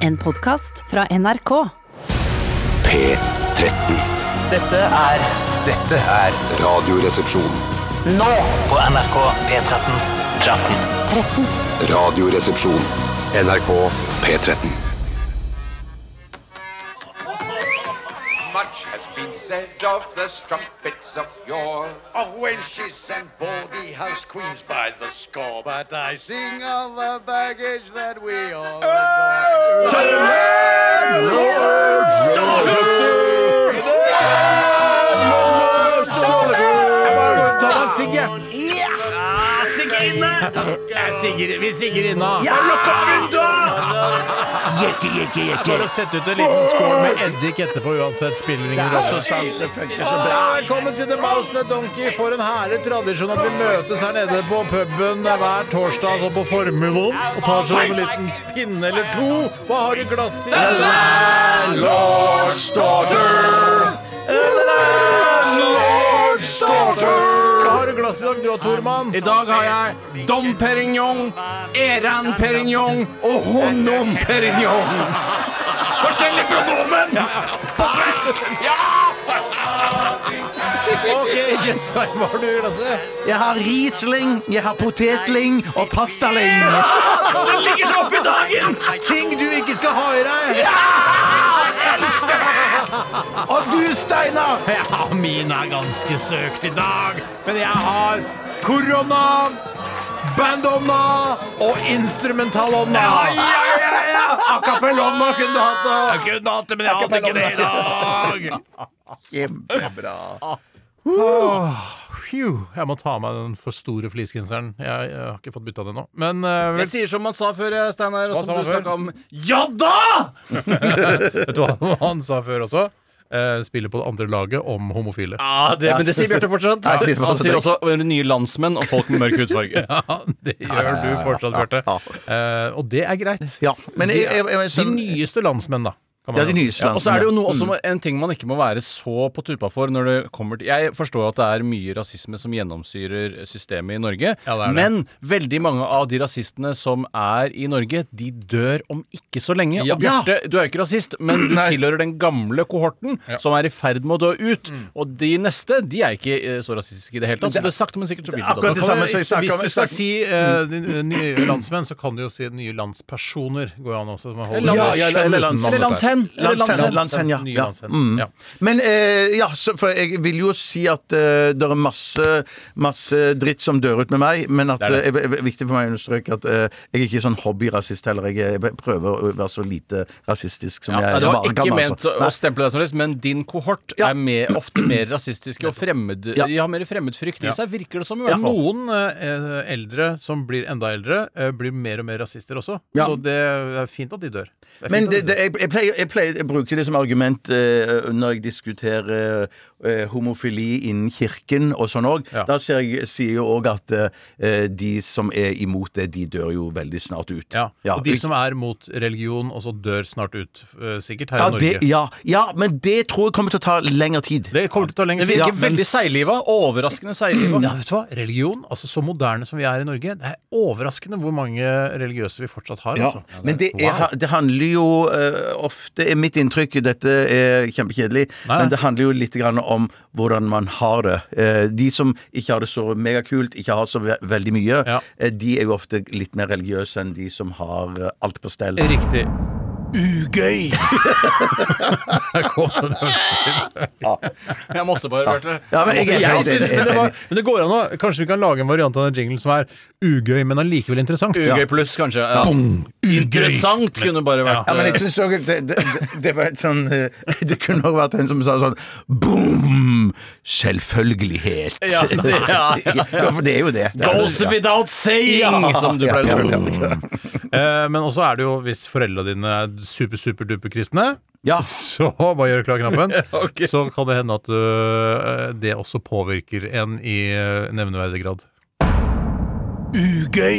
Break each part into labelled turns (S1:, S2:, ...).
S1: En podkast fra NRK.
S2: P13.
S3: Dette er Dette er
S2: Radioresepsjon.
S3: Nå på NRK P13 13
S2: Radioresepsjon. NRK P13.
S4: Much has been said of the strumpets of yore.
S5: Of wenches and baldy house queens by the score, but I sing of the baggage that we all adore.
S6: vi sigger inna. Ja, lukk opp vinduet! Jekke, jekke, jekke. Bare sett ut en liten skål med eddik etterpå uansett. Spiller ingen rolle. Ah, Velkommen til The Mouse and the Donkey. For en herlig tradisjon at vi møtes her nede på puben hver torsdag altså på formuen og tar seg en liten pinne eller to. Hva har du i glasset? The Landlord's Daughter. Hva har du i glasset i dag, du og Tormann?
S7: I dag har jeg Dom Perignon, Eran Perignon og Honom Perignon. Forskjellig pronomen på svensk! Ja!
S6: Ok, Jessheim, hva har du i glasset?
S8: Jeg har Riesling, jeg har potetling og pastaling.
S7: Den ligger så oppi dagen!
S6: Ting du ikke skal ha i deg!
S8: Og du, Steinar!
S6: Ja, min er ganske søkt i dag, men jeg har korona, bandonna og instrumentalonna. Acapellonna kunne du hatt det. Jeg kunne hatt det, men jeg hadde ikke det i dag. Phew, jeg må ta av meg den for store fleecegenseren. Jeg, jeg har ikke fått bytta den ennå. Men eh, vel-
S7: Jeg sier som man sa før, jeg, Steinar,
S6: Hva
S7: og
S6: sa
S7: som
S6: man
S7: du
S6: før?
S7: snakka om. Ja da!
S6: vet du hva han sa før også? Eh, spiller på det andre laget om homofile.
S7: Ja, det, men det sier Bjarte fortsatt.
S8: jeg sier det
S7: Han sier også
S8: fortsatt.
S7: nye landsmenn og folk med mørk hudfarge.
S6: Ja, det gjør du fortsatt, Bjarte. Eh, og det er greit.
S8: Ja, men jeg, jeg, jeg,
S6: De
S8: skjønner-
S6: nyeste landsmenn, da. kan man
S8: ja, de
S6: jo si.
S8: nyeste
S7: Og så er det jo noe,
S8: landsmennene.
S7: også en ting man ikke må være så på tupa for når det kommer til Jeg forstår jo at det er mye rasisme som gjennomsyrer systemet i Norge,
S6: Ja, det er det.
S7: men veldig mange av de rasistene som er i Norge, de dør om ikke så lenge.
S6: Ja.
S7: Og Bjarte, du er jo ikke rasist, men du tilhører den gamle kohorten som er i ferd med å dø ut. Og de neste, de er ikke eh, så rasistiske i det hele tatt. Så det er sakte, men sikkert så vil de
S6: Da
S7: da.
S8: akkurat
S6: kan
S8: det samme
S6: vi-
S8: som jeg snakket
S6: Hvis
S8: om-
S6: du skal si eh, de nye landsmenn, så kan du jo si nye landspersoner. Går jo an også. Man holder-
S7: Lands-
S8: ja, ja, eller lands-
S6: Utenom dette.
S8: Landsmenn,
S6: Landsmenn,
S8: landsmenn, ja.
S6: nye
S8: ja.
S6: landsmenn,
S8: Mm.
S6: ja.
S8: Men eh, ja, så, for jeg vil jo si at eh, det er masse, masse dritt som dør ut med meg, men at det er, det er viktig for meg å understreke at eh, jeg er ikke sånn hobbyrasist heller. Jeg er- prøver å være så lite rasistisk som
S7: Ja,
S8: jeg
S7: det var
S8: bare
S7: ikke
S8: kan.
S7: ment
S8: altså.
S7: å
S8: Nei.
S7: stemple deg som rasist, men din kohort
S8: Ja.
S7: er mer, ofte mer rasistiske og fremmed,
S8: Ja.
S7: de har mer fremmedfrykt i seg, virker det som. i hvert fall.
S6: Noen eh, eldre som blir enda eldre, eh, blir mer og mer rasister også.
S8: Ja.
S6: Så det er fint at de dør. Det er fint
S8: Men
S6: at de
S8: det,
S6: dør.
S8: det, jeg, jeg, pleier, jeg pleier jeg bruker det som argument eh, når jeg diskuterer eh, homofili innen kirken og sånn òg.
S6: Ja.
S8: Da ser jeg, sier jo òg at eh, de som er imot det, de dør jo veldig snart ut.
S6: ja. Og de
S8: jeg-
S6: som er mot religion, også dør snart ut. eh, Sikkert her
S8: ja,
S6: i Norge.
S8: det, ja, ja, men det tror jeg kommer til å ta lengre tid.
S6: Det kommer til å ta lengre
S7: Det
S6: tid. Ja,
S7: virker
S6: men
S7: veldig seigliva. Overraskende seigliva.
S6: Ja, vet du hva? Religion, altså så moderne som vi er i Norge, det er overraskende hvor mange religiøse vi fortsatt har.
S8: Ja,
S6: Altså.
S8: men det, er,
S6: Wow.
S8: det handler jo eh, ofte er Mitt inntrykk Dette er kjempekjedelig,
S6: Nei.
S8: men det handler jo litt grann om hvordan man har det. Eh, de som ikke har det så megakult, ikke har så ve veldig mye,
S6: Ja.
S8: eh, de er jo ofte litt mer religiøse enn de som har eh, alt på stell.
S6: Riktig.
S8: Ugøy!
S6: Der kom det.
S7: Jeg måtte bare, Bjarte.
S8: Ja, men jeg, er
S6: Jeg
S8: helt
S6: synes,
S8: enig.
S6: men, det var, men det går an å Kanskje vi kan lage en variant av den jinglen som er ugøy, men allikevel interessant.
S7: Ugøy pluss, kanskje. Ja. Interessant kunne bare vært
S8: Ja, men jeg
S7: eh,
S8: synes også det, det, det var et sånn eh, Det kunne også vært en som sa sånn Boom! Selvfølgelighet.
S7: Ja, det- ja, ja.
S8: for det er jo det. det, er
S7: Goes
S8: det ja.
S7: without saying, som du
S8: Ja,
S7: pleier å
S8: ja,
S7: si.
S8: ja.
S6: Eh, men også er det jo hvis foreldra dine er super-super-duper-kristne,
S8: Ja.
S6: så bare gjør klar knappen, så kan det hende at øh, det også påvirker en i øh, nevneverdig grad.
S4: ugøy.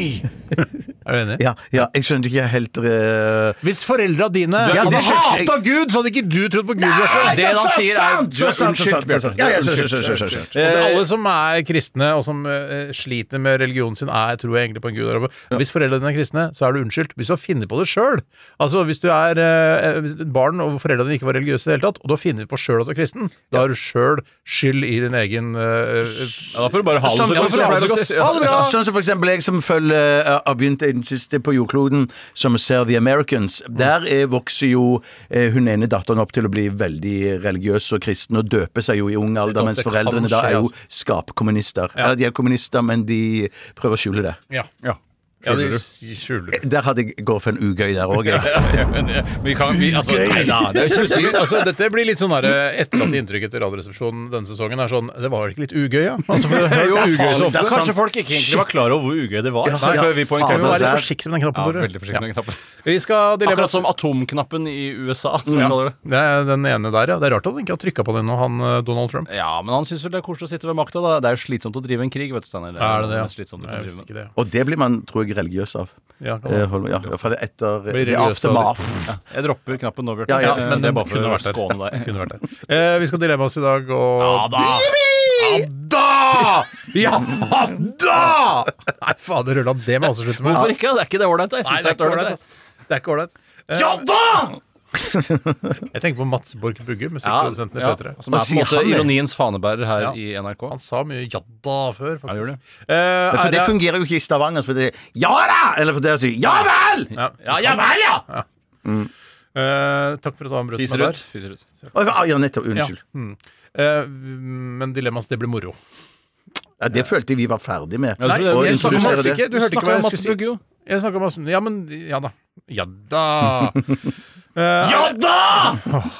S6: Er du enig?
S8: Ja, ja, jeg skjønte ikke helt eh,
S6: Hvis foreldra dine
S8: Du-
S6: hadde
S8: det skjønner jeg-
S6: hata Gud, så hadde ikke du trodd på Gud. Bjarte.
S4: det han sier er-
S8: Du er unnskyld, Bjarte. Ja, ja, skjønner, skjønner, skjønner, skjønner.
S4: Eh,
S6: Og det, alle som er kristne og som eh, sliter med religionen sin, er, tror jeg egentlig på en gud. der oppe. Hvis foreldrene dine er kristne, så er du unnskyldt. Hvis du har funnet på det sjøl Altså, hvis du er eh, hvis- barn og foreldrene dine ikke var religiøse i det hele tatt, og du har funnet på sjøl at du er kristen, da har du sjøl skyld i din egen eh,
S4: Ja, da får du bare ha det
S8: Som-
S4: så
S8: Sånn, ja, for
S4: godt.
S8: det er
S6: så godt. Ha det bra!
S8: Sånn som for eksempel jeg som følger eh, har begynt i den siste på jordkloden, som ser The Americans. Der eh, vokser jo eh, hun ene datteren opp til å bli veldig religiøs og kristen, og døper seg jo i ung alder, mens
S6: det kan
S8: foreldrene da
S6: skje,
S8: er jo
S6: altså.
S8: skapkommunister. Eller de er kommunister, men de prøver å skjule det.
S6: Ja.
S4: Ja.
S6: ja de
S4: Skjønner du?
S6: skjuler det.
S8: Der hadde jeg gått for en ugøy der òg, jeg.
S4: Vi kan, vi, altså, nei da, det er jo ikke
S6: Sikkert, altså, dette blir litt sånn der, eh, etterlatt inntrykk etter Radioresepsjonen denne sesongen. Er sånn, det var ikke litt ugøy, ja? Altså, for det er jo ugøy så ofte.
S4: Kanskje folk ikke egentlig var klar over hvor ugøy det var. Nei,
S8: ja,
S4: før vi
S8: faen,
S4: poengterte
S6: Kan vi
S8: altså.
S4: det.
S6: være forsiktige med den
S4: Ja,
S6: knappen på rød?
S4: veldig forsiktig med den knappen.
S6: Vi skal dilemmas.
S4: Akkurat som atomknappen i USA, som vi kaller det.
S6: Det er den ene der, ja. Det er rart at han ikke har trykka på den nå, han eh, Donald Trump.
S4: Ja, men han syns vel det er koselig å sitte ved makta, da. Det er jo slitsomt å drive en krig, vet du, Steinar.
S6: Er det det?
S4: mest
S6: Ja?
S4: slitsomt du kan
S6: Nei, jeg
S4: drive
S6: visste
S4: med.
S6: ikke det.
S8: Og det blir man, tror jeg, religiøs av.
S6: Ja, kan
S8: Eh,
S6: være.
S8: hold- Ja, i hvert fall etter
S6: Blir
S8: det
S6: religiøs av
S8: aftermath.
S4: Jeg dropper knappen nå, Bjarte.
S8: Ja, ja,
S4: Eh,
S6: men
S4: det
S6: den
S4: er bare for
S6: kunne
S4: å
S6: vært der.
S4: skåne deg.
S6: Kunne vært der. Eh, vi skal dilemmas i dag, og
S4: Ja da!
S6: Ja da! Ja da! Nei, fader, Rulland, det må jeg også slutte med.
S4: Hvorfor ikke? Det er ikke det ålreit, det. Jeg
S6: Nei,
S4: synes
S6: det er ikke
S4: helt
S6: ålreit. ass. Det er ikke ålreit. Eh,
S4: Ja da!
S6: Jeg tenker på Mats Borch Bugge, musikkprodusenten i
S4: Ja,
S6: P3.
S4: Som er på en
S8: sier
S4: måte
S8: han, det?
S4: ironiens fanebærer her
S6: Ja.
S4: i NRK.
S6: Han sa mye 'ja da' før, faktisk.
S4: Han gjorde det.
S6: Eh,
S8: For
S6: er
S8: det
S6: det-
S8: fungerer jo ikke i Stavanger. For det er Ja da! Eller for det å si Ja vel!
S6: Ja.
S4: ja vel, ja!
S6: Eh, takk for at du avbrøt meg
S4: Fiser
S6: der.
S4: ut. Fiser ut.
S8: Å, Ja, nettopp. Unnskyld.
S6: Ja. Mm. Eh, men dilemmas, det blir moro.
S8: Ja, det følte jeg vi var ferdig med.
S4: Nei,
S8: Og
S6: jeg snakker om
S8: introdusere det.
S6: Mads ikke. Du hørte ikke hva jeg skulle si.
S4: Jo.
S6: Jeg snakker om Mads Ja, men Ja da. Ja da. ja da!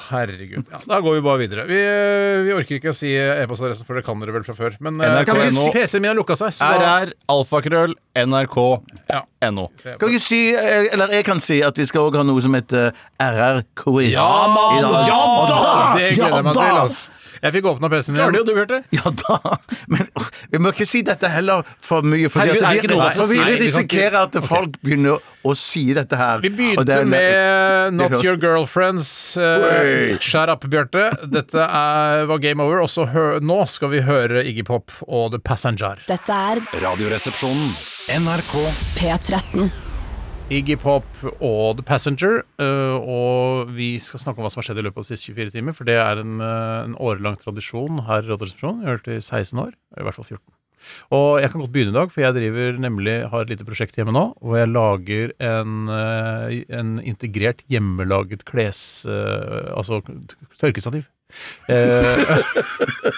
S6: herregud. Ja, da går vi bare videre. Vi, eh, vi orker ikke å si e-postadressen, for det kan dere vel fra før. Men eh,
S4: NRK.no.
S6: kan vi ikke si- PC-en min har lukka seg, så da
S4: RR, alfakrøll, nrk.no.
S6: ja.
S8: Kan vi ikke si, eh, eller jeg kan si, at vi skal òg ha noe som heter RR-quiz.
S6: Ja,
S8: i dag.
S6: Ja da! Det gleder jeg meg
S8: Ja,
S6: til. altså.
S8: da!
S6: ass. Jeg fikk åpna PC-en
S4: Klarer
S6: igjen.
S4: du, Bjarte?
S8: Ja da! Men åh, vi må ikke si dette heller for mye, for
S4: Herregud, er det
S8: vi,
S4: ikke noe man skal
S8: for vi
S4: si?
S6: Nei, vi kan
S8: risikerer
S6: ikke-
S8: at folk begynner å si dette her.
S6: Vi
S8: Og det
S6: begynte
S8: er-
S6: med eh,
S8: det
S6: Not
S8: hører-
S6: Your Girlfriends. Uh, Shut up, Bjarte. Dette er, var game over. Og så hø nå skal vi høre Iggy Pop og The Passenger.
S1: Dette er
S2: Radioresepsjonen.
S1: P13.
S6: Iggy Pop og The Passenger. eh, og vi skal snakke om hva som har skjedd i løpet av de siste 24 timer, for det er en, eh, en årelang tradisjon her i Radioresepsjonen. Vi har hørt det i 16 år, i hvert fall 14. Og jeg kan godt begynne i dag, for jeg driver nemlig, har et lite prosjekt hjemme nå, hvor jeg lager en, eh, en integrert hjemmelaget kles... eh, altså t- tørkestativ. Eh,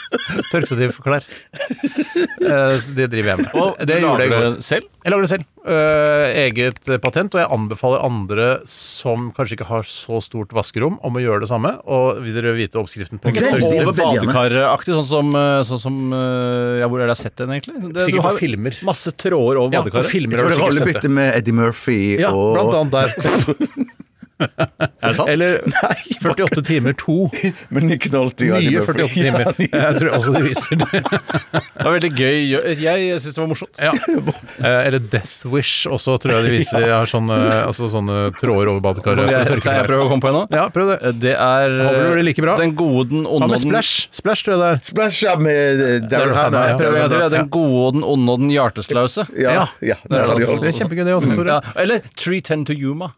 S6: tørkestativ for klær. Eh, det driver jeg med. det gjorde jeg i går.
S4: selv.
S6: Jeg lager det selv. Eh, eget eh, patent. Og jeg anbefaler andre som kanskje ikke har så stort vaskerom, om å gjøre det samme. Og vil dere vite oppskriften på
S8: Det er
S6: tørkestativ?
S8: veldig
S4: Over
S8: gjerne.
S4: badekaraktig, sånn som, eh, sånn som eh, Ja, hvor er det jeg har sett den, egentlig? Det,
S6: Sikkert
S4: du har
S6: på filmer.
S4: Masse tråder over
S6: Ja, på
S4: badekaret.
S8: Jeg
S6: filmer
S8: tror
S6: har du
S8: det er
S6: sikkert sett
S8: rollebytte
S6: det.
S8: med Eddie Murphy
S6: Ja,
S8: og
S6: blant annet der.
S4: Er det sant?
S6: Eller 48 timer 2.
S8: Men Nick Nolte og Eddie
S6: Nye
S8: Murphy.
S6: 48 timer. Jeg tror også de viser det.
S4: Det var veldig gøy. Jeg, jeg syns det var morsomt.
S6: Ja. Eh, Eller Death Wish også, tror jeg de viser. Jeg har sånne, altså sånne tråder over badekaret.
S4: Det
S6: for å
S4: er
S6: tørke
S4: det jeg
S6: klær.
S4: prøver å komme på nå. Eh,
S6: Ja, prøv
S7: Eh,
S6: det.
S4: Det er eh,
S6: Håper det blir like bra.
S4: den gode, den onde
S6: Hva med
S4: og den
S6: Splash? Splash, tror jeg det er.
S8: Splash up med eh, Daryl
S6: Hannah,
S8: Hannah.
S6: ja.
S4: Prøv en gang til. ja.
S6: Ja.
S4: Den gode, den onde og den hjerteslause.
S8: Ja, ja, der har de holdt.
S6: Det er kjempegøy, det også, Tore.
S4: Ja, eller 310 to Yuma.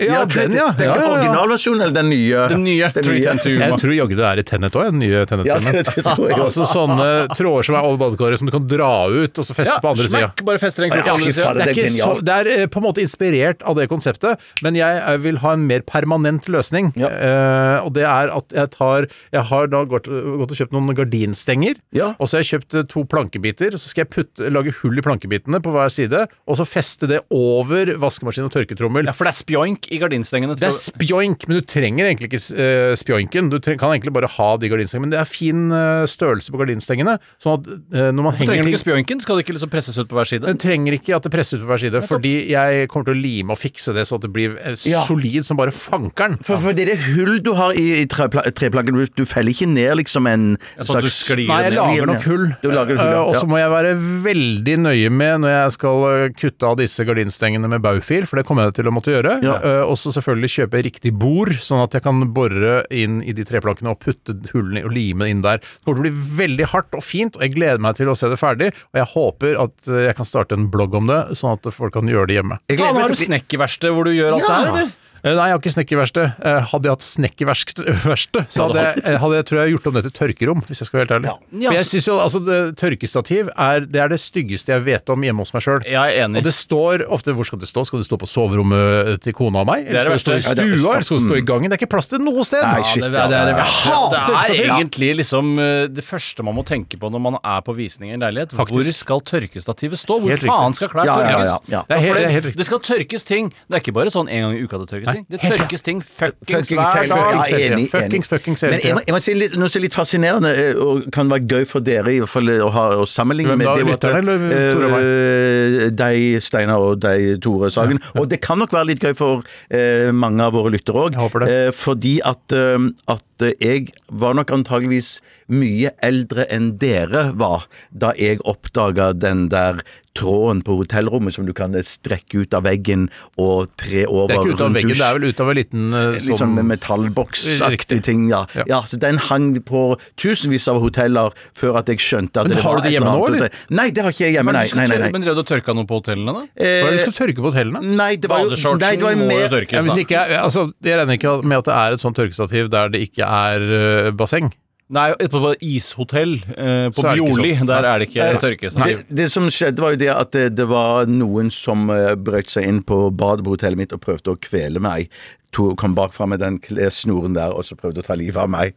S6: Ja, den, ja.
S8: Den
S6: Ja, ja, ja.
S8: originalversjonen eller den nye?
S4: Den nye.
S8: Den
S4: 310 to Yuma.
S6: Jeg tror jaggu det er i Tennet òg, den nye
S8: Ja,
S6: Tennet-filmen.
S8: det, det tror jeg også.
S6: Altså sånne tråder som er over badekaret, som du kan dra ut og så feste på andre sida.
S4: smack, bare fester en krok
S8: Ja,
S4: i andre
S8: fy
S4: sida.
S8: faen,
S6: Det er,
S8: det er
S6: ikke så,
S8: genialt.
S6: det er eh, på en måte inspirert av det konseptet, men jeg eh, vil ha en mer permanent løsning.
S8: Ja.
S6: Eh, og det er at jeg tar Jeg har da gått, gått og kjøpt noen gardinstenger,
S8: Ja.
S6: og så har jeg kjøpt eh, to plankebiter. Så skal jeg putte, lage hull i plankebitene på hver side, og så feste det over vaskemaskin og tørketrommel.
S4: Ja, for det er spjoink
S7: i gardinstengene.
S6: Det er spjoink, men du trenger egentlig ikke eh, spjoinken. Du treng, kan egentlig bare ha de gardinstengene. Men det er fin eh, størrelse på gardinstengene, sånn at eh, når man
S7: Du
S6: henger
S7: trenger
S6: ting
S7: ikke spjoinken? Skal det ikke liksom presses ut på hver side?
S6: Den trenger ikke at det presses ut på hver side, fordi jeg kommer til å lime og fikse det så at det blir eh,
S8: Ja.
S6: solid som bare fankeren.
S8: For, for det er det hull du har i, i trepla- treplanken. Du, du feller ikke ned liksom en
S7: sånn at du sklir
S6: Nei, jeg
S7: ned.
S6: lager nok hull.
S8: Du lager hull,
S6: Eh,
S8: ja.
S6: Og så må jeg være veldig nøye med når jeg skal eh, kutte av disse gardinstengene med baufil, for det kommer jeg til å måtte gjøre.
S8: Ja.
S6: Eh, Og så selvfølgelig kjøpe riktig bord, sånn at jeg kan bore inn i de treplankene og putte hullene i og lime inn der. Det kommer til å bli veldig hardt og fint, og jeg gleder meg til å se det ferdig. Og jeg håper at eh, jeg kan starte en blogg om det, sånn at folk kan gjøre det hjemme.
S8: Jeg gleder
S7: Faen,
S8: meg
S7: har du
S8: til å bli-
S7: snekkerverksted hvor du gjør alt det her, eller?
S6: Eh, Nei, jeg har ikke snekkerverksted. Eh, Hadde jeg hatt snekkerverksted, så hadde jeg, eh, hadde jeg, tror jeg gjort om det til tørkerom, hvis jeg skal være helt ærlig. For jeg synes jo, altså, det, Tørkestativ er det, er det styggeste jeg vet om hjemme hos meg sjøl.
S7: Jeg er enig.
S6: Og det står ofte Hvor skal det stå? Skal det stå på soverommet til kona og meg?
S7: Det er
S6: Eller
S7: det
S6: skal det
S7: verste.
S6: stå i
S8: Ja, det er
S6: stua?
S8: verste.
S6: Eller skal det stå i gangen? Det er ikke plass til noe sted!
S8: Nei,
S6: Ja,
S8: shit,
S7: det,
S8: ja,
S7: det, er, det,
S8: ja.
S7: verste.
S6: hater
S7: det er
S6: tørkestativ.
S7: egentlig liksom eh, det første man må tenke på når man er på visning i en leilighet. Hvor skal tørkestativet stå? Hvor
S6: Helt riktig.
S7: faen skal klær
S8: Ja, ja,
S7: tørkes?
S8: ja, ja.
S6: Det er helt-
S7: For
S6: det er helt riktig.
S7: det skal tørkes ting. Det er ikke bare sånn en gang i uka det tørkes ting. Det
S6: helt rett.
S7: tørkes ting fuckings
S8: Fuckings
S7: hver
S8: hele tiden.
S7: dag.
S8: Ja, enig, enig.
S6: Fuckings, fuckings hele
S8: Men jeg må,
S6: tiden.
S8: jeg må si litt, noe som er litt fascinerende, eh, og kan være gøy for dere i hvert fall eh, å, ha, å sammenligne
S6: Hvem
S8: med
S6: da?
S8: det er jo at,
S6: Lytterne, eller Tore og meg?
S8: eh, deg, Steinar, og deg, Tore Sagen. Og det kan nok være litt gøy for eh, mange av våre lyttere òg.
S6: Jeg håper det.
S8: fordi at, eh, at jeg var nok antageligvis mye eldre enn dere var da jeg oppdaga den der tråden på hotellrommet som du kan strekke ut av veggen og tre over sånn
S6: Det er ikke ut av
S8: rundt
S6: veggen, det
S8: dusj.
S6: er vel ut av en liten eh,
S8: Litt sånn med metallboksaktige
S6: Riktig.
S8: ting, ja.
S6: Ja.
S8: ja. Så den hang på tusenvis av hoteller før at jeg skjønte at
S6: Men
S8: det
S6: har
S8: var
S6: du det
S8: et
S6: hjemme nå,
S8: annet
S6: eller?
S8: hotell. Nei, det har ikke jeg hjemme,
S7: Men
S8: nei.
S7: du skal
S8: nei, nei,
S7: tør-
S8: nei.
S7: Men drev du og tørka noe på hotellene, da?
S6: Hva er det du skal tørke på hotellene?
S8: Nei, det var jo nei, det var jo
S7: Badeshortsen må jo
S8: mer
S7: tørkes,
S6: Ja,
S7: da.
S6: hvis ikke, jeg- altså, jeg regner ikke med at det er et sånt tørkestativ der det ikke er eh, basseng.
S7: Nei, på på ishotell eh,
S6: Så
S7: på
S6: er det ikke
S7: Bjorli,
S6: sånn.
S7: der er det ikke
S8: Eh, det,
S7: tørkestativ.
S8: det som skjedde, var jo det at eh, det, det var noen som eh, brøt seg inn på badet på hotellet mitt og prøvde å kvele meg. To, kom bakfra med den kle- snoren der og så prøvde å ta livet av meg.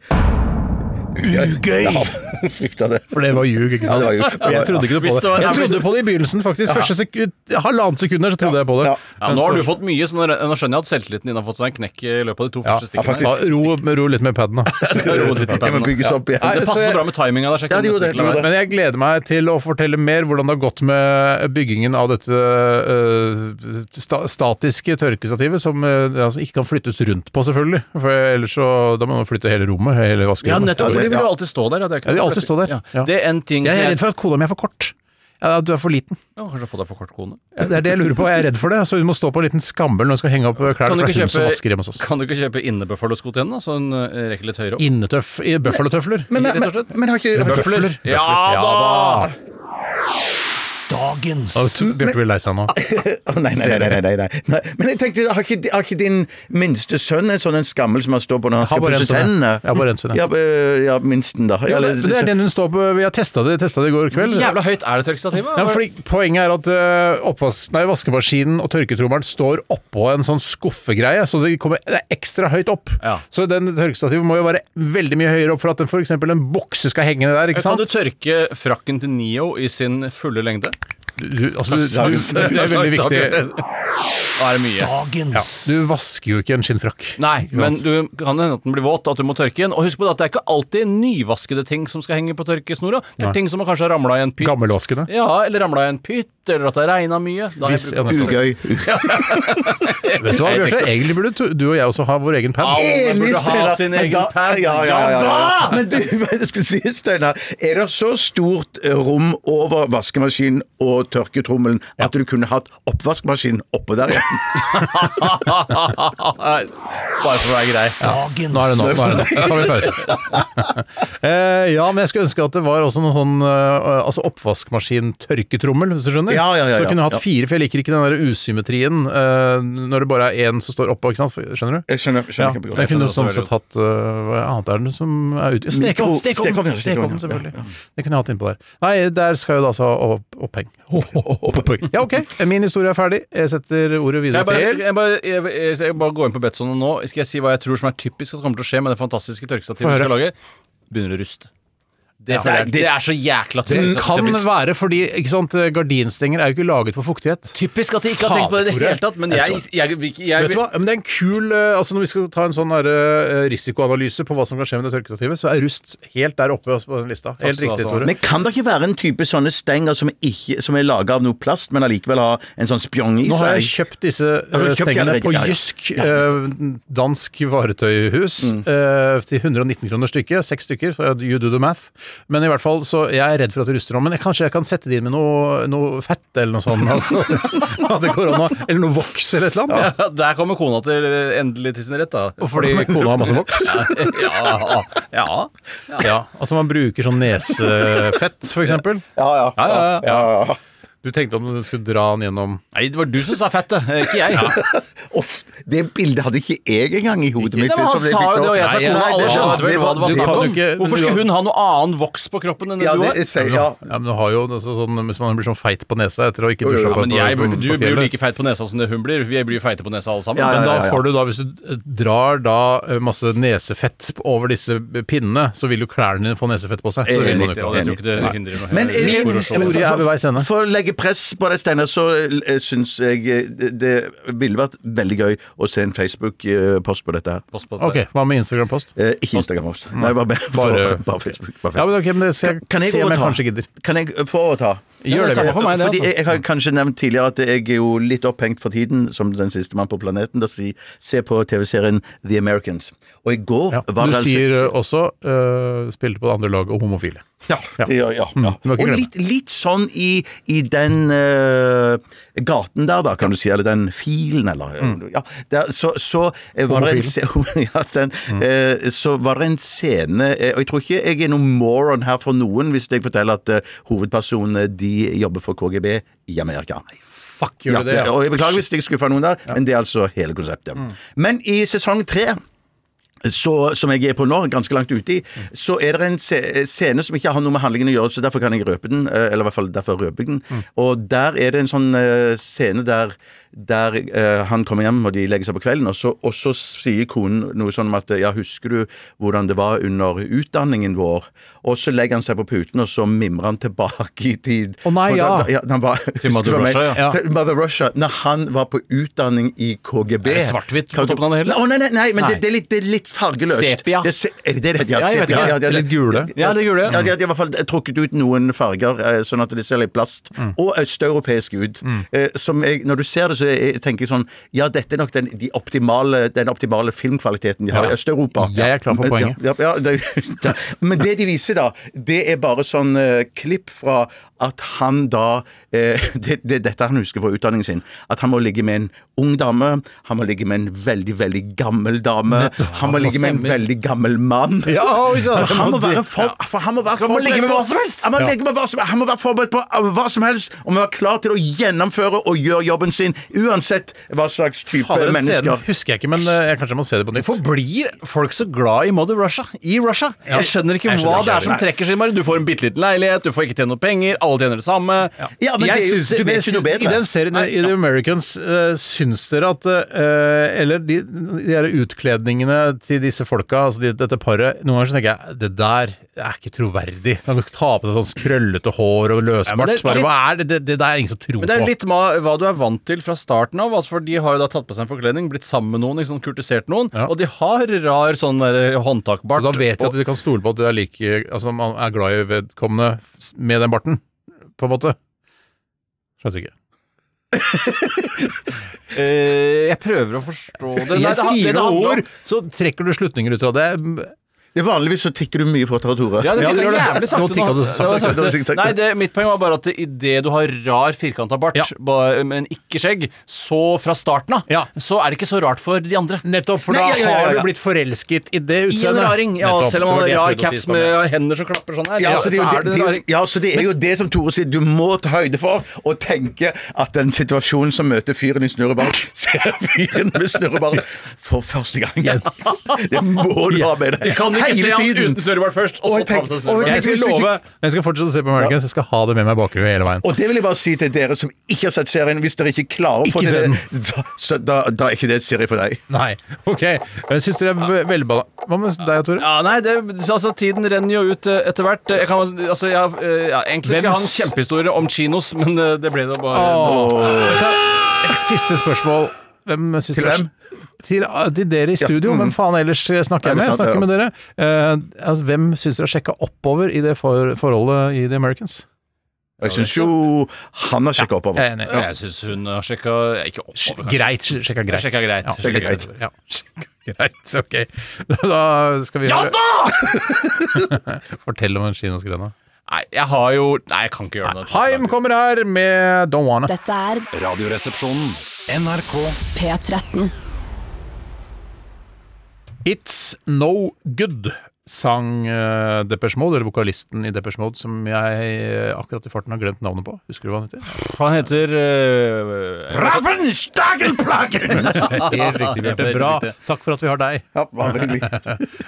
S8: Ugøy! Ja, frykta det.
S6: For det var ljug, ikke sant?
S8: Ja, det var ljug.
S6: jeg trodde ikke
S7: Hvis
S6: noe
S7: det
S6: på
S7: var-
S6: det.
S7: Nei,
S6: Jeg
S7: men-
S6: trodde på det i begynnelsen, faktisk. Første sekund, halvannet sekund der så trodde jeg på det.
S8: Ja.
S7: Ja, nå har du fått mye, så nå nå skjønner jeg at selvtilliten din har fått seg en knekk i løpet av de to første
S6: ja,
S7: stikkene.
S6: faktisk. Ta- Ro, ro litt med paden, da.
S7: Skal roe litt på
S8: Jeg må
S7: pennen, da.
S8: bygges opp
S6: Nei,
S8: igjen.
S7: Det passer
S6: så-
S7: så bra med timinga der. så jeg
S8: Ja, det
S7: kunne
S8: gjorde
S7: nesten ikke la
S8: det, det
S7: være.
S8: gjorde
S6: Men jeg gleder meg til å fortelle mer hvordan det har gått med byggingen av dette eh, sta statiske tørkestativet, som eh, altså, ikke kan flyttes rundt på, selvfølgelig. For ellers så da må man flytte hele rommet, hele
S7: Ja,
S6: vaskerommet.
S7: nettopp,
S8: Ja,
S7: for
S8: det-
S7: de vil
S8: ja.
S7: jo alltid stå der. Ja, det er ikke
S6: Ja, de vil
S7: noe
S6: alltid
S7: flytting.
S6: stå der. Ja.
S7: Det er en ting
S6: Jeg
S7: som
S6: er
S7: jeg
S6: redd for at kona mi er for kort. Ja, du er for liten.
S7: Ja, Kanskje få deg for kort kone.
S6: Ja, Det er det jeg lurer på. Jeg er redd for det. Så hun må stå på en liten skammel når hun skal henge opp klærne.
S7: Kan du
S6: for det
S7: ikke
S6: er hun som vasker hjemme hos
S7: kjøpe,
S6: oss.
S7: kan du ikke kjøpe innebuffalosko til henne, da, så hun eh, rekker litt høyere opp?
S6: Innetøff i Bøffelotøfler.
S8: Men,
S7: rett og
S8: men,
S7: slett.
S8: men har ikke har ikke-
S6: Bøfler.
S7: Ja da! Dagens
S6: Å, tu- Bjarte blir lei seg nå.
S8: Å, nei, nei, nei, nei, nei, nei, nei. Men jeg tenkte, har ikke, har ikke din minste sønn en sånn en skammel som han står på når han
S6: har
S8: skal
S6: bare en
S8: pusse
S6: sånn, jeg.
S8: tennene?
S6: Jeg har bare en sånn, jeg.
S8: Ja, øh, ja, minsten, da.
S6: Ja, det,
S8: Eller-
S6: men det er den hun står på. Vi har testa det, testet det i går kveld.
S7: Jævla høyt er det tørkestativet?
S6: Ja, fordi Poenget er at ø, oppvask, nei, vaskemaskinen og tørketrommelen står oppå en sånn skuffegreie, så det, kommer, det er ekstra høyt opp.
S7: Ja.
S6: Så den tørkestativet må jo være veldig mye høyere opp for at den, for eksempel en bukse skal henge ned der. ikke
S7: Kan
S6: sant?
S7: du tørke frakken til Neo i sin fulle lengde?
S6: Du, du, altså, du, du, det er veldig viktig.
S7: Da er det mye.
S6: Ja, du vasker jo ikke en skinnfrakk.
S7: Nei, men du kan hende at den blir våt, at du må tørke den. Og husk på det at det er ikke alltid nyvaskede ting som skal henge på tørkesnora. Det
S6: Nei.
S7: er ting som kanskje har ramla i en pytt.
S6: Gammelvaskende.
S7: Ja, eller ramla i en pytt, eller at det har regna mye. Da har jeg
S6: Hvis- ja,
S7: bruk for
S6: nettopp.
S8: Ugøy.
S6: Vet du hva, Bjarte? Egentlig burde du, du og jeg også ha vår egen pad.
S7: Alle burde ha
S8: Steinar.
S7: sin
S8: Men
S7: egen
S8: da-
S7: pad.
S8: Ja, ja, ja, ja,
S7: Ja,
S8: ja. Men du, hva jeg skal si, Steinar. Er det så stort eh, rom over vaskemaskinen og tørketrommelen at du kunne hatt oppvaskmaskin oppå der igjen?
S7: Bare for å være grei.
S6: Nå er det nå. nå er det nå. Da tar vi pause. Eh, ja, men jeg skulle ønske at det var også noen sånn eh, altså oppvaskmaskin-tørketrommel, hvis du skjønner.
S8: Ja, ja, ja,
S6: så jeg kunne
S8: ja,
S6: hatt fire, for jeg liker ikke den der usymmetrien eh, når det bare er én som står oppå, ikke sant? Skjønner du?
S8: Jeg skjønner,
S6: Ja, men
S8: skjønner kjempegodt.
S6: jeg kunne sånn
S7: skjønner
S6: sett hatt eh, Hva annet er det som er ute? Stekeovn!
S8: Mikro-
S6: Stekeovn,
S8: stekeovn, ja,
S6: stekeovn,
S8: stekeovn, ja,
S6: selvfølgelig. Det kunne jeg hatt innpå der. Nei, der skal jo det altså opp, oppheng. Oppheng. Ja, ok. Min historie er ferdig. Jeg setter ordet
S7: Skal
S6: videre
S7: jeg bare,
S6: til
S7: jeg, bare, jeg, jeg, jeg bare gå inn på Betson nå. Skal jeg si hva jeg tror som er typisk at kommer til å skje med det fantastiske
S6: Få
S7: tørkestativet
S6: høre.
S7: vi skal lage? Begynner å ruste. Det, føler jeg.
S8: det-
S7: det er så jækla
S6: Den
S7: typisk. at
S6: Mm, kan
S7: det skal bli-
S6: være fordi ikke sant, eh, gardinstenger er jo ikke laget for fuktighet.
S7: Typisk at de ikke har tenkt på det i det hele tatt, men jeg, jeg, jeg, jeg,
S6: Vet du hva? Ja, Men det er en kul eh, Altså Når vi skal ta en sånn der, eh, risikoanalyse på hva som kan skje med det tørkestativet, så er rust helt der oppe altså, på den lista. Helt
S7: skal du ha,
S6: riktig,
S7: Sara.
S6: Tore.
S8: Men kan det ikke være en type sånne stenger som, ikke, som er laga av noe plast, men allikevel har en sånn spjong i
S6: Nå har jeg
S8: seg?
S6: kjøpt disse eh,
S8: du kjøpt de
S6: stengene
S8: allerede?
S6: på
S8: Ja, ja.
S6: Jysk, eh, dansk varetøyhus, eh, til 119 kroner stykket. Seks stykker, så you do the math. Men i hvert fall, så jeg er redd for at det ruster nå. Men jeg, kanskje jeg kan sette det inn med noe, noe fett eller noe sånt. Altså. Hadde korona, eller noe voks eller et eller annet.
S7: Ja, der kommer kona til eh, endelig til sin rett, da.
S6: Og fordi kona har masse voks.
S7: Ja, ja.
S6: Ja, altså man bruker sånn nesefett, for eksempel.
S8: Ja, ja.
S6: Du tenkte om du skulle dra den gjennom
S7: Nei, det var du som sa fett, det. Ikke jeg.
S8: Uff, det bildet hadde ikke jeg engang i hodet mitt.
S7: Nei, men han
S8: som jeg
S7: sa
S8: fikk
S7: jo det,
S8: nå.
S7: og jeg sa
S6: Nei, jeg
S7: kona. Alle
S6: sa-
S7: skjønte vel hva det var
S6: Du kan
S7: snakk
S6: jo
S7: om.
S6: ikke-
S7: Hvorfor
S6: du-
S7: skulle hun ha noe annen voks på kroppen enn det
S8: Ja,
S7: du
S8: det,
S7: har?
S8: jeg sier- ja.
S6: Ja, men du har jo det er så sånn, Hvis man blir sånn feit på nesa etter å ikke
S8: jo,
S6: dusje
S8: jo,
S6: på,
S7: Men
S6: på,
S7: jeg,
S6: på, på
S7: blir- du blir jo
S6: fjellet.
S7: like feit på nesa som det hun blir. Vi blir jo feite på nesa alle sammen.
S8: Ja, ja,
S7: Men
S8: ja.
S7: da
S6: Da får du da, Hvis du eh, drar da eh, masse nesefett over disse eh, pinnene, så vil jo klærne dine få nesefett på seg. Så
S8: Eh,
S6: vil man
S7: Riktig,
S6: ikke ha
S7: og jeg
S6: det.
S7: tror ikke det hindrer noe.
S8: Men
S7: Nei,
S8: min
S6: Hvor er vi ved veis ende?
S8: For å legge press på deg, Steinar, så eh, syns jeg eh, det, det ville vært veldig gøy å se en Facebook-post på dette her.
S7: post på det.
S6: Ok, Hva med Instagram-post?
S8: Eh, ikke Instagram-post. Nei, bare, bare,
S6: Bare-
S8: bare Facebook. Bare Facebook.
S6: Ja, men ok, men det skal jeg,
S8: Kan jeg
S6: se om jeg
S8: overta?
S6: kanskje gidder.
S8: Kan jeg eh, få overta?
S6: Gjør det, Bjørn.
S7: samme for meg, det,
S8: Fordi
S7: altså.
S8: jeg, jeg har kanskje nevnt tidligere at jeg er jo litt opphengt for tiden, som den siste mann på planeten. Da si, se på TV-serien The Americans. Og i går
S6: Ja.
S8: var
S6: Du
S8: det altså
S6: sier eh, også eh, spilte på det andre laget og homofile.
S8: Ja. Mm, det gjør- ja, ja.
S6: du må ikke
S8: Og
S6: glemme.
S8: litt, litt sånn i, i den eh, gaten der, da, kan du si. Eller den filen, eller ja, der, Så, så eh, var det en, se- ja, sen, eh, Så var det en scene eh, Og jeg tror ikke jeg er noen moron her for noen hvis jeg forteller at eh, hovedpersonene de jobber for KGB i Amerika.
S6: Fuck, gjør du det? Mm.
S8: Ja,
S6: Ja.
S8: og jeg beklager hvis jeg skuffa noen der, men det er altså hele konseptet. Men i sesong tre så, som jeg er på nå, ganske langt ute i, så er det en se- eh, scene som ikke har noe med handlingen å gjøre, så derfor kan jeg røpe den. eh, Eller i hvert fall derfor røper jeg den.
S6: Mm.
S8: Og der er det en sånn eh, scene der, der eh, han kommer hjem, og de legger seg på kvelden, og så, og så sier konen noe sånn om at ja, husker du hvordan det var under utdanningen vår? Og så legger han seg på puten, og så mimrer han tilbake i tid.
S6: Å nei,
S8: Og
S6: ja.
S8: Da, da, ja han var,
S7: Til Mother
S8: Husker du meg?
S7: Russia,
S6: ja.
S8: Til Mother Russia, når han var på utdanning i KGB
S7: Er det svart-hvitt på
S8: Kan du-
S7: toppen av det hele?
S8: Nei, å, nei, nei, nei men
S7: Nei.
S8: Det, det, er litt, det er litt fargeløst.
S7: Sepia.
S8: Det, er se- er det det det-
S7: Ja,
S8: ja,
S7: jeg vet
S8: sepia,
S7: ikke.
S8: ja, det er
S6: Litt gule.
S7: Ja, det er gule, ja.
S8: Ja, de hadde i hvert fall trukket ut noen farger, eh, sånn at det ser litt plast
S7: Mm.
S8: og østeuropeisk ut. Eh, Som jeg, når du ser det, så jeg, jeg tenker jeg sånn Ja, dette er nok den, de optimale, den optimale filmkvaliteten de har i Øst-Europa.
S6: Jeg er klar for
S8: Ja,
S6: poenget.
S8: Ja, ja, det, det. Men det de viser, da, det er bare sånn eh, klipp fra at han da eh, det, det er dette han husker fra utdanningen sin. At han må ligge med en ung dame, han må ligge med en veldig, veldig gammel dame, han må ligge med en veldig gammel mann.
S6: Ja, oi, så-
S8: For han må være for, for han må være
S7: Skal man ligge med
S8: forberedt på-
S7: hva som helst?
S8: Han må, ligge med hva som, han må være forberedt på eh, hva som helst og må være klar til å gjennomføre og gjøre jobben sin, uansett hva slags type
S6: Fader, den
S8: mennesker.
S6: scenen husker jeg ikke, men eh, jeg kanskje må se det på nytt.
S7: Hvorfor blir folk så glad i Mother Russia? I Russia? Jeg skjønner ikke
S6: Jeg skjønner
S7: hva
S6: ikke
S7: det er som
S6: heller.
S7: trekker seg i margen. Du får en bitte liten leilighet, du får ikke tjene noe penger, alle tjener det samme.
S8: Ja,
S6: Jeg
S8: men det er jo-
S6: syns-
S8: du vet
S6: men
S8: ikke noe
S6: syns-
S8: bedre.
S6: I den serien i The Americans, eh, syns dere at eh, Eller de, de der utkledningene til disse folka, altså de, dette paret Noen ganger så tenker jeg det der er ikke troverdig. Kan du ikke ta på deg sånn krøllete hår og
S7: men
S6: løsbart?
S7: det er
S6: bare,
S7: litt-
S6: hva er det, det, det der er ingen som tror
S7: Men det er
S6: på.
S7: litt ma- hva du er vant til fra starten av. Altså, for De har jo da tatt på seg en forkledning, blitt sammen med noen, ikke sånn, kurtisert noen.
S6: Ja.
S7: Og de har rar sånn der håndtakbart.
S6: Så da vet jeg at du kan stole på at du er like Altså man er glad i vedkommende s- med den barten, på en måte. Skjønte ikke.
S7: Og, eh, jeg prøver å forstå det. Nei,
S6: Jeg
S7: det han- det
S6: sier
S7: det
S6: noen
S7: handler om-
S6: ord, så trekker du slutninger ut av det.
S8: Det er Vanligvis så tikker du mye fortere, Tore.
S7: Ja, det
S6: Ja,
S7: fikk
S6: det
S7: jeg
S6: gjør det.
S7: jævlig sakte
S6: Nå tikket du sakte,
S7: Det var
S8: sakte, sakte.
S7: Nei, det, mitt poeng var bare at idet du har rar, firkanta bart,
S6: Ja.
S7: ba- men ikke skjegg, så fra starten av,
S6: Ja.
S7: så er det ikke så rart for de andre.
S6: Nettopp, for da
S8: Nei, ja, ja, ja,
S6: har
S8: ja.
S6: du blitt forelsket i det
S7: I en
S6: utseendet.
S7: raring, ja,
S6: Nettopp,
S7: selv
S6: det
S7: om
S6: var
S7: han
S6: det
S7: har
S6: jeg prøvde å
S7: rar
S6: si i
S7: caps
S6: stad.
S7: med hender som klapper sånn her,
S8: Ja, så
S7: så,
S8: det,
S7: så
S8: er
S7: er
S8: jo
S7: det
S8: det,
S7: en
S8: det,
S7: raring.
S8: ja, så det er jo det som Tore sier, du må ta høyde for å tenke at den situasjonen som møter fyren i snurrebart, ser fyren med snurrebart for første gang. Det må du ha med deg.
S7: Kan du
S4: ikke se
S8: hele
S4: han uten
S8: tiden.
S4: snørrebart først, og
S8: Og
S4: så
S8: jeg
S4: ta
S8: tenk-
S4: på seg
S8: og
S4: snørrebart.
S6: Jeg skal
S8: Hvis du ikke-
S6: love Når jeg skal fortsette å se på Americans, jeg skal ha det med meg i bakhuet hele veien.
S8: Og det vil jeg bare si til dere som ikke har sett serien. Hvis dere ikke klarer å få
S6: Ikke
S8: til
S6: se
S8: det, da, så, da, da er ikke det en serie for deg.
S6: Nei. OK. Jeg syns dere er ve- veldig balla... Hva med deg, Tore?
S7: Ja, nei, det, altså Tiden renner jo ut eh, etter hvert. Jeg kan, altså, jeg, eh, ja, egentlig skal jeg ha en kjempehistorie om kinos, men eh, det ble det bare
S6: Ah. Et siste spørsmål. Hvem syns
S8: Til
S6: dere-
S8: hvem?
S6: Til, ah, til dere i studio.
S8: mm.
S6: Hvem faen ellers eh, snakker jeg med?
S8: Nei,
S6: Jeg
S8: det er sant,
S6: snakker med dere. Eh, altså, hvem syns dere har sjekka oppover i det for, forholdet i The Americans?
S8: Og jeg syns jo han har sjekka oppover.
S6: enig.
S7: Jeg syns hun har sjekka Ikke oppover, kanskje.
S6: Greit. Sjekka greit.
S7: Jeg sjekka greit.
S6: Ja,
S7: Sjekka
S8: greit.
S6: Ja. Greit, ok. Da skal vi høre- Fortell om en kinoskrøne.
S7: Nei, jeg har jo Nei, jeg kan ikke gjøre det.
S6: Haim kommer her med Don't Wanna.
S1: Dette er
S2: Radioresepsjonen.
S1: P13.
S6: It's No Good sang uh, Depeche Mode, eller vokalisten i Depeche Mode, som jeg eh, akkurat i farten har glemt navnet på. Husker du hva han heter?
S7: Han heter uh,
S6: Helt riktig, Bjarte.
S7: Helt
S6: Bra.
S7: riktig.
S6: Takk for at vi har deg.
S8: Ja, bare hyggelig.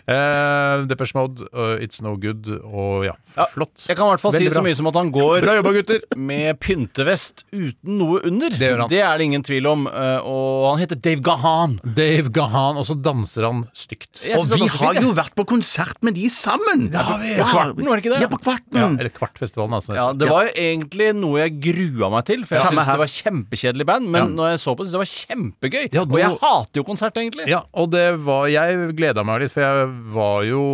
S6: Eh, Depeche Mode, eh, It's No Good, og ja, flott.
S7: Jeg kan i hvert fall si
S6: Veldig
S7: så
S6: bra.
S7: mye som at han går
S6: Bra jobba, gutter!
S7: med pyntevest uten noe under.
S6: Det gjør han.
S7: det er det ingen tvil om. eh, Og han heter Dave Gahan.
S6: Dave Gahan, og så danser han stygt.
S7: Jeg
S8: Og
S7: synes
S8: vi
S7: det er ganske
S8: har
S7: fint,
S8: jo vært på konsert med de sammen! Ja,
S6: vi-
S7: på Kvarten, var det ikke det?
S8: Ja, på Kvarten.
S6: Ja, eller Kvartfestivalen, altså.
S7: Mm. Ja, Det var egentlig noe jeg grua meg til, for jeg
S8: Samme
S7: syntes det
S8: her.
S7: var kjempekjedelig band. Men når jeg så på det, syntes jeg det var kjempegøy.
S6: De hadde
S7: Og jeg
S6: noe-
S7: hater jo konsert, egentlig.
S6: Ja, og det var Jeg gleda meg litt, for jeg var jo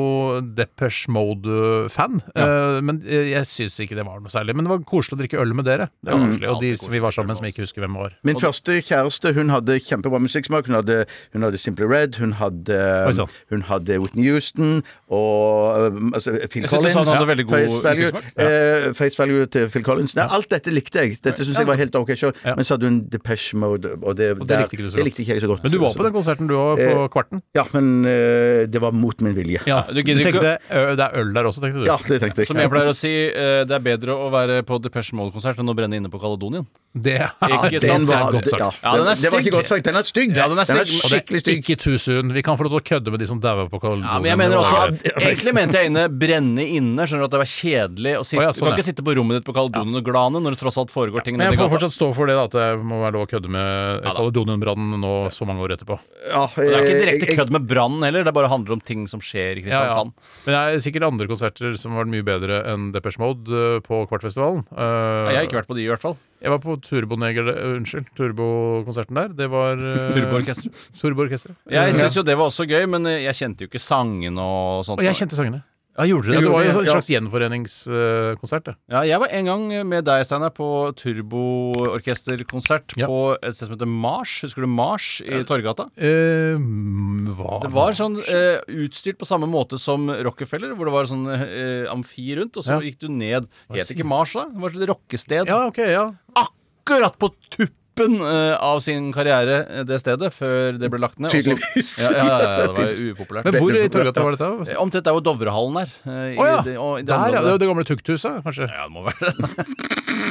S6: Depeche Mode-fan. Eh, men jeg syns ikke det var noe særlig. Men det var koselig å drikke øl med dere. Det var koselig, Og de som vi var sammen med, som jeg ikke husker hvem var.
S8: Min første kjæreste hun hadde kjempebra musikksmak. Hun hadde, hun hadde Simple Red, hun hadde,
S7: sånn.
S6: sann.
S8: hun hadde Whitney Houston og um, altså, Phil
S7: Jeg synes du
S8: Collins.
S7: sa hun hadde veldig god
S8: Face value,
S7: musikksmak.
S8: eh, face value til Phil Collins. Nei, alt dette likte jeg. Dette syns jeg var helt ok sjøl. Men så hadde hun Depeche Mode, og det,
S6: det
S8: der-
S6: likte ikke du så godt.
S8: det likte ikke jeg så godt.
S6: Men du var på den konserten, du òg, på
S8: Eh,
S6: Kvarten?
S8: Ja, men eh, det var mot min vilje. Ja,
S6: Ja,
S7: du
S6: du
S7: gidder ikke
S6: tenkte ø, det er øl der også, tenkte du?
S8: det tenkte jeg.
S7: Som jeg pleier å si, eh, det er bedre å være på Depeche Mode-konsert enn å brenne inne på Caledonien.
S6: Det er
S7: Ikke
S8: Den
S7: sant?
S8: var,
S6: godt sagt.
S8: ja,
S7: Ja, den er
S8: det var ikke
S7: stygg.
S8: godt sagt. Den er stygg.
S7: Ja, den er stygg.
S6: Og det
S8: skikkelig
S6: er
S8: stygg.
S6: ikke too soon. Vi kan få lov til å kødde med de som daua på Kaledonien.
S7: Ja, men jeg mener også at, Egentlig mente jeg inne brenne inne. Skjønner du at det var kjedelig å sitte
S6: Å ja,
S7: Du
S6: sånn,
S7: kan ikke
S6: ja.
S7: sitte på rommet ditt på Caledonien og glane når det tross alt foregår ting
S6: Men jeg
S7: nede i
S6: får
S7: gata.
S6: fortsatt stå for det, da, at det må være lov å kødde med
S7: da.
S6: Kaledonien-brannen nå så mange år etterpå.
S8: Ja,
S7: Det er ikke
S8: eh,
S7: direkte
S8: jeg-
S7: kødd med brannen heller, det bare handler om ting som skjer i
S6: Ja, ja.
S7: Kristiansand.
S6: Men det er sikkert andre konserter som har vært mye bedre enn Depeche Mode eh, på Kvartfestivalen. Eh,
S7: Jeg har ikke vært på de, i hvert fall.
S6: Jeg var på Turboneger, eh, unnskyld, Turbokonserten der. Det var eh,
S7: Turboorkesteret.
S6: Turboorkesteret.
S7: Jeg
S6: Eh,
S7: syns jo det var også gøy, men eh, jeg kjente jo ikke sangene og sånt.
S6: Og jeg kjente sangene.
S7: ja, gjorde
S6: Ja, det
S7: du det?
S6: var jo en
S8: ja.
S6: slags gjenforeningskonsert. det.
S7: Ja, jeg var en gang med deg, Steinar, på turboorkesterkonsert
S6: Ja.
S7: på et sted som heter Mars. Husker du Mars i Torgata?
S6: Eh, hva
S7: Det var sånn eh, utstyrt på samme måte som Rockefeller, hvor det var sånn eh, amfi rundt, og så
S6: Ja.
S7: gikk du ned Het ikke Mars, da? Det var et rockested.
S6: Ja, ok, ja.
S7: Akkurat på tuppen eh, av sin karriere, eh, det stedet, før det ble lagt ned. og så-
S8: Tydeligvis.
S7: Ja, ja, ja, ja, det var jo upopulært.
S6: Men hvor i Torgata var dette? Å
S7: Eh, Omtrent der hvor Dovrehallen er. eh, i
S6: ja!
S7: det- og i det
S6: Der, ja. Det,
S7: området.
S6: var det gamle tukthuset, kanskje?
S7: Ja, det må være det.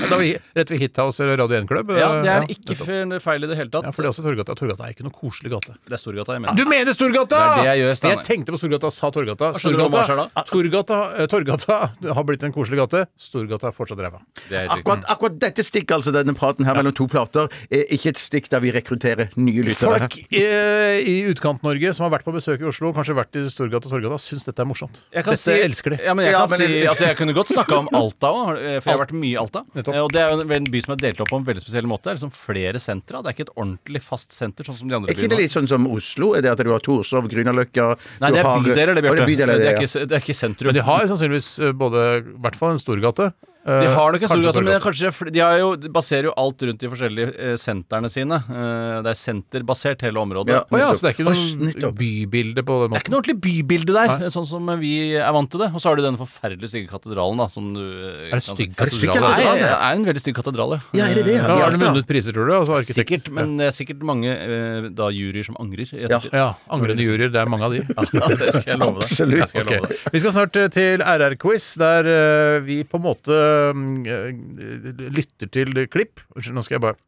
S6: Ja, da var vi rett ved Hithouse eller Radio 1-klubb?
S7: Ja, det er ikke
S6: nettopp.
S7: fe- feil i det hele tatt.
S6: Ja, for det er også Torgata. Torgata er ikke noe koselig gate.
S7: Det er Storgata jeg mener.
S6: Du mener Storgata!
S7: Det er det jeg gjør, Steinar.
S6: tenkte på Storgata, sa Torgata.
S7: skjønner du hva Mars er da?
S6: Torgata, eh, Torgata har blitt en koselig gate. Storgata er fortsatt ræva.
S7: Det er helt riktig.
S8: Akkurat, akkurat dette stikk, altså denne praten her mellom to plater, er ikke et stikk der vi rekrutterer nye lyttere.
S6: Folk eh, i Utkant-Norge som har vært på besøk i Oslo, kanskje vært i Storgata og Torgata, syns dette er morsomt.
S7: Jeg kan
S6: Dette
S7: si,
S6: elsker de.
S7: Ja, men jeg,
S8: Ja,
S7: kan
S8: men
S7: si,
S8: jeg-
S7: altså, jeg kunne godt snakka om Alta òg, for jeg har vært mye i Alta.
S6: Nettopp.
S7: Eh, Og Det er jo en, en by som er delt opp på en veldig spesiell måte. Det er liksom flere sentra. Det er ikke et ordentlig fast senter, sånn som de andre
S8: Er ikke
S7: byene.
S8: det litt sånn som Oslo? Er det at du har Torshov, Grünerløkka
S7: Nei,
S8: du
S7: det er
S8: har-
S7: bydeler, det,
S8: Å,
S7: Bjarte. Det,
S8: bydeler, det,
S7: er
S8: ja.
S7: ikke s- det er ikke sentrum.
S6: Men de har sannsynligvis eh, både I hvert fall en Storgate.
S7: Mm.
S6: eh,
S7: De har nok en stor gate, men det er
S6: kanskje
S7: kanskje, fl- de, har jo, de baserer jo alt rundt de forskjellige eh, sentrene sine. Eh, det er senterbasert, hele området.
S8: Ja.
S6: Å ja, så det er ikke
S8: Oi,
S6: noe
S8: nettopp.
S6: bybilde på den
S7: Det er ikke
S6: måten?
S7: noe ordentlig bybilde der,
S6: Nei.
S7: sånn som vi er vant til det. Og så har du denne forferdelig stygge katedralen, da, som du eh,
S6: Er det stygg
S8: Er det stygg
S6: katedral?
S7: Nei,
S8: katedral,
S7: det
S8: ja?
S7: er en veldig stygg katedral,
S8: Ja, er det det?
S6: Ja,
S8: de
S6: Har den
S8: Alta?
S6: vunnet priser, tror du? Altså arkitekt?
S7: Sikkert, men det er sikkert mange eh, da juryer som angrer. i
S8: Ja.
S7: ettertid.
S6: Ja. Angrende juryer. Det er mange av de.
S7: Ja, det skal jeg love deg.
S8: Absolutt.
S7: Det skal jeg love
S6: Ok.
S7: deg.
S6: Vi skal snart eh, til RR-quiz, der eh, vi på en måte mm, eh, lytter til klipp. Unnskyld, nå skal jeg bare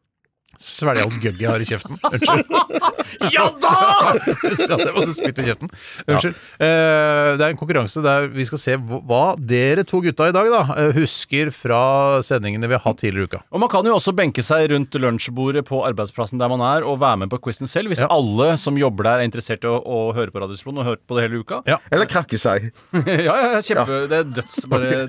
S6: Svelge alt gøgget jeg har i kjeften. Unnskyld. ja da! Og så spytt i kjeften. Unnskyld. Eh, Det er en konkurranse der vi skal se hva hva dere to gutta i dag da eh, husker fra sendingene vi har hatt tidligere i uka.
S7: Og Man kan jo også benke seg rundt lunsjbordet på arbeidsplassen der man er, og være med på quizen selv, hvis
S6: Ja.
S7: alle som jobber der er interessert i å, å høre på Radiosplonen og hørt på det hele uka.
S6: Ja.
S8: Eller krakke seg.
S7: ja, ja, ja, kjempe, Det er døds... Bare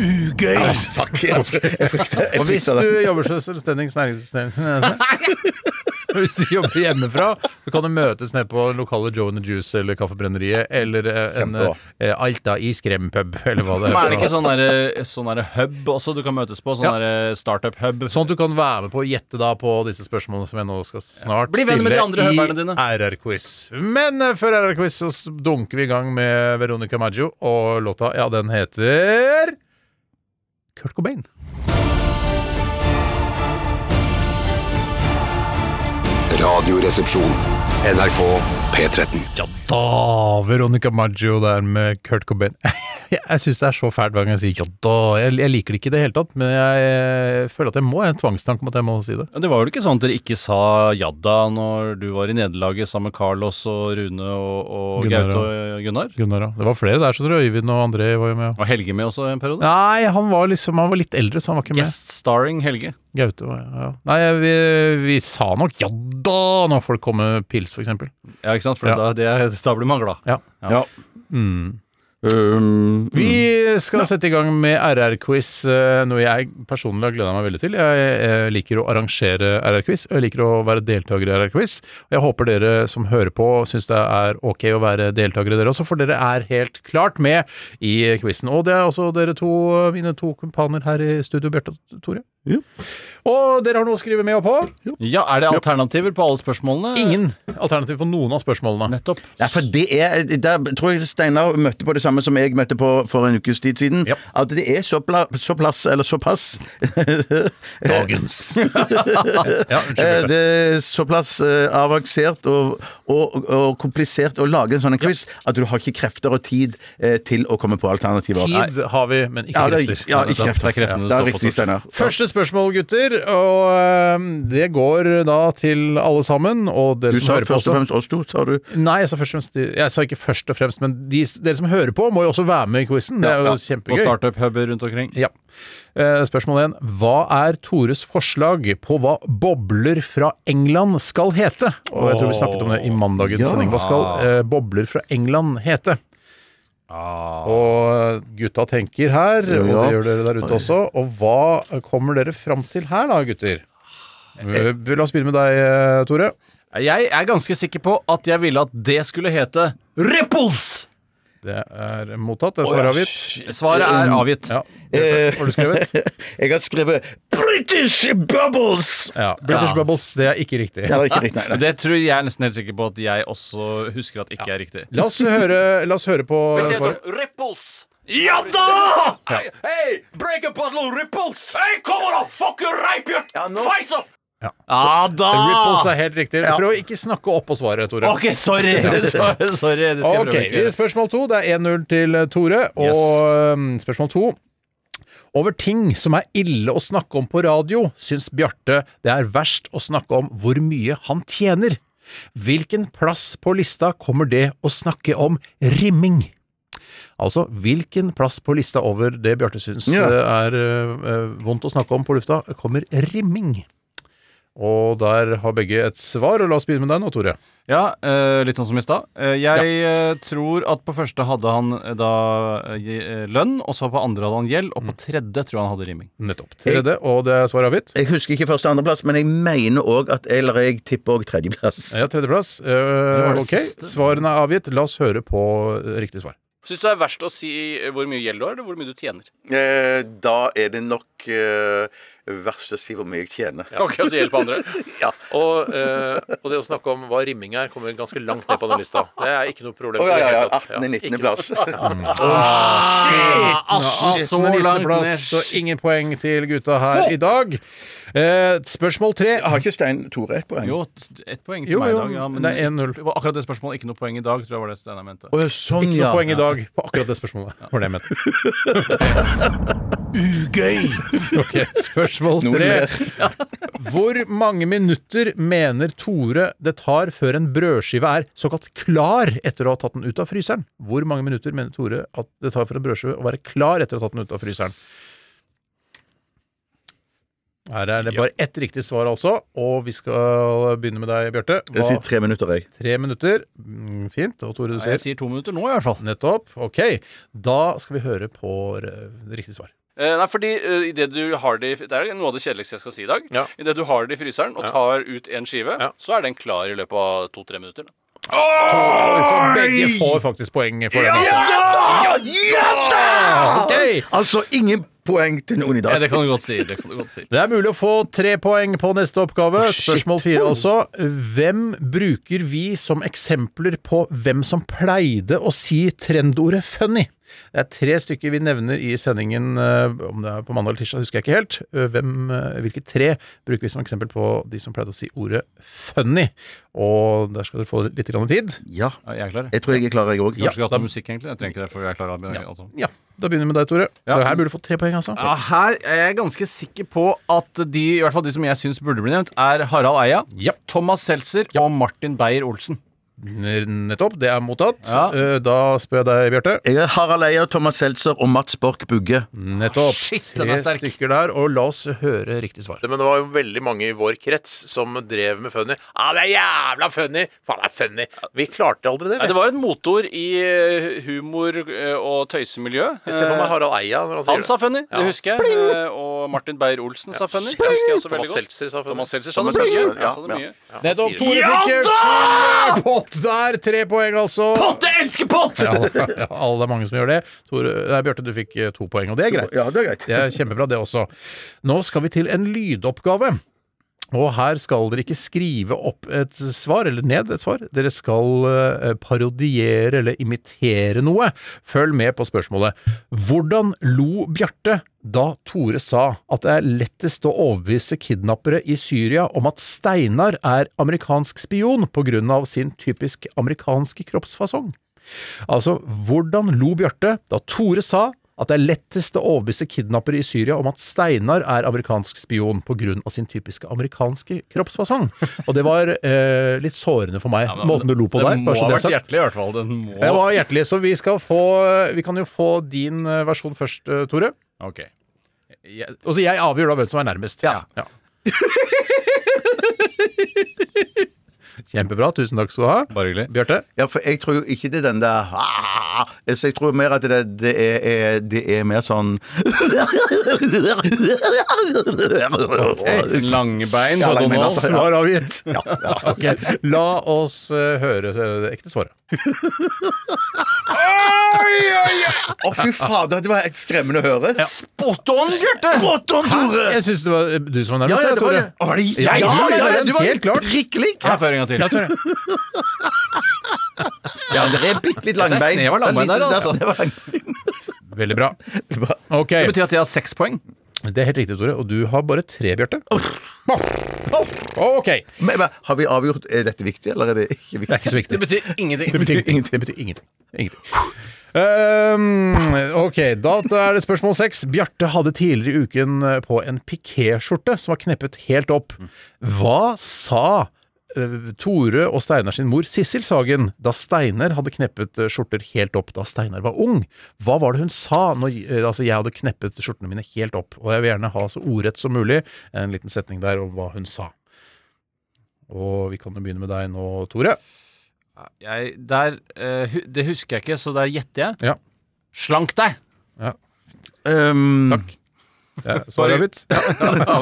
S6: Ugøy!
S8: Fuck, jeg frykter
S6: Og hvis du jobber som selvstendig næringsdrivende Hvis du jobber hjemmefra, så kan du møtes nede på lokale Joe and the Juice eller Kaffebrenneriet eller eh, en
S8: Kjempebra.
S6: eh, Alta iskrempub eller hva det
S7: Men er det
S6: for noe.
S7: ikke sånn derre sånn derre hub også du kan møtes på? Sånn
S6: Ja.
S7: derre startup-hub?
S6: Sånn at du kan være med på å gjette da på disse spørsmålene som jeg nå skal snart
S7: Bli venn med de andre høverne dine.
S6: stille i RR-quiz. Men eh, før RR-quiz så s- dunker vi i gang med Veronica Maggio, og låta, ja, den heter Kurt Cobain.
S2: Radioresepsjon. NRK P13.
S6: Ja da! Veronica Maggio der med Kurt Cobain. Jeg syns det er så fælt hver gang jeg sier ja da. Jeg, jeg liker det ikke i det hele tatt, men jeg eh, føler at jeg må. Jeg har en tvangstanke om at jeg må si det.
S7: Ja, Det var vel ikke sånn at dere ikke sa jadda når du var i nederlaget sammen med Carlos og Rune og, og
S6: Gunnar,
S7: Gaute og eh, Gunnar?
S6: Gunnar, ja. Det var flere der, så tror jeg Øyvind og André var jo med. ja.
S7: Og Helge med også en periode?
S6: Nei, han var liksom Han var litt eldre, så han var ikke med.
S7: Guest starring Helge.
S6: Gaute var ja. Nei, vi, vi sa nok ja da når folk kom med pils, for eksempel.
S7: Ja, ikke sant? For
S6: Ja.
S7: da, det, da blir man glad.
S6: Ja.
S8: Ja. Um,
S6: Vi skal sette i gang med RR-quiz, eh, noe jeg personlig har gleda meg veldig til. Jeg eh, liker å arrangere RR-quiz, og jeg liker å være deltaker i RR-quiz. Og Jeg håper dere som hører på, syns det er ok å være deltakere, dere også, for dere er helt klart med i quizen. Og det er også dere to, eh, mine to kumpaner her i studio, Bjarte og Tore. Og dere har noe å skrive med og på.
S7: Ja, Er det alternativer på alle spørsmålene?
S6: Ingen alternativ på noen av spørsmålene.
S7: Nettopp.
S8: Nei, for det er, Der tror jeg Steinar møtte på det samme som jeg møtte på for en ukes tid siden.
S6: Ja.
S8: At det er så, pla, så plass, eller såpass
S6: Dagens. ja, unnskyld.
S8: eh,
S6: Bjarte.
S8: Det er såpass eh, avansert og, og, og komplisert å lage en sånn en quiz at du har ikke krefter og tid eh, til å komme på alternativer. Nei.
S6: Tid har vi, men ikke
S8: Ja, det er,
S6: krefter.
S8: ja, ikke
S7: Det er
S8: krefter.
S7: kreftene
S8: Det
S7: det
S8: er
S7: står på
S8: riktig,
S7: til.
S8: Steinar.
S6: Første spørsmål, gutter, og øhm, det går da til alle sammen. Og dere
S8: Du
S6: som
S8: sa
S6: hører på
S8: først og
S6: også.
S8: fremst oss to, sa du.
S6: Nei, jeg sa, først og fremst, jeg sa ikke først og fremst, men de, dere som hører på, må jo også være med i quizen. Det er jo
S7: På
S6: kjempegøy.
S7: startup-huber rundt omkring.
S6: Ja. Eh, Spørsmål én. Hva er Tores forslag på hva bobler fra England skal hete? Og jeg tror vi snakket om det i mandagens sending. Hva skal eh, bobler fra England hete? Og gutta tenker her, og det
S8: Ja.
S6: gjør dere der ute også. Og hva kommer dere fram til her da, gutter? Eh, La oss begynne med deg, eh, Tore.
S7: Jeg er ganske sikker på at jeg ville at det skulle hete Ripples!
S6: Det er mottatt. Det er svaret avgitt.
S7: Svaret er avgitt.
S6: Ja. Bjarte, Har du skrevet?
S8: Eh. Jeg har skrevet 'British Bubbles'!
S6: Ja. British
S7: Ja.
S6: Bubbles, det er ikke riktig.
S8: Ja, det er ikke riktig. Nei, nei.
S7: Det tror jeg er nesten helt sikker på at jeg også husker at ikke er riktig.
S6: La oss høre, la oss høre på svaret.
S7: Ripples! Ja da! Hey, break a bottle of Ripples! Hey, come on, fuck you, rape you! Face off!
S6: Ja.
S7: Ja da!
S6: Ripples er helt riktig. Prøv å ikke snakke opp på svaret, Tore.
S7: Ok, sorry. sorry, sorry.
S6: Ok,
S7: Det skal jeg prøve å ikke gjøre.
S6: Spørsmål to. Det er 1-0 til eh, Tore. Og ehm, spørsmål to Over ting som er ille å snakke om på radio, syns Bjarte det er verst å snakke om hvor mye han tjener. Hvilken plass på lista kommer det å snakke om rimming? Altså, hvilken plass på lista over det Bjarte syns
S8: Ja.
S6: eh, er eh, eh, vondt å snakke om på lufta, kommer rimming? Og der har begge et svar, og la oss begynne med deg nå, Tore.
S7: Ja, eh, litt sånn som i stad. Eh, jeg eh, tror at på første hadde han eh, da eh, lønn, og så på andre hadde han gjeld, og på tredje tror jeg han hadde rimming.
S6: Nettopp. Tredje, og det er svaret avgitt.
S8: Jeg husker ikke første- og andreplass, men jeg mener òg at Eller jeg tipper òg tredjeplass.
S6: Ja, tredjeplass. Eh,
S7: var det
S6: ok,
S7: siste.
S6: svarene er avgitt. La oss høre på eh, riktig svar.
S7: Syns du det er verst å si eh, hvor mye gjeld du har, eller hvor mye du tjener?
S9: Eh, Da er det nok eh, verst å si hvor mye jeg tjener.
S7: Ok, og så hjelp andre.
S6: Og, det å snakke om hva rimming er, kommer ganske langt ned på den lista. Det er ikke noe problem.
S9: Å ja, ja, ja. 18.-19. plass.
S6: Ah,
S7: Ah, så langt ned.
S6: Så ingen poeng til gutta her i dag. Eh, spørsmål tre.
S8: Har ikke Stein Tore et poeng?
S7: Jo, ett poeng til
S6: Jo,
S7: meg i
S6: jo,
S7: dag. Ja, men
S6: det er 1-0.
S7: det var akkurat det spørsmålet. Ikke noe poeng i dag, tror jeg var det Steinar mente.
S8: Å, sånn,
S6: Ikke
S8: ja.
S6: noe poeng i dag på akkurat det spørsmålet. Var det jeg mente. Ugøy! Ok, spørsmål
S8: Noe
S6: tre.
S8: mer.
S6: Hvor mange minutter mener Tore det tar før en brødskive er såkalt klar etter å ha tatt den ut av fryseren? Hvor mange minutter mener Tore at det tar for en brødskive å være klar etter å ha tatt den ut av fryseren? Her er det bare ett riktig svar, altså. Og vi skal begynne med deg, Bjarte.
S8: Jeg
S6: Hva-
S8: sier tre minutter, jeg.
S6: Tre minutter. Mm, Fint. Og Tore, du sier
S7: Jeg sier to minutter nå, i hvert fall.
S6: nettopp. OK. Da skal vi høre på eh, riktig svar.
S7: Eh, nei, fordi eh, i det, du har det, i- det er noe av det kjedeligste jeg skal si i dag.
S4: Ja.
S7: I det du har det i fryseren og tar ut en skive,
S4: Ja.
S7: så er den klar i løpet av to-tre minutter. da.
S6: Så begge får faktisk poeng for den. altså. Ok.
S8: Altså ingen poeng til noen i dag.
S7: Ja, det kan du godt si. Det kan du godt si.
S6: Det er mulig å få tre poeng på neste oppgave. Spørsmål fire, altså. Hvem bruker vi som eksempler på hvem som pleide å si trendordet 'funny'? Det er tre stykker vi nevner i sendingen, eh, om det er på mandag eller tirsdag, husker jeg ikke helt. Eh, Hvem, eh, hvilke tre bruker vi som eksempel på de som pleide å si ordet 'funny'? Og der skal dere få litt grann tid.
S8: Ja.
S7: Ja, jeg er klar. jeg.
S8: Jeg tror jeg er klar, jeg òg.
S7: Kanskje vi har hatt noe musikk, egentlig. Jeg trenger ikke det, for jeg er klar. Altså.
S6: Ja, da begynner vi med deg, Tore.
S7: Ja.
S6: Det er her burde du få tre poeng, altså.
S7: Ja, her er jeg ganske sikker på at de i hvert fall de som jeg syns burde bli nevnt, er Harald Eia,
S6: Ja.
S7: Thomas Seltzer og Martin Beyer-Olsen.
S6: Nettopp. Det er mottatt.
S7: Ja.
S6: Eh, Da spør jeg deg, Bjarte.
S8: Jeg er Harald Eia, Thomas Seltzer og Mats Borch Bugge.
S6: Nettopp.
S7: Shit, den
S6: Tre
S7: er sterk.
S6: stykker der, og la oss høre riktig svar.
S5: Men det var jo veldig mange i vår krets som drev med funny. Ja, det er jævla funny! Faen, det er funny! Vi klarte aldri det. vi.
S7: Nei, det var et motor i eh, humor eh, og tøysemiljø. Eh,
S5: Jeg ser for meg Harald Eia når han sier
S7: Han sa funny, det
S5: Ja.
S7: husker jeg. Eh, Og Martin Beyer-Olsen sa funny. Det husker jeg også
S5: Thomas
S7: veldig godt.
S5: Seltzer sa funny.
S7: Thomas Seltzer sa det
S5: Thomas
S7: mye.
S5: Seltzer,
S7: Han sa det
S5: ja,
S7: mye.
S5: ja. Han
S6: Nettopp.
S5: sier det.
S6: Tore fikk full pott der. Tre poeng, altså. Pott! Jeg elsker pott! Ja, ja, det er mange som gjør det. Tore, nei, Bjarte, du fikk eh, to poeng, og det er greit.
S8: Ja, det er greit.
S6: Det er kjempebra, det også. Nå skal vi til en lydoppgave. Og her skal dere ikke skrive opp et svar, eller ned et svar. Dere skal eh, parodiere eller imitere noe. Følg med på spørsmålet. Hvordan lo Bjarte da Tore sa at det er lettest å overbevise kidnappere i Syria om at Steinar er amerikansk spion på grunn av sin typisk amerikanske kroppsfasong? Altså, hvordan lo Bjarte da Tore sa at det er lettest å overbevise kidnappere i Syria om at Steinar er amerikansk spion pga. sin typiske amerikanske kroppsfasong. Og det var eh, litt sårende for meg, måten du lo på der.
S7: Den må
S6: bare så
S7: ha
S6: det er
S7: vært
S6: sagt.
S7: hjertelig, i hvert fall. Den må
S6: Jeg var hjertelig, så vi skal få Vi kan jo få din eh, versjon først, eh, Tore.
S7: Ok. Jeg-
S6: Og så jeg avgjør da hvem som er nærmest. Ja. Kjempebra. Tusen takk skal du ha.
S7: Bare hyggelig.
S6: Bjarte?
S8: Ja, for jeg tror jo ikke det er den der ah, Så jeg tror mer at det, det, er, er, det er mer sånn
S7: Langbein
S8: Ja,
S7: fra
S8: langbein,
S7: Donald.
S8: altså.
S6: Svar avgitt. Ok, La oss eh, høre eh, det ekte svaret.
S8: Å, fy fader, det var helt skremmende å høre.
S7: Spot on, Bjarte! Spot on, Tore!
S6: Jeg syns det var eh, du som var
S8: Ja,
S6: nærmest.
S8: ja,
S6: jeg,
S8: det var
S6: Tore.
S8: det. Å, det er
S6: Ja,
S8: jeg
S6: ja,
S8: som er
S6: ja,
S8: nærmest.
S6: du var helt klart.
S8: Prikk lik.
S7: Her får jeg en gang til.
S6: Ja, sorry.
S8: Ja, det er bitte
S7: Jeg
S8: litt
S7: ser
S8: langbein.
S7: snev av langbein der, altså.
S8: Det var lang-
S6: Veldig bra. Ok,
S7: Det betyr at jeg har seks poeng.
S6: Det er helt riktig, Tore. Og du har bare tre, Bjarte. Ok.
S8: Men, men, har vi avgjort Er dette viktig, eller er det ikke
S6: Det
S8: viktig?
S6: er ikke så viktig.
S7: Det betyr ingenting.
S6: Det betyr ingenting. Det betyr ingenting. ingenting. Ehm, ok, da er det spørsmål seks. Bjarte hadde tidligere i uken eh, på en pikéskjorte som var kneppet helt opp. Hva sa eh, Tore og Steinar sin mor Sissel Sagen da Steinar hadde kneppet eh, skjorter helt opp da Steinar var ung? Hva var det hun sa når eh, altså, jeg hadde kneppet skjortene mine helt opp? Og jeg vil gjerne ha så ordrett som mulig en liten setning der om hva hun sa. Og vi kan jo begynne med deg nå, Tore.
S7: Jeg, der, eh, hu- det husker jeg ikke, så der gjetter jeg.
S6: Ja.
S7: Slank deg!
S8: Um,
S6: Takk. Ja, svaret er mitt. Ja.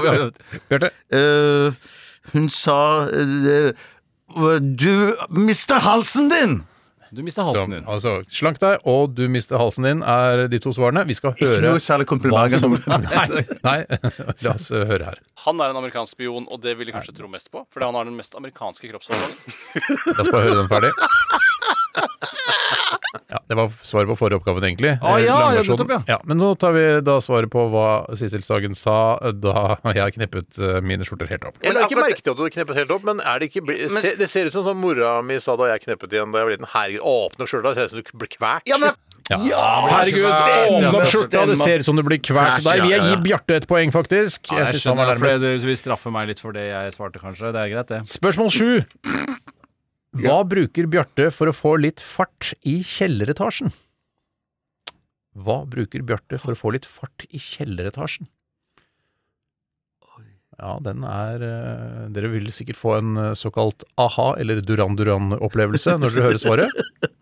S6: Bjarte.
S8: eh, hun sa eh, Du mister halsen din!
S7: Du mista halsen din.
S6: Altså, slank deg og du mister halsen din, er de to svarene. Vi skal høre
S8: Ikke noe særlig kompliment.
S6: hva som- Nei, nei. La oss eh, høre her.
S7: Han er en amerikansk spion, og det vil jeg kanskje tro mest på. Fordi han har den mest amerikanske kroppsfasongen.
S6: La oss bare høre den ferdig. Ja, Det var svaret på forrige oppgaven, egentlig.
S7: Ah,
S6: Eh,
S7: ja, ja,
S6: langversjonen.
S7: nettopp, ja.
S6: Men nå tar vi da svaret på hva Sissel Sagen sa da jeg kneppet eh, mine skjorter helt opp.
S5: Jeg la ikke merke til at du kneppet helt opp, men er det ikke bli- se, Det ser ut som sånn mora mi sa da jeg kneppet igjen da jeg var liten. Herregud, åpne opp skjorta, det ser ut som du blir kvalt.
S8: Ja, men
S6: Herregud, åpne opp skjorta, det ser ut som du blir kvalt.
S4: Ja,
S6: Der vil jeg
S4: ja,
S6: gi
S4: ja.
S6: Bjarte et poeng, faktisk.
S7: Ja,
S6: Jeg
S7: jeg
S6: synes han var
S7: skjønner, for
S6: nærmest.
S7: det, du vil straffe meg litt for det jeg svarte, kanskje. Det er greit, det.
S6: Spørsmål sju. Hva bruker Bjarte for å få litt fart i kjelleretasjen? Hva bruker Bjarte for å få litt fart i kjelleretasjen? Ja, den er eh, Dere vil sikkert få en eh, såkalt aha- eller Duran Duran-opplevelse når dere hører svaret.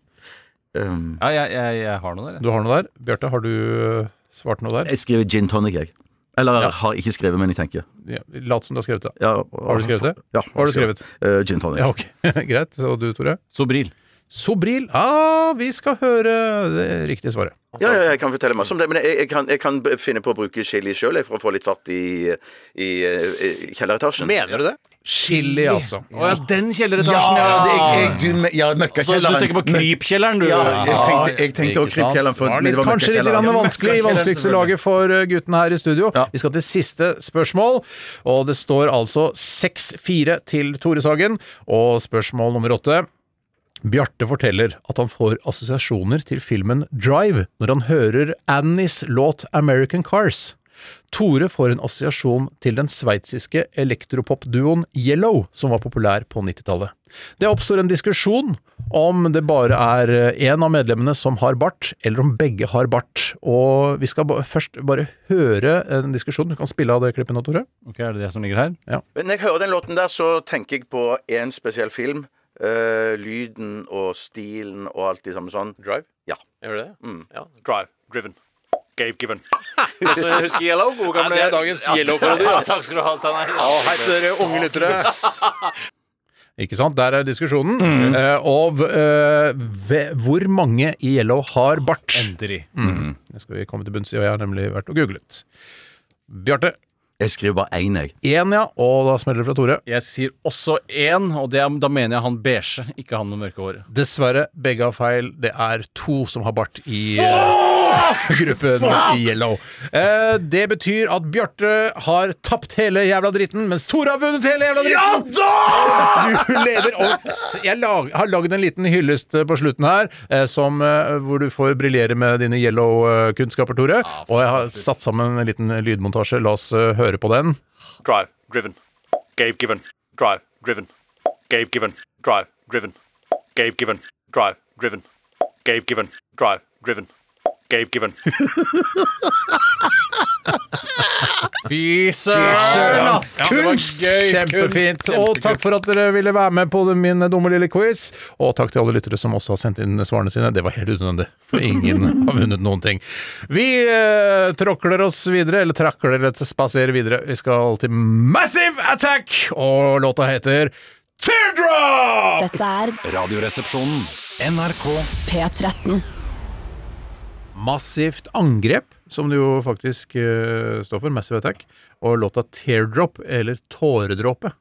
S8: Um,
S7: Ja, jeg, jeg, jeg har noe der. jeg.
S6: Du har noe der. Bjarte, har du eh, svart noe der?
S8: jeg skriver gin tonic, jeg. Eller
S6: Ja.
S8: har ikke skrevet, men jeg tenker.
S6: Ja, Lat som du har skrevet det.
S8: Ja,
S6: Har du skrevet det?
S8: Ja.
S6: Hva har du skrevet?
S8: Eh, gin tonic.
S6: Ja, ok. Greit. Og du, Tore?
S7: Sobril.
S6: Sobril. Ah, vi skal høre det riktige svaret.
S9: Ja, ja, jeg kan fortelle masse om det. Men jeg, jeg, kan, jeg kan b- finne på å bruke chili sjøl for å få litt fart i, i,
S8: eh,
S9: i kjelleretasjen.
S6: Mener du det? Chili, altså.
S7: Å ja, den kjelleretasjen, ja!
S8: det- jeg- jeg- du- ja,
S7: Så du
S8: møkkakjelleren.
S7: tenker på krypkjelleren, du?
S8: Ja, jeg tenkte, jeg tenkte
S6: Ikke
S8: å
S6: sant?
S8: krype kjelleren. for-
S6: Det var
S8: men
S6: litt,
S8: det var
S6: kanskje litt
S8: møkkakjelleren.
S6: grann vanskelig i vanskeligste laget for uh, guttene her i studio.
S8: Ja.
S6: Vi skal til siste spørsmål, og det står altså 6-4 til Tore Sagen. Og spørsmål nummer åtte. Bjarte forteller at han får assosiasjoner til filmen Drive når han hører Annies låt American Cars. Tore får en assosiasjon til den sveitsiske elektropopduoen Yellow, som var populær på 90-tallet. Det oppstår en diskusjon om det bare er én av medlemmene som har bart, eller om begge har bart. Og vi skal ba først bare høre en diskusjon. Du kan spille av det klippet nå, Tore.
S7: Ok, er det det som ligger her?
S9: Men når jeg hører den låten der, så tenker jeg på én spesiell film. Eh, lyden og stilen og alt det samme sånn. Drive? Ja.
S6: Gjør det?
S4: Drive. Driven. Gave given. Altså, jeg husker Yellow. God gamle
S6: det er dagens Yellow-parodi,
S4: Ja,
S6: ass.
S4: takk skal du ha, Steinar.
S6: Hei til dere unge lyttere. Ikke sant? Der er diskusjonen. Eh, og eh, ve- hvor mange i Yellow har bart?
S7: Endelig.
S6: Det skal vi komme til bunns i, og jeg har nemlig vært og googlet. Bjarte.
S8: Jeg skriver bare én, jeg.
S6: Én, ja. Og da smeller det fra Tore.
S7: Jeg sier også én, og det er, da mener jeg han beige, ikke han med mørke hår.
S6: Dessverre, begge har feil. Det er to som har bart i eh, gruppen Yellow. Eh, det betyr at Bjarte har tapt hele jævla dritten, mens Tore har vunnet hele jævla dritten! Du leder og s- Jeg lag, har lagd en liten hyllest eh, på slutten her, eh, som, eh, hvor du får briljere med dine Yellow-kunnskaper, Tore. og jeg har satt sammen en liten lydmontasje. La oss eh, høre på den.
S4: Drive. Driven. Gave given. Drive. Driven. Gave given. Drive. Driven. Gave given. Drive. Driven. Gave given. Drive. Driven. Gave given.
S7: Fy søren! ass.
S6: Ja, det var gøy. Kjempefint. Og takk for at dere ville være med på den- min dumme lille quiz. Og takk til alle lyttere som også har sendt inn svarene sine. Det var helt unødvendig, for ingen har vunnet noen ting. Vi eh, tråkler oss videre, eller trakler eller spaserer videre. Vi skal til Massive Attack, og låta heter Teardrop!
S1: Dette er
S10: Radioresepsjonen.
S1: P13.
S6: Massivt angrep, som det jo faktisk eh, står for. Massive Attack. Og låta Teardrop, eller Tåredråpe.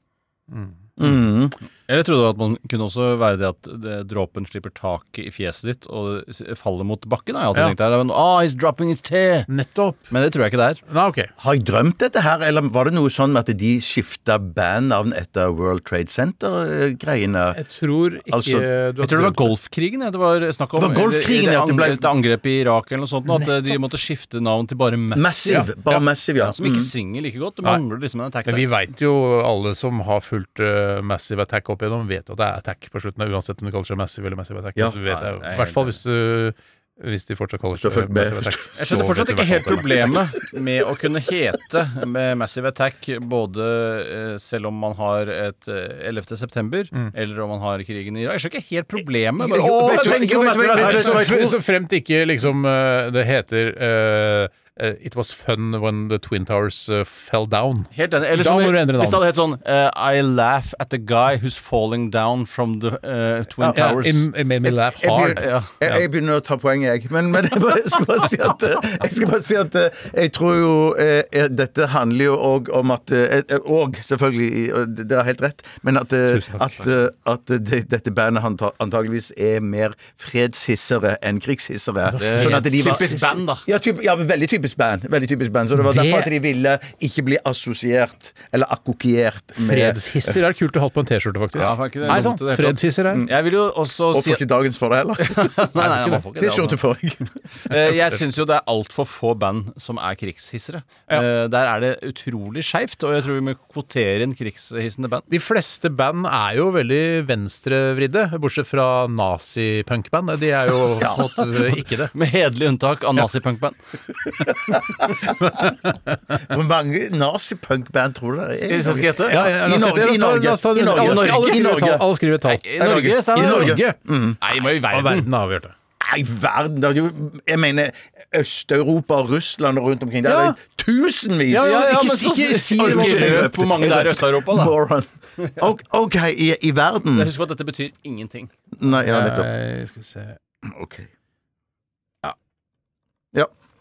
S7: Eller trodde du at man kunne også være det at det- dråpen slipper taket i fjeset ditt og s- faller mot bakken? Har jeg alltid
S6: Ja.
S7: tenkt der. Men, ah, he's dropping his tear.
S6: Nettopp.
S7: Men det tror jeg ikke det er.
S6: Nei, ok.
S8: Har jeg drømt dette her, eller var det noe sånn med at de skifta bandnavn etter World Trade Center-greiene?
S6: Jeg tror ikke du
S8: Altså,
S7: Jeg tror det var golfkrigen ja, det var snakk om.
S8: Det var golfkrigen,
S7: eller,
S8: ja, at det ble-
S7: eller et angrep i Irak eller noe sånt. og At eh, de måtte skifte navn til bare Massive.
S8: Massive. Bare Massive, ja. Mm.
S7: Som ikke synger like godt. Det mangler liksom en attack
S6: Men vi
S7: der.
S6: veit jo, alle som har fulgt eh, Massive Attack opp igjennom, vet jo at det er attack på slutten. Uansett om det kaller seg Massive eller Massive Attack.
S8: Ja.
S6: så du vet
S7: Nei,
S6: det.
S7: jeg er
S6: I hvert fall
S7: helt
S6: hvis du hvis de fortsatt kaller
S8: du har
S6: seg
S8: fulgt med.
S6: Massive Attack.
S7: Jeg skjønner fortsatt ikke helt problemet med å kunne hete med Massive Attack både eh, selv om man har et eh, 11. september,
S6: Mm.
S7: eller om man har krigen i Irak. Jeg skjønner ikke helt problemet. Bare,
S8: Jo,
S7: «Åh,
S8: vet du-
S7: tenk
S8: jo,
S7: på
S8: vet du-
S7: Massive
S8: vet du-
S7: Attack!»
S8: vet du-
S6: Så, fre- så fremt ikke liksom eh, det heter eh, eh, It was fun when the Twin Towers eh, fell down.
S7: Helt enig.
S6: Da
S7: Eller som
S6: må
S7: i-
S6: du endre navn.
S7: Hvis det hadde hett sånn eh, I laugh at the guy who's falling down from the eh,
S6: Ja,
S7: Twin Towers.
S6: it, it made me laugh
S8: Jeg
S6: hard.
S8: begynner, jeg, jeg begynner å ta poenget, jeg. Men, men jeg, bare, jeg skal bare si at, eh, jeg, skal bare si at eh, jeg tror jo eh, eh, Dette handler jo òg om at eh, eh, Og selvfølgelig, i- og det- dere har helt rett, men at, eh,
S6: Tusen takk.
S8: at, eh, at det, dette bandet anta- antageligvis
S7: Altså,
S8: er mer fredshissere enn krigshissere. Sånn at de var-
S7: Typisk band, da.
S8: ja, typ, ja, men veldig typisk band. Veldig typisk band Så det var
S7: Det-
S8: derfor at de ville ikke bli assosiert eller akkokiert med
S6: Fredshisser er kult å holde på en T-skjorte, faktisk.
S7: Ja, var ikke det
S6: Nei,
S7: dumt
S6: sånn.
S7: i det Mm. hele tatt?
S6: Fredshisser er
S7: Jeg vil jo også
S8: Og
S7: si
S8: får ikke dagens for det heller.
S7: Nei, nei, man får ikke det, altså.
S8: T-skjorte får jeg.
S7: Eh, Jeg syns jo det er altfor få band som er krigshissere. Eh, Der er det utrolig skeivt, og jeg tror vi må kvotere inn krigshissende band.
S6: De fleste band er jo veldig venstrevridde, bortsett fra nazipunkband. De er jo på en måte ikke det.
S7: Med hederlig unntak av nazipunkband.
S8: Hvor mange nazipunkband tror du det er?
S7: Skal vi se hva det heter?
S6: Ja, ja, la
S8: I
S6: oss ta-
S8: Norge, i
S6: la oss ta- la oss ta-
S8: Norge, i Norge.
S6: alle skriver- alle
S8: I
S6: skriver
S8: Norge.
S6: tall, Alle skriver tall.
S7: I Norge, Steinar.
S6: I Norge.
S7: Nei, men i
S6: Og
S7: verden.
S6: verden har avgjort det.
S8: Nei, verden! Det er jo, jeg mener Øst-Europa, Russland og rundt omkring. Det er
S6: Ja.
S8: jo tusenvis!
S6: Ja, ja, ja,
S8: Ikke
S6: men
S8: si-
S6: så-
S8: ikke si
S7: Har du
S8: det.
S7: ikke løpt hvor mange det er i Øst-Europa, da?
S8: Moron. Ok, OK, i, i verden?
S7: Husk at dette betyr ingenting.
S8: Nei, ja, nettopp.
S6: Jeg Eh, skal se
S8: Ok.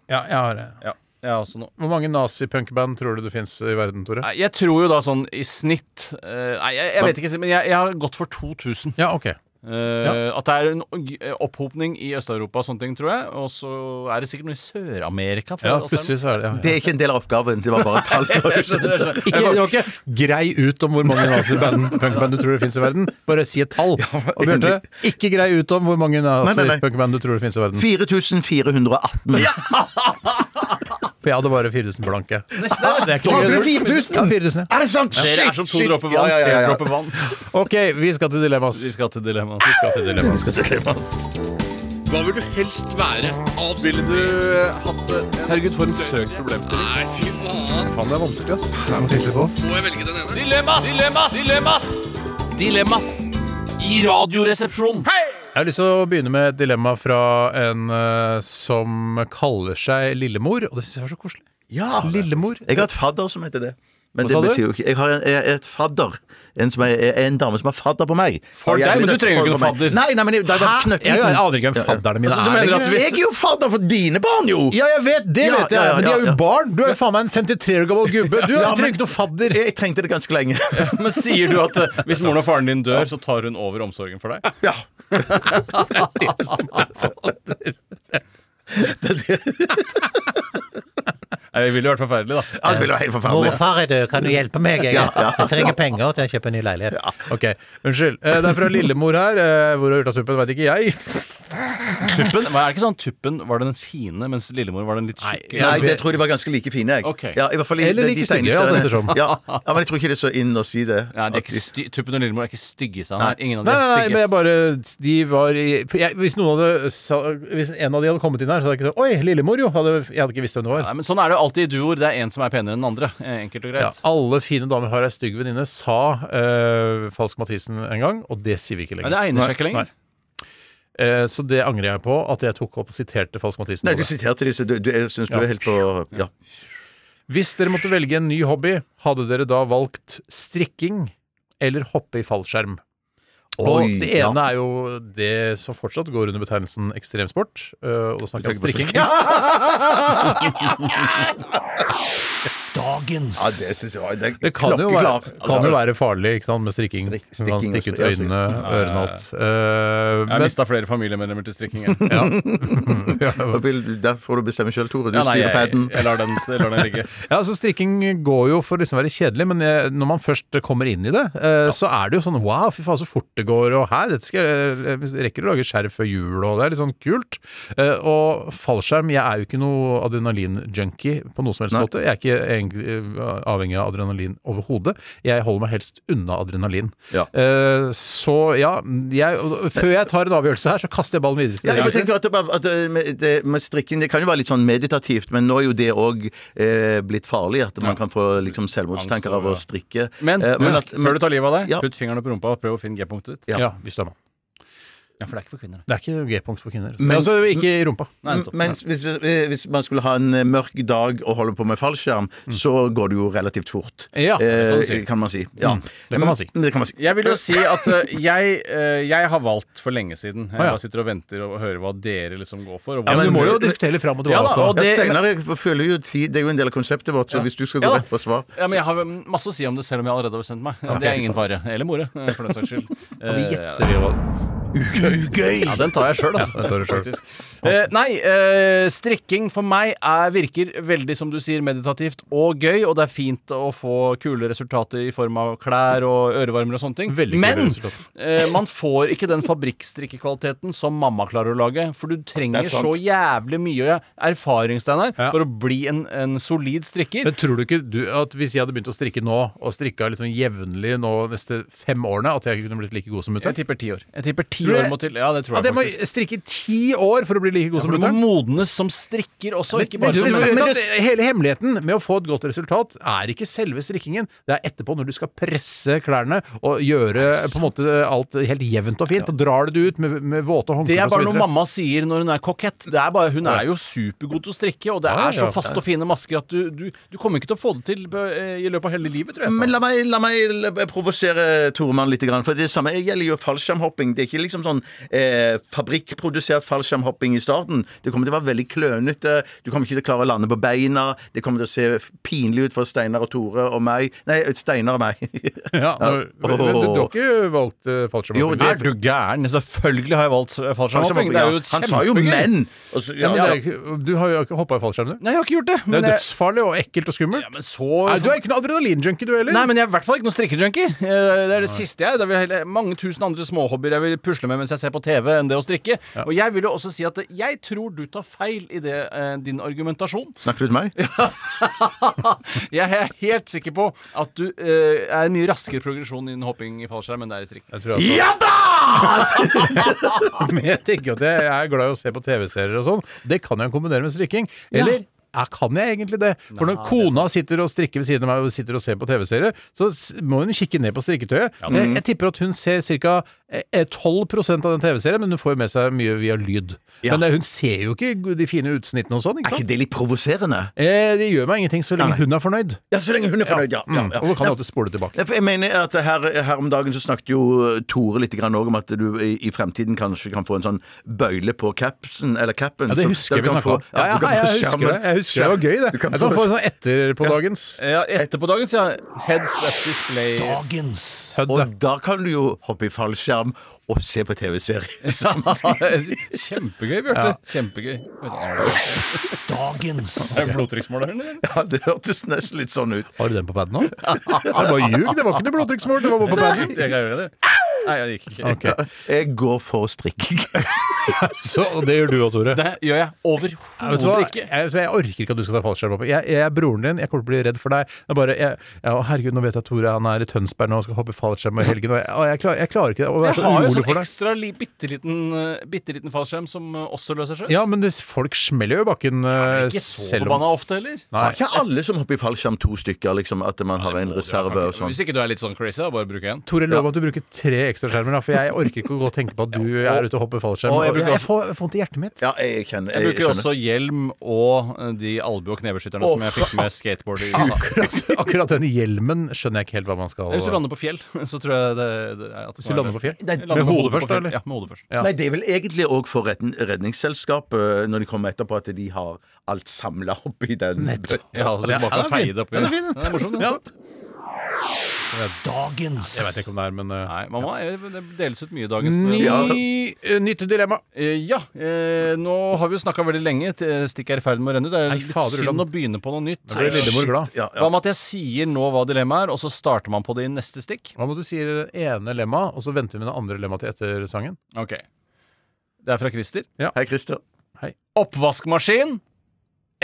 S6: Ja, jeg har det.
S7: Ja, jeg har også noe.
S6: Hvor mange nazipunkband tror du det fins i verden, Tore?
S7: Nei, jeg tror jo da sånn i snitt eh, Nei, jeg, jeg vet ikke, men jeg, jeg har gått for 2000.
S6: Ja, ok.
S7: Eh, At det er en og- eh, opphopning i Øst-Europa og sånne ting, tror jeg. Og så er det sikkert noe i Sør-Amerika. for
S6: Ja,
S7: oss der.
S6: plutselig så er det ja,
S8: Det
S6: ja.
S8: er ikke en del av oppgaven. Det var bare tall.
S6: Ikke, det var ikke grei ut om hvor mange nazipunkband du tror det fins i verden. Bare si et tall. Og Bjarte, ikke grei ut om hvor mange
S8: nei, nei.
S6: nazipunkband du tror det fins i verden.
S8: 4418.
S6: For jeg hadde bare 4000 blanke.
S8: Ah,
S6: Det er ikke
S8: du hadde
S6: gøy.
S8: 4000?
S6: Ja, 4000, ja.
S8: Er det sant?
S7: Dere er som to dråper vann,
S8: Ja, ja, ja,
S7: tre
S8: ja.
S7: dråper vann.
S6: Ok, vi skal til dilemmas.
S7: Vi skal til dilemma. Vi skal til dilemma.
S11: Hva vil du helst være? Avspille
S7: Du hatt det Herregud, for en søk problemstilling.
S11: Nei, fy faen.
S7: Faen, det er vanskelig, ass.
S11: Må jeg velge den ene?
S10: Dilemmas, dilemmas, dilemmas! Dilemmas i Radioresepsjonen.
S6: Jeg har lyst til å begynne med et dilemma fra en eh, som kaller seg Lillemor. Og det syns jeg var så koselig.
S8: Ja.
S6: Lillemor.
S8: Jeg har et fadder som heter det.
S6: Hva
S8: Men det
S6: sa du?
S8: betyr jo ikke Jeg har en, jeg- et fadder. En, som er, en dame som har fadder på meg.
S7: For deg, men du trenger jo ikke
S8: For- for
S7: noen
S8: meg.
S7: fadder.
S8: Nei, nei, men det, det var
S6: Hæ? Jeg, jeg aner ikke hvem fadderne mine
S7: du
S6: er.
S7: mener at
S6: lenger.
S7: hvis-
S8: Jeg er jo fadder for dine barn, jo!
S6: Ja, jeg vet det,
S8: Ja,
S6: vet jeg,
S8: ja, ja,
S6: men de er jo
S8: ja, ja.
S6: barn! Du er jo faen meg en 53 år gammel gubbe! Du
S8: Ja, men-
S6: trenger ikke noe fadder!
S8: Jeg trengte det ganske lenge.
S7: Men sier du at eh, hvis moren og faren din dør, så tar hun over omsorgen for deg?
S8: Ja.
S7: Nei, Det ville jo vært forferdelig, da.
S8: Det ville vært helt forferdelig.
S6: far er død, eh, kan du hjelpe meg? Jeg, trenger penger til å kjøpe en ny leilighet. Ok, Unnskyld. Eh, Det er fra Lillemor her. eh, Hvor hun har gjort av tuppen, veit ikke jeg.
S7: Tuppen, hva er det ikke sånn Tuppen var den fine, mens lillemor var den litt tjukke?
S8: Nei, det tror jeg de var ganske like fine. Jeg.
S7: Ok.
S8: Ja, i hvert fall i
S6: Eller
S8: de-
S6: like
S8: de
S6: stygge,
S8: tegneseriene.
S6: alt ettersom.
S8: Ja. ja, men jeg tror ikke det er så inn å si det.
S7: Ja, de er
S8: At
S7: ikke
S8: de-
S7: sty Tuppen og Lillemor er ikke stygge i stand. Ingen av
S6: Nei,
S7: de
S6: nei,
S7: er
S6: nei, men
S7: stygge.
S6: jeg bare De var i for jeg, Hvis noen hadde sa, Hvis en av de hadde kommet inn her, så hadde jeg ikke sagt Oi, Lillemor, jo! Hadde, jeg hadde ikke visst hvem det var.
S7: Nei, men Sånn er det jo alltid i duoer. Det er én som er penere enn den andre. eh, Enkelt og
S6: Ja,
S7: greit.
S6: alle fine damer har ei stygg venninne, sa eh, Falsk Mathisen en gang, og det sier vi ikke
S7: Men
S6: lenger.
S7: det egner seg ikke
S6: Nei.
S7: lenger.
S6: Eh, så det angrer jeg på, at jeg tok opp og siterte Falsk Mathisen.
S8: Nei,
S6: på
S8: du
S6: det.
S8: siterte disse. Du, du, jeg syns du er helt på Ja.
S6: Hvis dere måtte velge en ny hobby, hadde dere da valgt strikking eller hoppe i fallskjerm? og
S8: Oi,
S6: det
S8: ja.
S6: ene er jo det som fortsatt går under betegnelsen ekstremsport. eh, Og da snakker jeg om
S8: tenker på
S6: strikking.
S8: strikking.
S6: Ja!
S10: Dagens
S8: ja, det syns jeg var det er
S6: Det kan jo, være,
S8: klokkeklar.
S6: kan jo være farlig ikke sant, med strikking.
S8: Strik-
S6: Man kan
S8: strikking og
S6: stikke ut
S8: stri- ja,
S6: øynene, ørene og alt. Eh,
S7: Jeg
S6: men-
S7: mista flere familiemedlemmer til strikking. jeg.
S6: ja.
S8: Da vil du- Der får du bestemme sjøl, Tore. Du
S7: Ja, nei,
S8: styrer
S7: jeg,
S8: paden.
S7: jeg lar den, jeg lar den ligge.
S6: ja, så strikking går jo for liksom å være kjedelig, men eh, når man først kommer inn i det, eh, så er det jo sånn wow, fy faen så fort det går, og her, dette skal jeg, eh, jeg rekker å lage skjerf før jul, og det er litt sånn kult. Eh, og fallskjerm, jeg er jo ikke noe adrenalin-junkie på noen som helst måte. Jeg er ikke egentlig, eh, avhengig av adrenalin overhodet. Jeg holder meg helst unna adrenalin.
S8: Ja.
S6: Eh, så ja, jeg, og- før jeg tar en avgjørelse her, så kaster jeg ballen videre til
S8: Ja,
S6: dere.
S8: jeg bare tenker at, det bare- at eh, med, det, med strikken Det kan jo være litt sånn meditativt, men nå er jo det òg eh, blitt farlig. At man kan få liksom, selvmordstanker av å strikke.
S7: Men
S8: Eh,
S7: husk,
S8: at-
S7: før du tar livet av deg,
S8: Ja.
S7: putt fingeren opp i rumpa og prøv å finne G-punktet ditt.
S8: Ja.
S6: Ja, hvis du er mann.
S7: Ja, for det er ikke for kvinner. det.
S6: Det er ikke G-punkt for kvinner.
S8: Men-
S6: altså, ikke i rumpa.
S7: Nei, nettopp.
S8: Mens hvis, eh, hvis man skulle ha en eh, mørk dag og holde på med fallskjerm,
S7: Mm.
S8: så går det jo relativt fort.
S6: Ja, det kan du si.
S8: Eh, kan man si. Ja.
S6: Mm, det kan man si.
S8: Men Det kan man si.
S7: Jeg vil jo si at eh, jeg, eh, jeg har valgt for lenge siden. Jeg
S6: ja.
S7: bare sitter og venter og hører hva dere liksom går for. Og
S6: Ja,
S7: hvor-
S6: men,
S8: men-
S6: du må jo diskutere litt fram og
S7: Ja
S6: tilbake.
S7: da, og
S8: Ja,
S7: det,
S8: Steinar jeg føler jo tid Det er jo en del av konseptet vårt, så hvis du skal gå
S7: Ja da.
S8: rett på svar
S7: ja, men jeg har mm, masse å si om det, selv om jeg allerede har bestemt meg. Ja, det er ingen fare. Eller more, eh, for den saks skyld. Eh, ja.
S6: gjetter vi hva
S7: Ugøy. Ja, den tar jeg sjøl, altså. Faktisk. Eh, nei, eh, strikking for meg er, virker veldig, som du sier, meditativt og gøy, og det er fint å få kule resultater i form av klær og ørevarmer og sånne ting.
S6: Veldig kule
S7: Men
S6: resultater.
S7: eh, man får ikke den fabrikkstrikkekvaliteten som mamma klarer å lage, for du trenger
S6: Det er sant.
S7: så jævlig mye erfaring, Steinar, for å bli en, en solid strikker.
S6: Men tror du ikke du, at hvis jeg hadde begynt å strikke nå, og strikka liksom jevnlig nå neste fem årene, at jeg kunne blitt like god som mutter'n?
S7: Jeg tipper ti år. Jeg tipper ti
S6: Tror du
S7: år
S6: det-
S7: må til. Ja, det tror
S6: At
S7: jeg
S6: jeg må
S7: faktisk.
S6: strikke i ti år for å bli like god
S7: Ja,
S6: som
S7: for du må
S6: mutter'n?
S7: modnes som strikker også, ikke bare
S6: Men
S7: som
S6: du vet
S7: menneske.
S6: at Hele hemmeligheten med å få et godt resultat er ikke selve strikkingen. Det er etterpå, når du skal presse klærne og gjøre på en måte alt helt jevnt og fint. Da drar du det ut med, med våte
S7: Det
S6: håndklær
S7: er
S6: og så
S7: bare noe
S6: videre.
S7: mamma sier når hun er kokett. Det er bare, hun er jo supergod til å strikke, og det
S6: Ja,
S7: er så
S6: ja.
S7: faste og fine masker at du, du, du kommer ikke til å få det til eh, i løpet av hele livet, tror jeg.
S8: Men
S7: sa.
S8: la meg, la meg l- provosere Toremann litt. grann, For det samme gjelder jo fallskjermhopping. Det er ikke liksom sånn eh, fabrikkprodusert fallskjermhopping i starten. Det kommer til å være veldig klønete. Du kommer ikke til å klare å lande på beina. Det kommer til å se f- pinlig ut for Steinar og Tore og meg. Nei, Steinar og meg.
S6: Ja, når, men, men du, du har ikke valgt uh,
S8: Jo,
S6: fallskjermhopping?
S8: det-
S7: Er du gæren? Selvfølgelig har jeg valgt eh, fallskjermhopping. Det er jo
S8: Han sa jo
S7: kjempegøy.
S8: menn. Og så-
S6: Ja, men
S8: ja.
S6: det er, ikke- du har jo ikke hoppa i fallskjerm, du?
S7: Nei, jeg har ikke gjort det.
S6: Det er
S7: men
S6: jo
S7: jeg-
S6: dødsfarlig og ekkelt og skummelt.
S7: Ja, men så
S6: Nei, du er ikke noe adrenalinjunkie, du heller.
S7: Nei, men jeg er i hvert fall ikke noen strikkejunkie. Eh, Det er det siste jeg det er vel heller Mange tusen andre småhobbyer jeg vil pusle med mens jeg ser på TV, enn det å strikke. Og jeg vil jo også si at eh, jeg tror du tar feil i det, eh, din argumentasjon.
S8: Snakker du til meg?
S7: jeg er helt sikker på at du eh, er en mye raskere progresjon innen hopping i fallskjerm enn det er i strikk.
S6: Jeg tror altså- Men jeg tenker jo at jeg er glad i å se på TV-serier og sånn. Det kan jeg kombinere med strikking. Eller ja. kan jeg egentlig det? For når kona sitter og strikker ved siden av meg og sitter og ser på TV-serier, så s- må hun kikke ned på strikketøyet. Så jeg, jeg tipper at hun ser ca. 12 av den TV-serien, men hun får jo med seg mye via lyd.
S8: Ja.
S6: Men eh, hun ser jo ikke de fine utsnittene og sånn,
S8: Er
S6: ikke
S8: ikke
S6: sant?
S8: det litt provoserende?
S6: Eh, det gjør meg ingenting så lenge
S8: Nei, nei.
S6: hun er fornøyd.
S8: Ja, så lenge hun er fornøyd, ja. ja,
S6: Mm.
S8: ja.
S6: Og da kan du alltid spole tilbake.
S8: Ja, for Jeg mener at her, her om dagen så snakket jo eh, Tore litt grann også om at du i, i fremtiden kanskje kan få en sånn bøyle på capsen, eller capen.
S6: Ja, det
S8: så-
S6: husker
S8: der
S6: jeg vi
S8: kan
S6: snakka
S8: få-
S6: om. Ja, ja,
S8: du
S6: ja,
S8: kan få
S6: jeg husker
S8: skjermen-
S6: det. Jeg husker det var gøy, det.
S8: Du
S6: Jeg
S8: kan
S6: kan
S8: få-
S6: få sånn etter på dagens.
S7: Ja, etterpå dagen sier jeg heads up display.
S6: sånn-
S8: Og da kan du jo hoppe i fallskjerm og se på TV-serier.
S7: Kjempegøy, Bjarte. Kjempegøy.
S10: Dagens
S7: Er det blodtrykksmåleren din?
S8: Ja, det hørtes nesten litt sånn ut.
S6: Har du den på paden òg? Det er bare ljug, det var ikke noe blodtrykksmål. Det var bare på paden.
S7: Jeg kan gjøre det. Nei, jeg gikk ikke.
S8: Jeg går for strikking.
S6: Så og det gjør du òg, Tore.
S7: Det gjør jeg
S6: Ja, vet du hva?
S7: overhodet
S6: Jeg,
S7: ikke.
S6: vet du hva? jeg orker ikke at du skal ta fallskjerm opp. Jeg, jeg er broren din, jeg kommer til å bli redd for deg. Det er bare, jeg, ja, å, herregud, nå vet jeg at Tore han er i Tønsberg nå og skal hoppe i fallskjerm i helgen. Og jeg, å, jeg, klarer, jeg klarer ikke det, å
S7: Jeg
S6: være så
S7: har jo
S6: urolig
S7: sånn
S6: for deg.
S7: ekstra li- bitte liten, eh, bitte liten fallskjerm som eh, også løser seg.
S6: Ja, men det, folk smeller jo i bakken eh,
S7: Ikke så
S6: selv om
S7: forbanna ofte heller.
S8: Har ikke alle som hopper i fallskjerm to stykker, liksom? At man har en reserve og sånn?
S7: Hvis ikke du er litt sånn crazy, da bare bruk én.
S6: Tore, lov at du bruker tre ekstraskjermer, da, for jeg orker ikke å gå og tenke på at du er ute og hopper fallskjerm.
S7: Og jeg
S6: Og
S7: bruker
S6: Jeg,
S7: også-
S6: får jeg får vondt i hjertet mitt.
S8: Ja, jeg kjenner
S7: Jeg bruker jo
S8: skjønner.
S7: også hjelm og eh, de albue- og knebeskytterne som jeg fikk med skateboard i USA.
S6: Akkurat, akkurat den hjelmen skjønner jeg ikke helt hva man skal
S7: Hvis du lander på fjell, så tror jeg det, det er at
S6: Hvis du lander på fjell?
S7: Jeg lander
S6: Med
S7: på
S6: hodet først,
S7: på fjell.
S6: eller?
S7: Ja, med hodet først.
S6: Ja.
S8: Nei, det er vel egentlig òg for redden- Redningsselskapet, eh, når de kommer etterpå, at de har alt samla oppi den.
S7: Ja, så Altså, du bare kan feie det oppi.
S6: Den er fin, den.
S7: Den er morsom, den.
S6: Ja.
S10: Dagens
S6: Jeg vet ikke om det er, men eh,
S7: Nei, mamma, eh, det deles ut mye i dagens
S6: Ny,
S7: Ja,
S6: eh, Nytt dilemma.
S7: Eh, ja eh, nå har vi jo snakka veldig lenge. T- Stikket er i ferd med å renne ut. Det er
S6: Nei,
S7: litt
S6: fader,
S7: synd
S6: Ulland.
S7: å begynne på noe nytt.
S6: Da blir Lillemor glad.
S8: Ja,
S7: Hva med at jeg sier nå hva dilemmaet er, og så starter man på det i neste stikk?
S6: Hva om du sier det ene lemma, og så venter vi med det andre lemma til etter sangen?
S7: Ok Det er fra Christer.
S8: Hei, Christer.
S7: Oppvaskmaskin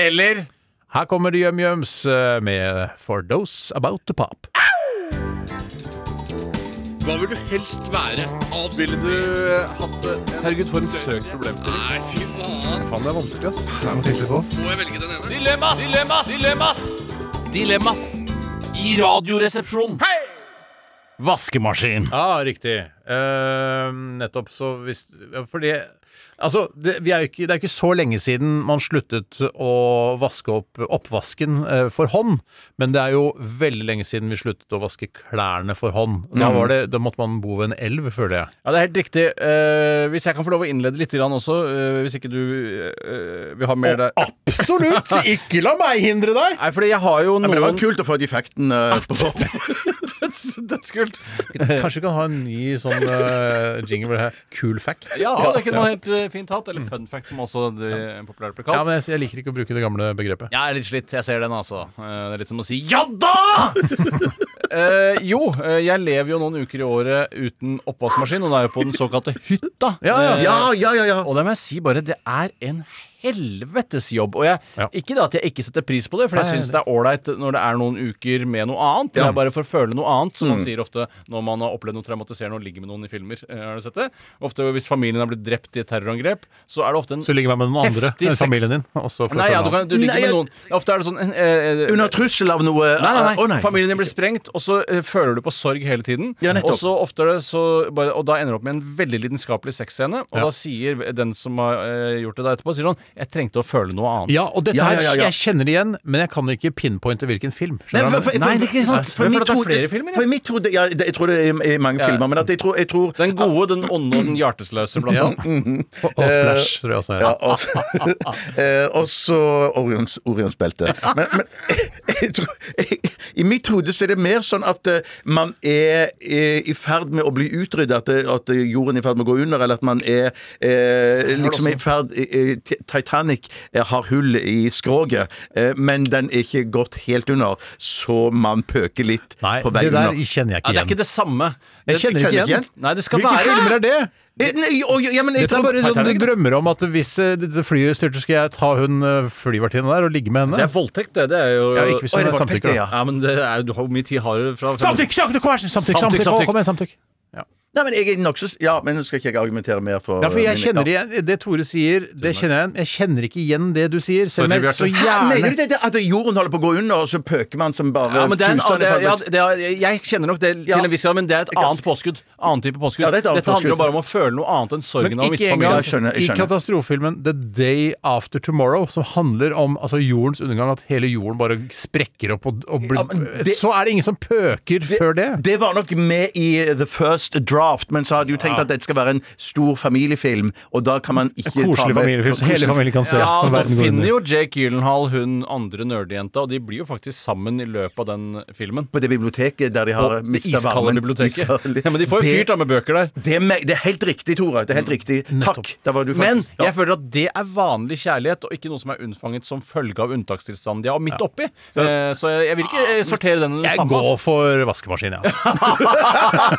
S7: eller
S6: Her kommer Jøm-Jøms eh, med For Those About To Pop.
S11: Hva vil du helst være? Avs- eh,
S7: Herregud, for en søk problem.
S11: Nei, fy faen.
S6: Faen, det er vanskelig, ass.
S11: Må jeg velge den ene?
S10: Dilemmas! Dilemmas! Dilemmas! Dilemmas i Radioresepsjonen.
S7: Vaskemaskin.
S6: Ja, riktig. Eh, nettopp. Så hvis ja, Fordi Altså, det, vi er jo ikke, det er jo ikke så lenge siden man sluttet å vaske opp oppvasken eh, for hånd, men det er jo veldig lenge siden vi sluttet å vaske klærne for hånd. Da, var det, da måtte man bo ved en elv, føler jeg.
S7: Ja, det er helt riktig. Eh, hvis jeg kan få lov å innlede litt grann også, eh, hvis ikke du eh, vil ha mer der
S6: Absolutt! Ikke la meg hindre deg!
S7: Nei, fordi jeg har jo
S8: Men det var
S7: noen
S8: kult å få de effektene på
S6: Dødskult. Kanskje vi kan ha en ny sånn eh, jingle her. Cool fact.
S7: Ja, det kunne
S6: Ja.
S7: man helt eh, fint hatt. Eller fun fact, som også det eh, populært ble
S6: Ja,
S7: kalt.
S6: men jeg, jeg liker ikke å bruke det gamle begrepet.
S7: Jeg er litt slitt. Jeg ser den, altså. Eh, Det er litt som å si ja da! Eh, jo, eh, jeg lever jo noen uker i året uten oppvaskmaskin, og da er jeg på den såkalte hytta.
S6: ja.
S7: Eh,
S8: Ja, Ah, ja, ja, ja.
S7: Og det må jeg si bare, det er en helvetes jobb. Og jeg,
S6: Ja.
S7: ikke da at jeg ikke setter pris på det, for jeg
S6: Nei,
S7: syns det er ålreit når det er noen uker med noe annet. Det er bare for å føle noe annet, som
S6: Mm.
S7: man sier ofte når man har opplevd noe traumatiserende og ligger med noen i filmer. Eh, Har du sett det? Ofte hvis familien har blitt drept i et terrorangrep, så er det ofte en
S6: Så ligger man med noen andre
S7: heftig
S6: enn
S7: sex-
S6: familien din. og så får
S7: Nei,
S6: følge
S7: ja, du,
S6: av.
S7: kan, du ligger
S8: Nei, jeg-
S7: med noen. Ofte er det sånn eh, eh,
S8: Under trussel av noe eh,
S7: Nei, nei, nei.
S8: Å, nei.
S7: Familien din blir sprengt, og så eh, føler du på sorg hele tiden.
S8: Ja, nettopp.
S7: og så ofte er det så bare, Og da ender du opp med en veldig lidenskapelig sexscene, og da sier den som har eh, gjort det da etterpå, sier sånn Jeg trengte å føle noe annet.
S6: Ja, og dette
S8: Ja,
S6: her,
S8: ja, ja, ja.
S6: Jeg kjenner det igjen, men jeg kan ikke pinpointe hvilken film.
S8: Nei,
S6: Skjønner du?
S8: for- for-
S7: Nei, det er ikke sant.
S8: for- For
S7: Men for
S8: mitt
S7: at det er
S8: hode-
S7: flere filmer, ja.
S8: for mitt hode Ja, det- jeg tror det er i, i mange
S7: Ja.
S8: filmer, men at jeg tror, jeg tror
S7: Den gode, den onde og den hjertesløse, blant annet.
S6: Og,
S7: eh,
S6: og Splash, tror jeg også.
S8: ja,
S6: Ja.
S8: og eh, og så Orions, Orions belte. Men, men jeg tror, jeg, i mitt hode så er det mer sånn at eh, man er, eh, i ferd med å bli utrydda, at, det- at jorden er i ferd med å gå under, eller at man er eh, liksom i ferd eh, eh, Titanic eh, har hull i skroget, eh, men den er ikke gått helt under, så man pøker litt
S6: Nei,
S8: på vei
S6: det der
S8: under.
S6: kjenner jeg ikke
S7: Ja, det er
S6: igjen.
S7: ikke det samme.
S6: Jeg kjenner ikke
S8: kjenner ikke
S6: igjen.
S8: igjen.
S7: Nei, det skal
S6: Hvilke
S7: være
S6: filmer er det?
S8: Eh, Nei, og, ja, men jeg
S6: Dette er
S8: tror-
S6: bare sånn
S7: Titanic,
S6: du
S7: da.
S6: drømmer om at hvis eh, dette flyet styrter, skal jeg ta hun eh, flyvertinnen der og ligge med
S7: Det
S6: henne?
S7: er voldtekt, det. Det er jo
S6: Ja, ikke hvis
S8: Oi,
S6: hun
S8: det
S6: er
S8: var
S6: samtykke.
S8: Petter,
S6: da.
S8: ja.
S7: Ja, men det er, du har jo mye tid hardere fra
S6: Samtykke! Samtykke! hva er det? Samtykke! samtykke,
S7: Samtykke, samtykke.
S6: Å, Kom igjen, samtykke.
S8: Nei, men jeg er nok så Ja, men nå skal ikke jeg argumentere mer for eh,
S6: Ja, for jeg
S8: min-
S6: kjenner igjen det Tore sier, det kjenner jeg igjen. Jeg kjenner ikke igjen det du sier, selv om
S7: Sorry,
S6: jeg så
S7: Bjarte.
S8: Mener du
S6: gjerne
S8: det, det at jorden holder på å gå under, og så pøker man som bare
S7: Ja, men det er en,
S8: tusen
S7: det,
S8: i
S7: ja,
S8: forhold til-
S7: det er, jeg kjenner nok det til
S8: Ja.
S7: en viss grad, men det er et
S8: kan-
S7: annet påskudd. Annen type påskudd.
S8: Ja, det er et annet
S7: Dette handler jo
S8: påskudd.
S7: bare om å føle noe annet enn sorgen
S6: Men
S7: av å miste
S6: ikke
S7: familien.
S6: engang
S8: Jeg skjønner, jeg
S6: i
S8: skjønner.
S6: katastrofefilmen The Day After Tomorrow, som handler om altså, jordens undergang, at hele jorden bare sprekker opp og, og blir
S8: men det-
S6: Så er det ingen som pøker før det.
S8: det var nok med i The First Draft, men så hadde jeg jo tenkt at dette skal være en stor familiefilm, og da kan man ikke ta
S6: Koselig
S8: med-
S6: familiefilm som hele
S8: Koselig-
S6: familien kan se.
S7: Ja,
S6: når
S7: nå
S6: verden går
S7: finner
S6: under.
S7: jo Jake Gyllenhaal hun andre nerdejenta, og de blir jo faktisk sammen i løpet av den filmen.
S8: På det biblioteket der de har
S7: På det
S8: mista
S7: iskalde
S8: varmen.
S7: biblioteket.
S8: Iskalde-
S7: Ja, men de får jo
S8: Det-
S7: fyrt da med bøker der.
S8: Det er, me- det er helt riktig, Tore. Det er helt riktig. Takk. Der var du
S7: Men
S8: faktisk.
S7: jeg føler at det er vanlig kjærlighet, og ikke noe som er unnfanget som følge av unntakstilstanden de er midt oppi. Eh, Så jeg jeg vil ikke eh, sortere den under
S6: Jeg
S7: samme.
S6: går
S7: altså.
S6: for vaskemaskin, jeg, altså.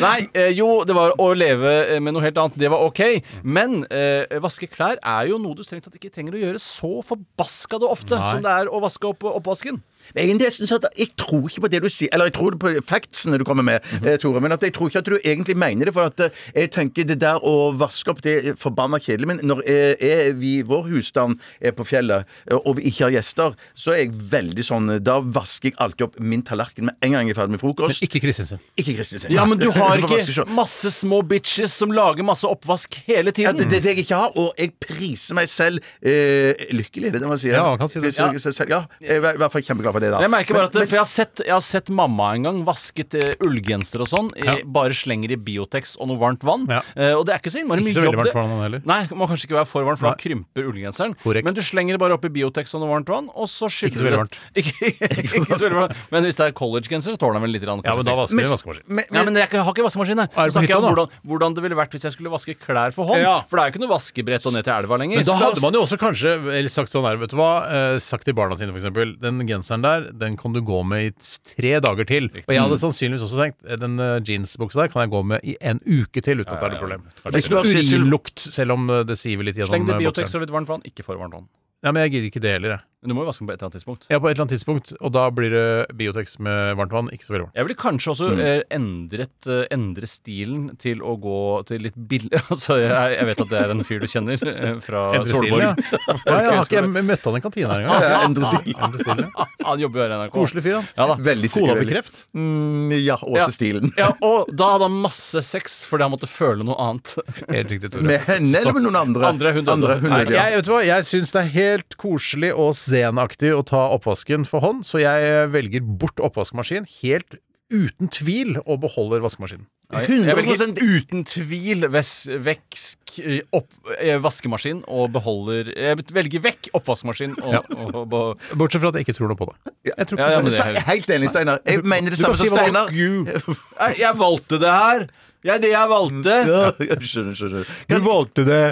S7: Nei, eh, jo, det var å leve eh, med noe helt annet. Det var OK. Men eh, vaske klær er jo noe du strengt tatt ikke trenger å gjøre så forbaska det ofte
S6: Nei.
S7: som det er å vaske opp oppvasken.
S8: Jeg, er nesten sånn at jeg tror ikke på det du sier, eller jeg tror det på factsene du kommer med, eh, Tore, men at jeg tror ikke at du egentlig mener det. For at eh, jeg tenker det der å vaske opp, det er forbanna kjedelig. Men når eh, jeg, vi, vår husstand er på fjellet, eh, og vi ikke har gjester, så er jeg veldig sånn eh, Da vasker jeg alltid opp min tallerken med en gang jeg er ferdig med
S6: Men
S8: frokost.
S6: ikke Kristin sin.
S8: Ikke Kristin sin.
S7: Ja, men du har
S8: får vaske
S7: ikke
S8: selv.
S7: masse små bitches som lager masse oppvask hele
S8: ja,
S7: tiden.
S8: det, det er det jeg ikke har, og jeg priser meg selv eh, lykkelig. er Det det man sier.
S6: Ja, man kan si det.
S8: Priser meg selv- Ja, jeg er i hvert fall kjempeglad for det, da.
S7: Jeg merker bare at
S8: Men-
S7: For jeg har sett, jeg har sett mamma en gang vasket eh, ullgenser og sånn. eh, Bare slenger i Biotex og noe varmt vann.
S6: Ja.
S7: Eh, og det er ikke så innmari
S6: Ikke
S7: mye
S6: så veldig
S7: jobb.
S6: varmt
S7: det-
S6: vann han heller.
S7: Nei, må kanskje ikke være for varmt, for da
S6: Nei.
S7: krymper ullgenseren.
S6: Korrekt.
S7: Men du slenger det bare oppi Biotex og noe varmt vann, og så skyller
S6: Ikke så veldig
S7: du det-
S6: varmt.
S7: Ikke, ikke, så veldig varmt. Men hvis det er collegegenser, så tåler den vel litt. grann,
S6: Ja, men da
S7: kanskje
S6: vasker
S7: sex.
S6: vi vaskemaskin.
S8: men,
S7: Nei, men jeg har ikke vaskemaskin her.
S6: Er
S7: Nå
S6: det på
S7: snakker jeg om
S6: hytta, da?
S7: hvordan, hvordan det ville vært hvis jeg skulle vaske klær for hånd.
S6: Ja.
S7: For det er jo ikke noe vaskebrett og ned til elva lenger.
S6: Men da hadde man jo også kanskje eller sagt sånn her, vet du hva, eh, sagt til barna sine for eksempel, den genseren der, den kan du gå med i t- tre dager til. Og jeg hadde sannsynligvis også tenkt, eh, den eh, jeansbuksa der kan jeg gå med i en uke til uten at det er noe problem. Det
S8: Hvis du
S6: er
S8: har
S6: ikke
S8: sissel-
S6: urinlukt, selv om eh, det siver litt
S7: Sleng
S6: gjennom
S7: det
S6: eh,
S7: i Biotex
S6: bokseren.
S7: og litt varmt vann. Ikke for varmt vann.
S6: Ja, men jeg gidder ikke det heller, jeg.
S7: Men du må jo vaske den på et eller annet tidspunkt.
S6: Ja, på et eller annet tidspunkt, og da blir det Biotex med varmt vann, ikke så veldig varmt.
S7: Jeg ville kanskje også
S6: Mm.
S7: eh, endret eh, endre stilen til å gå til litt billig Altså, jeg, jeg vet at det er en fyr du kjenner eh, fra
S6: Endre stilen,
S7: Solborg.
S6: ja. Ja, jeg har ikke jeg møtt han i kantina her engang.
S8: Ja, endre stilen.
S6: Endre stilen, ja.
S7: Han jobber jo her i NRK.
S6: Koselig fyr, han.
S7: Ja, da.
S8: Veldig
S6: Kona
S8: veldig-
S6: fikk kreft.
S8: Mm, ja,
S7: Ja.
S8: Åse Stilen.
S7: Ja, og da hadde han masse sex fordi han måtte føle noe annet.
S6: Helt riktig, Tore.
S8: Med henne eller med noen andre?
S7: Andre, hun døde.
S8: døde, ja.
S6: Jeg, vet du hva? jeg syns det er helt koselig og zenaktig å ta oppvasken for hånd, så jeg velger bort oppvaskmaskin helt uten tvil og beholder vaskemaskinen.
S7: Jeg
S8: 100%
S7: velger uten tvil ves, veksk, eh, opp, eh, vaskemaskin og beholder Jeg velger vekk oppvaskmaskin og, og, og,
S6: Bortsett fra at jeg ikke tror noe på det.
S7: Jeg tror ikke ja, ja, men det er helt-
S8: Helt enig, Steinar. Jeg mener det
S7: Du kan
S8: samme
S7: si
S8: som
S7: hva
S8: Steinar.
S7: du- Jeg, jeg valgte det her. Jeg er det jeg valgte.
S8: Ja, Skjønner, skjønner.
S6: Du valgte det!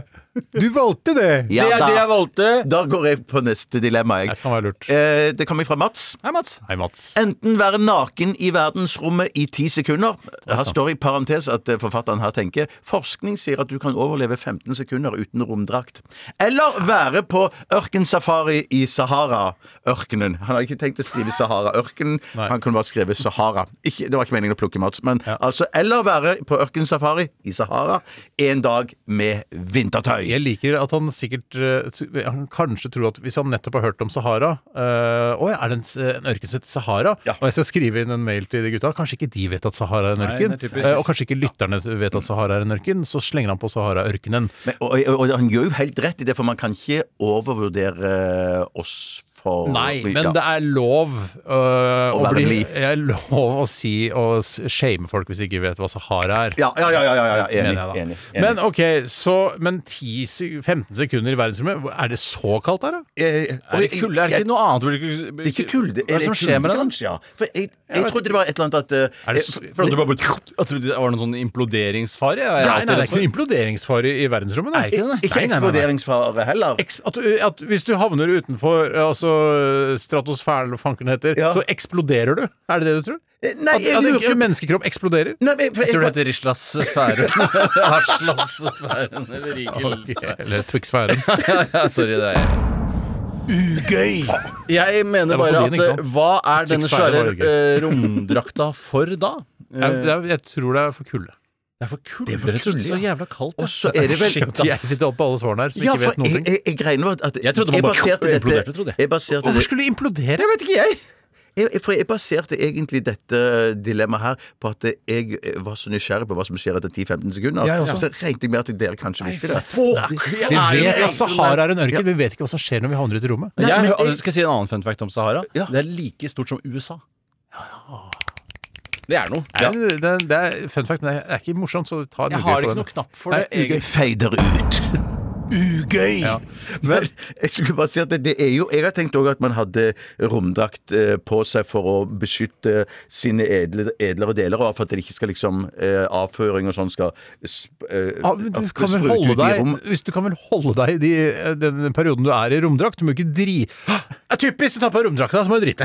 S6: Du valgte det!
S8: Ja,
S7: det er det
S8: da,
S7: jeg valgte.
S8: da går jeg på neste dilemma, jeg.
S6: Det kan være lurt.
S8: Eh, Det kommer fra Mats.
S7: Hei, Mats.
S6: Hei, Mats.
S8: Enten være naken i verdensrommet i ti sekunder Her står i parentes at eh, forfatteren her tenker forskning sier at du kan overleve 15 sekunder uten romdrakt. Eller være på ørkensafari i Sahara-ørkenen. Han har ikke tenkt å skrive Sahara-ørkenen,
S6: Nei.
S8: han kunne bare skrevet Sahara. Ikke, det var ikke meningen å plukke Mats, men altså Eller være på ørkensafari i Sahara en dag med vintertøy.
S6: Jeg liker at han sikkert eh, t- Han kanskje tror at hvis han nettopp har hørt om Sahara eh, Å ja, er det en, s- en ørken som heter Sahara? Og jeg skal skrive inn en mail til de gutta. Kanskje ikke de vet at Sahara er en
S7: Nei,
S6: ørken?
S7: det er typisk.
S6: eh, og kanskje ikke lytterne vet at Sahara er en ørken? Så slenger han på Sahara-ørkenen.
S8: Men, og, og, og han gjør jo helt rett i det, for man kan ikke overvurdere oss. For
S6: Nei,
S8: mye.
S6: men det er lov øh, å
S8: være
S6: bli
S8: blid.
S6: Det er lov å si og s- shame folk hvis de ikke vet hva Sahara er.
S8: Ja, ja, ja, ja, ja, ja. Enig,
S6: mener jeg da.
S8: enig, enig.
S6: Men ok, så Men 10, se- 15 sekunder i verdensrommet, er det så kaldt der, da?
S8: Eh,
S7: Er det kulde? Er det ikke noe annet? Blir ikke-
S8: Det er ikke kulde.
S7: Hva er det som skjer med den?
S8: Ja. For jeg, jeg trodde det var et eller annet at eh,
S6: Er det s-
S8: eh,
S7: For at det bare ble- at det var noen sånn imploderingsfare? Jeg
S6: Nei,
S7: er
S6: nei,
S7: alltid
S6: det er ikke
S7: redd for-
S6: noe imploderingsfare i verdensrommet. Nei.
S7: Er det ikke det?
S8: Ikke
S6: Nei, nei, nei, nei.
S8: eksploderingsfare heller.
S6: Eks- At, at hvis du havner utenfor altså, stratosfæren, eller hva fanken det heter,
S8: Ja.
S6: så eksploderer du? Er det det du tror?
S8: Eh, nei, jeg
S6: at,
S8: lurer
S6: at
S8: på-
S6: en menneskekropp eksploderer?
S8: Nei, men, for,
S7: Jeg tror det heter
S8: jeg,
S7: Rislas sfæren. Haslas sfæren eller Rigel.
S6: Eller Twix-sfæren.
S7: Ja, ja, sorry, det er
S8: Ugøy!
S7: Jeg mener
S6: Det var
S7: bare
S6: på din, ikke
S7: at eh,
S6: sant?
S7: hva er denne
S6: Krigsfeil, det var
S7: svære
S6: jo
S7: eh, romdrakta for da?
S6: Jeg,
S7: Eh,
S6: jeg, jeg tror det er for kulde.
S7: Det er for kulde,
S8: Det er for
S7: rett og slett.
S8: kulde,
S7: Så
S8: ja.
S7: jævla kaldt.
S8: Og
S7: ja.
S8: så er det vel
S7: Shit,
S6: Jeg
S7: ass.
S6: sitter opp på alle svarene her, som
S8: Ja,
S6: ikke
S8: for eh,
S6: vet noen
S8: jeg,
S6: ting.
S8: jeg, jeg regner med at
S7: Jeg trodde man bare
S8: baserte dette-
S7: imploderte, trodde jeg.
S8: jeg. baserte
S6: Hvorfor
S8: det-
S6: skulle du implodere? Jeg vet ikke jeg!
S8: Jeg, jeg- for jeg baserte egentlig dette dilemmaet her på at jeg eh, var så nysgjerrig på hva som skjer etter 10-15 sekunder.
S6: Jeg også.
S8: Så jeg regnet med at dere kanskje visste det.
S6: Vi
S7: Nei,
S6: vet
S7: jeg-
S6: at Sahara er en ørken, vi vet ikke hva som skjer når vi havner ute i rommet.
S7: Jeg,
S8: men
S7: hø-
S8: jeg-
S7: skal jeg si en annen fun fact om Sahara.
S8: Ja.
S7: Det er like stort som USA. Det er noe.
S6: Nei, Det, det, det er fun fact, men det er ikke morsomt, så ta en
S7: Jeg
S6: ugøy
S7: har
S6: på
S7: ikke
S6: den.
S7: noe knapp for
S6: Nei,
S7: det. egentlig.
S8: Fader ut. Ugøy! Men jeg skulle bare si at det, det er jo Jeg har tenkt òg at man hadde romdrakt eh, på seg for å beskytte sine edle, edlere deler, og for at det ikke skal liksom eh, Avføring og sånn skal sp, eh,
S6: Ja,
S7: Ah,
S6: men du
S8: at-
S6: kan vel
S8: sprute
S6: holde
S8: ut i
S6: deg
S8: rom.
S6: Hvis du kan vel holde deg i de, den perioden du er i romdrakt. Du må ikke dri... Det er typisk! Du tar på romdrakta, så må du drite.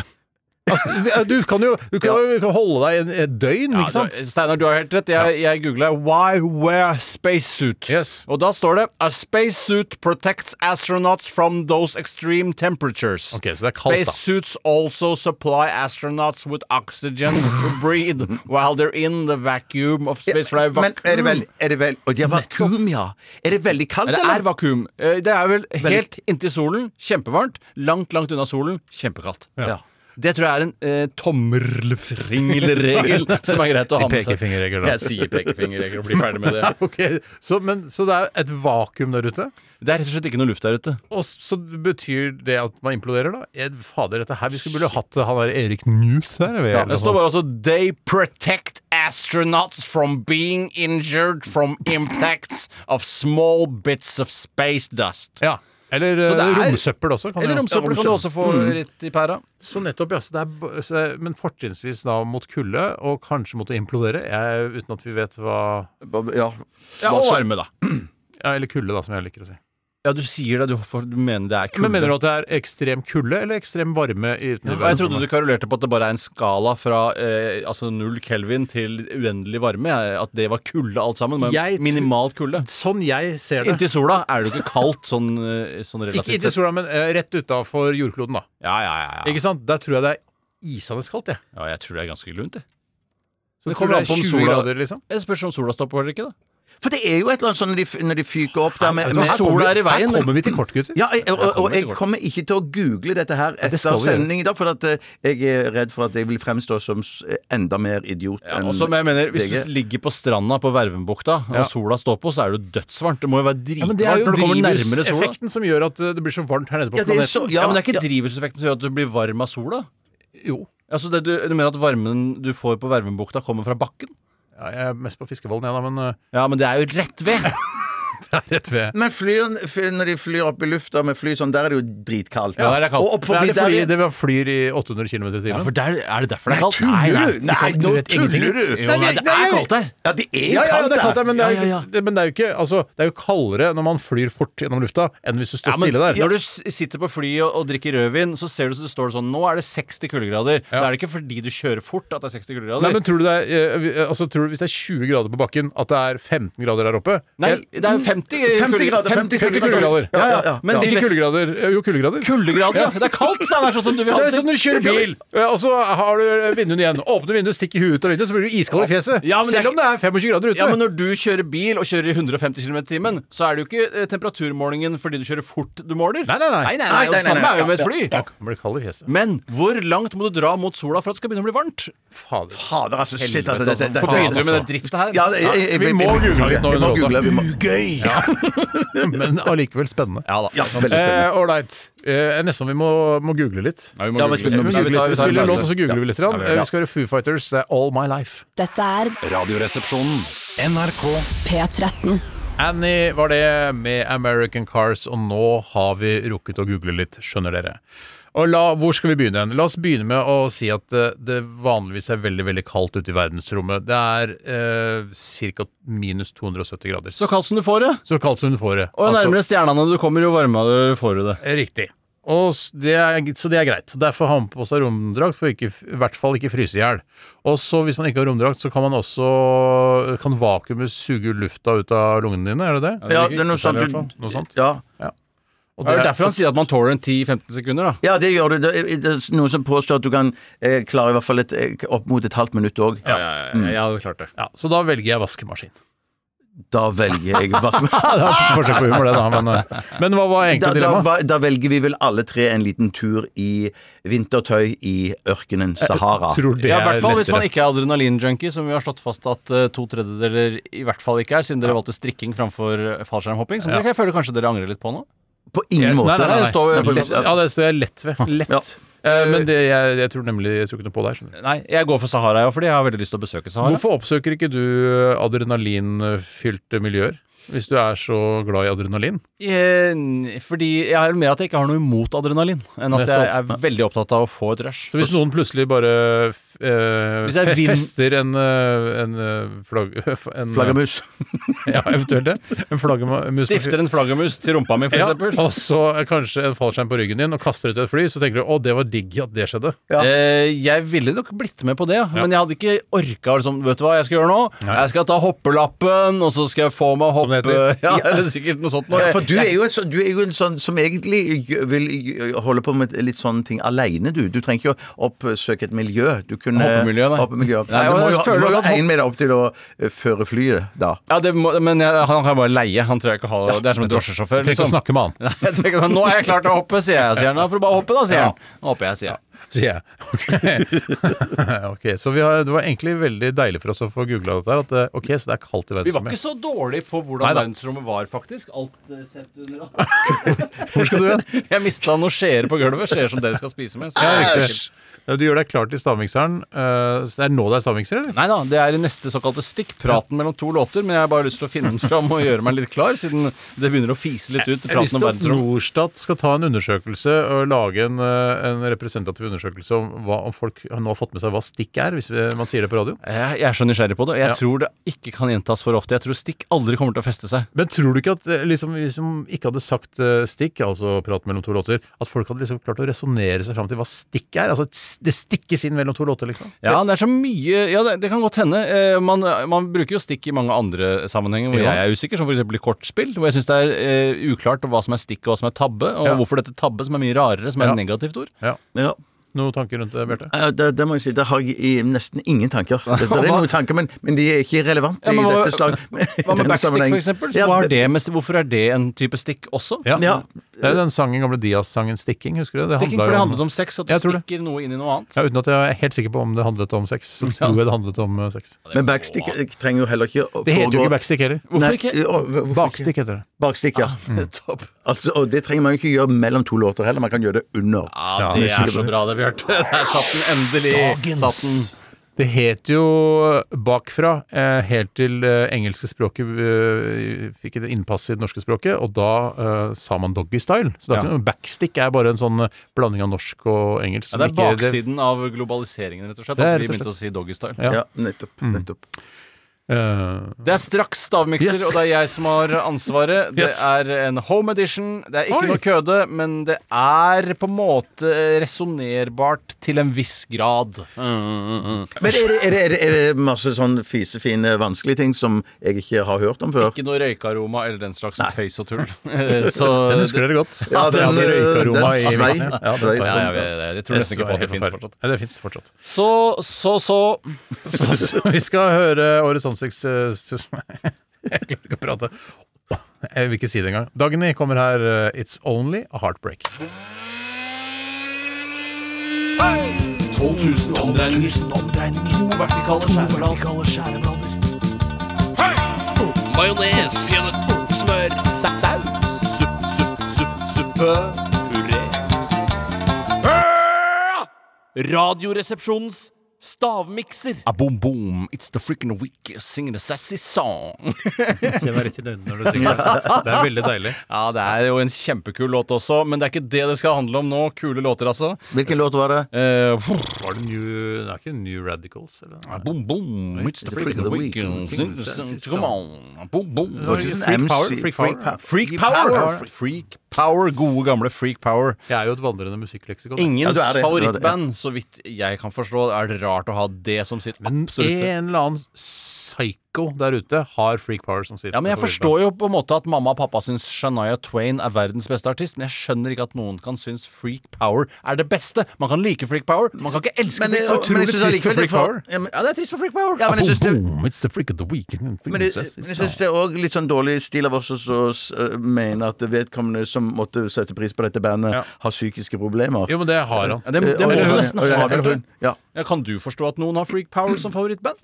S6: Altså, du kan jo du kan, jo- du kan holde deg i en- et døgn,
S7: Ja,
S6: ikke sant?
S7: du- Steinar, du har helt rett. Jeg, jeg googla 'Why wear spacesuit'?
S6: Yes.
S7: Og da står det 'A spacesuit protects astronauts from those extreme temperatures'.
S6: Ok, så det er kaldt, da.
S7: Spacesuits also supply astronauts with oxygen to breathe while they're in the vacuum of space. For det er
S8: Men
S7: vakuum.
S8: er det vel, er det vel Og de har vakuum, ja. Er det veldig kaldt,
S7: det er
S8: eller?
S7: vakuum. Eh, Det er vel helt inntil solen, kjempevarmt. Langt, langt unna solen, kjempekaldt.
S8: Ja.
S7: Det tror jeg er en eh, tommelfingerregel som er greit å
S6: Si
S7: ha med seg.
S6: pekefingerregel, da.
S7: Jeg sier pekefingerregel og blir ferdig med det.
S6: Ok, så, men, så det er et vakuum der ute?
S7: Det er rett og slett ikke noe luft der ute.
S6: Og s- så betyr det at man imploderer, da? Jeg, fader, dette her Vi skulle burde hatt han der Erik Newth her. eller
S7: Det
S6: noe
S7: står
S6: sånt.
S7: bare altså 'They protect astronauts from being injured from impacts of small bits of space dust'.
S6: Ja. Eller
S7: Så det
S6: eh,
S7: er-
S6: romsøppel også. Kan det
S7: Eller
S6: være.
S7: romsøppel kan du også få litt i pæra.
S6: Så nettopp, ja. Så det er, b- så, men fortrinnsvis da mot kulde, og kanskje mot å implodere, jeg, uten at vi vet hva
S8: Ja.
S7: Ja, og varme, da.
S6: ja, Eller kulde, da, som jeg liker å si.
S7: Ja, du sier det. Du, får- du mener det er kulde.
S6: Men mener du at det er ekstrem kulde eller ekstrem varme? i uten
S7: Ja, jeg trodde du karolerte på at det bare er en skala fra eh, altså null kelvin til uendelig varme. jeg. At det var kulde alt sammen. Men
S6: Jeg tr-
S7: minimalt kulde.
S6: Sånn jeg ser det.
S7: Inntil sola er det jo ikke kaldt sånn, eh, sånn relativt
S6: Ikke inntil
S7: sett.
S6: sola, men eh, rett utafor jordkloden, da.
S7: Ja, ja, ja, ja.
S6: Ikke sant? Der tror jeg det er isende kaldt, jeg.
S7: ja. Jeg tror det er ganske lunt, jeg.
S6: Så tror
S7: det kommer
S6: det
S7: an på om
S6: er 20
S7: sola-
S6: grader, liksom.
S7: Jeg spørs om sola stopper eller ikke, da.
S8: For det er jo et eller annet sånn når de, f- når de fyker opp der med,
S6: Vet du hva,
S8: med
S7: altså, sola
S6: kommer-
S7: er i veien,
S6: Her
S7: men-
S6: kommer vi til kort, gutter.
S8: Ja, jeg, og, og,
S7: kommer
S8: og jeg
S7: til kort.
S8: kommer ikke til å google dette her
S6: skal
S8: etter
S6: vi gjøre.
S8: sending i dag, for at eh, jeg er redd for at jeg vil fremstå som s- eh, enda mer idiot
S7: Ja,
S8: enn
S7: og som jeg mener, Hvis
S8: VG.
S7: du ligger på stranda på Vervenbukta
S6: Ja.
S7: og sola står på, så er du dødsvarmt. Det må jo være
S6: Ja, men
S7: dritvarmt
S6: det er jo
S7: når du kommer nærmere sola.
S6: drivhuseffekten som gjør at eh, det blir så varmt her nede på
S8: Ja, det er
S6: planeten.
S8: så-
S7: Ja, men det er
S8: ja.
S7: ikke drivhuseffekten som gjør at du blir varm av sola.
S6: Jo.
S7: Altså, det du, du mener at varmen du får på Vervenbukta, kommer fra bakken?
S6: Ja, jeg er mest på Fiskevollen, jeg, da, men eh,
S7: Ja, men det er jo rett ved!
S6: det er rett ved.
S8: Men flyr, fly- når de flyr opp i lufta med fly sånn, der er det jo dritkaldt.
S7: Ja, der er det kaldt.
S8: Og
S6: Men
S8: opp forbi
S6: er det fordi
S8: der
S6: det var- flyr i 800 km i timen?
S7: der, er det derfor det er kaldt?
S8: Tuller du?
S7: det
S8: Nei,
S7: kan-
S8: nå
S7: vet ingenting.
S8: tuller du!
S7: Jo, nei, det er kaldt der.
S8: Ja, det er
S6: Ja, ja,
S8: kaldt
S6: det er kaldt
S8: der.
S6: der, men det er, jo-
S7: Ja, ja, ja.
S6: Det, men det er jo ikke altså, Det er jo kaldere når man flyr fort gjennom lufta, enn hvis du står
S7: Ja, men
S6: stille der.
S7: Når du s- sitter på flyet og, og drikker rødvin, så ser du så det står sånn Nå er det 60 kuldegrader. Da er det ikke fordi du kjører fort at det er 60 kuldegrader.
S6: Nei, men tror du det er, eh, vi- eh, altså, tror du, Hvis det er 20 grader på bakken, at det er 15 grader der oppe?
S7: Nei,
S6: Jeg-
S7: det er jo 50,
S8: 50 grader, 50
S6: 50 kuldegrader.
S7: Ja, ja,
S8: ja.
S7: Men de
S6: Ikke
S7: vet-
S6: kuldegrader. eh, Jo, kuldegrader.
S7: kuldegrader, ja. Det er kaldt, sa han. Det er sånn som du vil ha
S6: Det er som når du kjører bil, eh, og så har du vinduene igjen. Åpner vinduet, stikker huet ut av vinduet, så blir du iskald i fjeset.
S7: Ja, men det er
S6: Selv om det er 25 grader ute.
S7: Ja, men når du kjører bil og kjører i 150 km i timen, så er det jo ikke eh, temperaturmålingen fordi du kjører fort du måler.
S6: Nei, nei, nei.
S7: nei, nei, nei, og
S8: Nei, nei,
S7: det
S8: nei,
S7: samme er jo
S8: nei,
S7: med et fly.
S6: Ja, kan bli kald i fjeset.
S7: Men hvor langt må du dra mot sola for at det skal begynne å bli varmt?
S6: Fader.
S8: Fader, altså. Shit, altså.
S7: Helvete,
S8: Det, det,
S7: altså. Hvorfor begynner du med den drifta her?
S8: ja, jeg- jeg- jeg-
S6: Vi
S8: jeg-
S6: må
S8: jeg- jeg-
S6: google litt nå
S8: vi må
S6: under
S8: google, vi må-
S6: Ugøy! Men allikevel spennende.
S7: Ja da.
S8: Ja, veldig spennende.
S6: Ålreit. Eh, nesten vi må, må google litt.
S7: Ja, vi må
S8: Ja,
S7: google.
S8: men spill noe
S6: Vi,
S8: musikk.
S7: Ja,
S6: googler litt.
S7: tar-
S6: vi
S7: tar en
S6: spiller en låt,
S7: pause.
S6: og så googler vi litt. grann. Eh, Vi skal høre Foo Fighters, det er All My Life.
S1: Dette er
S2: Radioresepsjonen.
S8: NRK.
S1: P13.
S6: Annie var det med American Cars, og nå har vi rukket å google litt, skjønner dere. Og la, Hvor skal vi begynne? hen? La oss begynne med å si at eh, det vanligvis er veldig veldig kaldt ute i verdensrommet. Det er eh, ca. minus 270 grader.
S7: Så kaldt som du får det.
S6: Så kaldt som hun får det.
S7: Og jo
S6: Altså,
S7: nærmere stjernene du kommer, jo varmere får du det.
S6: Riktig. Og s- det er, så det er greit. Derfor har man på seg romdrakt, for ikke, i hvert fall ikke fryse i hjel. Og så hvis man ikke har romdrakt, så kan man også Kan vakuumet suge lufta ut av lungene dine, er det det?
S8: Ja, det er noe sånt.
S7: i hvert
S8: Du,
S6: Noe sånt?
S8: ja.
S6: Og
S7: Det er jo derfor han sier at man tåler en 10-15 sekunder, da.
S8: ja, det gjør du. Det er, det er noen som påstår at du kan eh, klare i hvert fall et, eh, opp mot et halvt minutt òg.
S7: Jeg hadde klart det.
S6: Ja, så da velger jeg vaskemaskin.
S8: Da velger jeg hva som
S6: Det var et forsøk på humor, det, da. Men, eh, men hva var
S8: da,
S6: egentlig
S8: da,
S6: dilemmaet?
S8: va- da velger vi vel alle tre en liten tur i vintertøy i ørkenen Sahara.
S6: Tror det
S7: Ja, I
S6: er
S7: hvert fall hvis man
S6: lettere.
S7: ikke er adrenalinjunkie, som vi har slått fast at eh, to tredjedeler i hvert fall ikke er, siden dere valgte strikking framfor eh, fallskjermhopping. Som dere, jeg føler kanskje dere angrer litt på nå.
S8: På ingen
S6: Nei,
S8: måte.
S6: nei, nei,
S7: det står jo
S8: Nei,
S7: lett-
S8: for-
S6: Ja, det står jeg lett ved. Lett.
S8: Ja.
S6: Eh, Men det, jeg, jeg tror nemlig Jeg tror ikke noe på deg. skjønner du.
S7: Nei, jeg går for Sahara, ja, fordi jeg har veldig lyst til å besøke Sahara.
S6: Hvorfor oppsøker ikke du eh, adrenalinfylte miljøer? Hvis du er så glad i adrenalin?
S7: Eh, n- Fordi jeg har mer at jeg ikke har noe imot adrenalin, enn at jeg
S6: Nettopp.
S7: er veldig opptatt av å få et rush.
S6: Så hvis noen plutselig bare f- eh,
S7: Hvis det er
S6: fe-
S7: vind-
S6: fester en, eh, en, eh, flagg, en eh,
S8: Flaggermus.
S6: Ja, eventuelt det. En flaggermus.
S7: Stifter en flaggermus til rumpa mi, for
S6: ja,
S7: eksempel.
S6: og så er kanskje en fallskjerm på ryggen din og kaster ut et fly, så tenker du å, det var digg at det skjedde.
S8: Ja.
S7: Eh, jeg ville nok blitt med på det, ja. men jeg hadde ikke orka liksom, Vet du hva jeg skal gjøre nå? Jeg skal ta hoppelappen, og så skal jeg få meg
S6: Som det
S7: hoppe
S6: heter.
S7: Ja, eller sikkert noe sånt. nå.
S8: Ja, for du er, jo en, sånn- du er jo en sånn som egentlig gjø- vil gjø- holde på med litt sånne ting aleine, du. Du trenger ikke å oppsøke et miljø. Du kunne
S7: Hoppemiljø, nei.
S8: hoppe miljø.
S7: Nei,
S8: du
S7: og
S8: må
S7: jeg
S8: jo ha-
S7: føler
S8: du må jo
S7: at
S8: ha
S7: hopp-
S8: én med deg opp til å eh, føre flyet, da.
S7: Ja, det må, men jeg, han kan bare leie. Han tror jeg ikke har Det er som en
S6: Trenger
S7: drosjesjåfør.
S6: ikke å
S7: Liksom.
S6: snakke med han,
S7: Nei, jeg tenker sånn, Nå er jeg klar til å hoppe, sier jeg. Sier han. Da får du bare hoppe, da, sier han. Nå hopper jeg, sier jeg.
S6: sier jeg. Ok, Ok, Så vi har, det var egentlig veldig deilig for oss å få googla dette her. At eh, ok, så det er kaldt i
S7: Vi var ikke
S6: verdensrommet.
S7: så dårlige på hvordan
S6: Nei da.
S7: verdensrommet var, faktisk. Alt eh, sett under alt.
S6: Hvor skal du hen?
S7: Jeg mista noen skjeer på gulvet. Skjeer som dere skal spise med. Så.
S6: Ja, riktig. Ja, Du gjør deg klar til stavmikseren. eh, så det er nå det er stavmikser, eller?
S7: Nei da, det er i neste såkalte stikk. Praten mellom to låter. Men jeg har bare lyst til å finne den fram og gjøre meg litt klar, siden det begynner å fise litt ut.
S6: Jeg har lyst
S7: Praten om
S6: til at
S7: verdensrom.
S6: Norstat skal ta en undersøkelse og lage en, eh, en representativ undersøkelse om hva om folk nå har fått med seg hva stikk er, hvis vi- man sier det på radio.
S7: Jeg, jeg er så nysgjerrig på det, og jeg
S6: Ja.
S7: tror det ikke kan gjentas for ofte. Jeg tror stikk aldri kommer til å feste seg.
S6: Men tror du ikke at eh, liksom, hvis man ikke hadde sagt eh, stikk, altså prat mellom to låter, at folk hadde liksom klart å resonnere seg fram til hva stikk er? Altså, et s- det stikkes inn mellom to låter, liksom.
S7: Ja, det er så mye Ja, det, det kan godt hende. Eh, man, man bruker jo stikk i mange andre sammenhenger hvor
S6: Ja.
S7: jeg er usikker, som f.eks. i kortspill, hvor jeg syns det er eh, uklart hva som er stikk og hva som er tabbe, og
S6: Ja.
S7: hvorfor dette tabbe, som er mye rarere, som er
S6: Ja.
S7: et negativt ord.
S8: Ja.
S6: Noen tanker rundt det, Bjarte?
S8: Eh, Det, det må jeg si, der har jeg i- nesten ingen tanker. Det, det er noen tanker, men, men de er ikke relevante
S7: Ja, men
S8: i
S7: hva-
S8: dette slag.
S7: Hva med backstick, f.eks.?
S8: Ja,
S7: Hva har det med sti- Hvorfor er det en type stikk også?
S8: Ja.
S6: Det er jo den sangen, gamle Diaz-sangen 'Stikking', husker du det?
S7: Stikking, for det handlet om sex, at du
S6: Jeg tror det.
S7: stikker noe inn i noe annet.
S6: ja, Uten at jeg er helt sikker på om det handlet om sex, så tror jeg det handlet om eh, sex.
S8: Men backstick eh, trenger jo heller ikke å
S6: Det heter jo
S8: foregå-
S6: ikke backstick heller.
S8: Nei,
S7: Hvorfor ikke? Ah, mm.
S8: å, hvorfor ikke?
S6: Bakstikk heter det.
S8: Bakstikk, ja. Altså, og det trenger man jo ikke gjøre mellom to låter heller,
S7: Ah.
S8: man kan gjøre det under.
S7: Ja, det er så bra det, Bjarte. Der satt den endelig. Dagens. Satt den.
S6: Det het jo bakfra eh, helt til eh, engelske språket eh, fikk et innpass i det norske språket, og da eh, sa man doggystyle. Så da
S7: Ja.
S6: kunne- backstick er bare en sånn eh, blanding av norsk og engelsk.
S7: Ja,
S6: som
S7: det er
S6: ikke- det-
S7: baksiden av globaliseringen, rett og slett.
S6: Det er
S7: At vi
S6: rett og
S7: begynte å si
S6: slett.
S7: doggystyle.
S6: Ja.
S8: Ja, nettopp.
S7: Mm.
S8: nettopp.
S6: Eh,
S7: Det er straks stavmikser,
S6: Yes.
S7: og det er jeg som har ansvaret. Det
S6: Yes.
S7: er en home edition. Det er ikke
S6: Oi.
S7: noe køde, men det er på en måte resonnerbart til en viss grad.
S8: Men er det, er, det, er, det, er det masse sånn fisefine, vanskelige ting som jeg ikke har hørt om før?
S7: Ikke noe røykaroma eller den slags tøys og tull. Så
S6: den husker dere godt.
S8: Ja,
S6: At dere
S8: den,
S6: hadde
S8: eh,
S6: røykaroma
S8: den
S6: i
S8: svei-
S6: vingene. Ja, den
S8: svei
S6: svei.
S7: ja,
S8: som-
S7: jeg, vet det. jeg tror nesten ikke på at det fins fortsatt.
S6: Ja, det fins fortsatt.
S7: Så, så, så.
S6: Så, så vi skal høre årets ansikts... eh, sus- Jeg klarer ikke å prate. Jeg vil ikke si det engang. Dagny kommer her. eh, It's Only a Heartbreak.
S10: 12 000 omdreininger. To vertikale skjæreblader. Majones. Smør. Saus. Supp, supp, supp, suppe. Puré. Radioresepsjonens stavmikser.
S7: A boom boom, it's the freaking week singing a sassy song.
S6: Se meg rett i øynene når du synger. Det er veldig deilig.
S7: ja, det er jo en kjempekul låt også, men det er ikke det det skal handle om nå. Kule låter, altså.
S8: Hvilken låt var det?
S7: Eh,
S6: Var det New Det er ikke New Radicals? Eller?
S7: Ah, Boom, boom, it's the freak of the week. Sing, sing, Come on. Boom, boom.
S6: Freak Power.
S8: MC,
S6: Freak
S8: Freak
S6: Power.
S7: Freak power. Freak power. Gode, gamle freak power.
S6: Jeg er jo et vandrende musikkleksikon.
S8: Ja,
S7: Ingens
S8: du er det.
S7: favorittband, så vidt jeg kan forstå, er det rart å ha det som sitt
S6: En
S7: absolutte.
S6: eller annen psycho der ute har Freak Power som sitt
S7: Ja, men Jeg forstår jo på en måte at mamma og pappa syns Shania Twain er verdens beste artist, men jeg skjønner ikke at noen kan synes Freak Power er det beste. Man kan like Freak Power, man kan ikke elske
S8: Men,
S7: Freak
S8: eh,
S7: Power.
S8: men jeg synes allikevel det er for- Ja, men-
S7: Ja, det er trist for Freak Power.
S8: Ja, men jeg synes det-
S6: It's the freak of the week. Men
S8: Men jeg, men jeg synes det er òg litt sånn dårlig stil av oss å s- øh, mene at vedkommende som måtte sette pris på dette bandet,
S6: Ja.
S8: har psykiske problemer.
S6: Jo, men det har han.
S7: Ja, det, det
S8: Eh,
S7: må
S8: og-
S7: du
S8: og-
S7: nesten
S8: og-
S7: ha,
S8: eller
S7: Bjarte.
S8: hun, Ja.
S7: Ja, kan du forstå at noen har Freak Power som favorittband?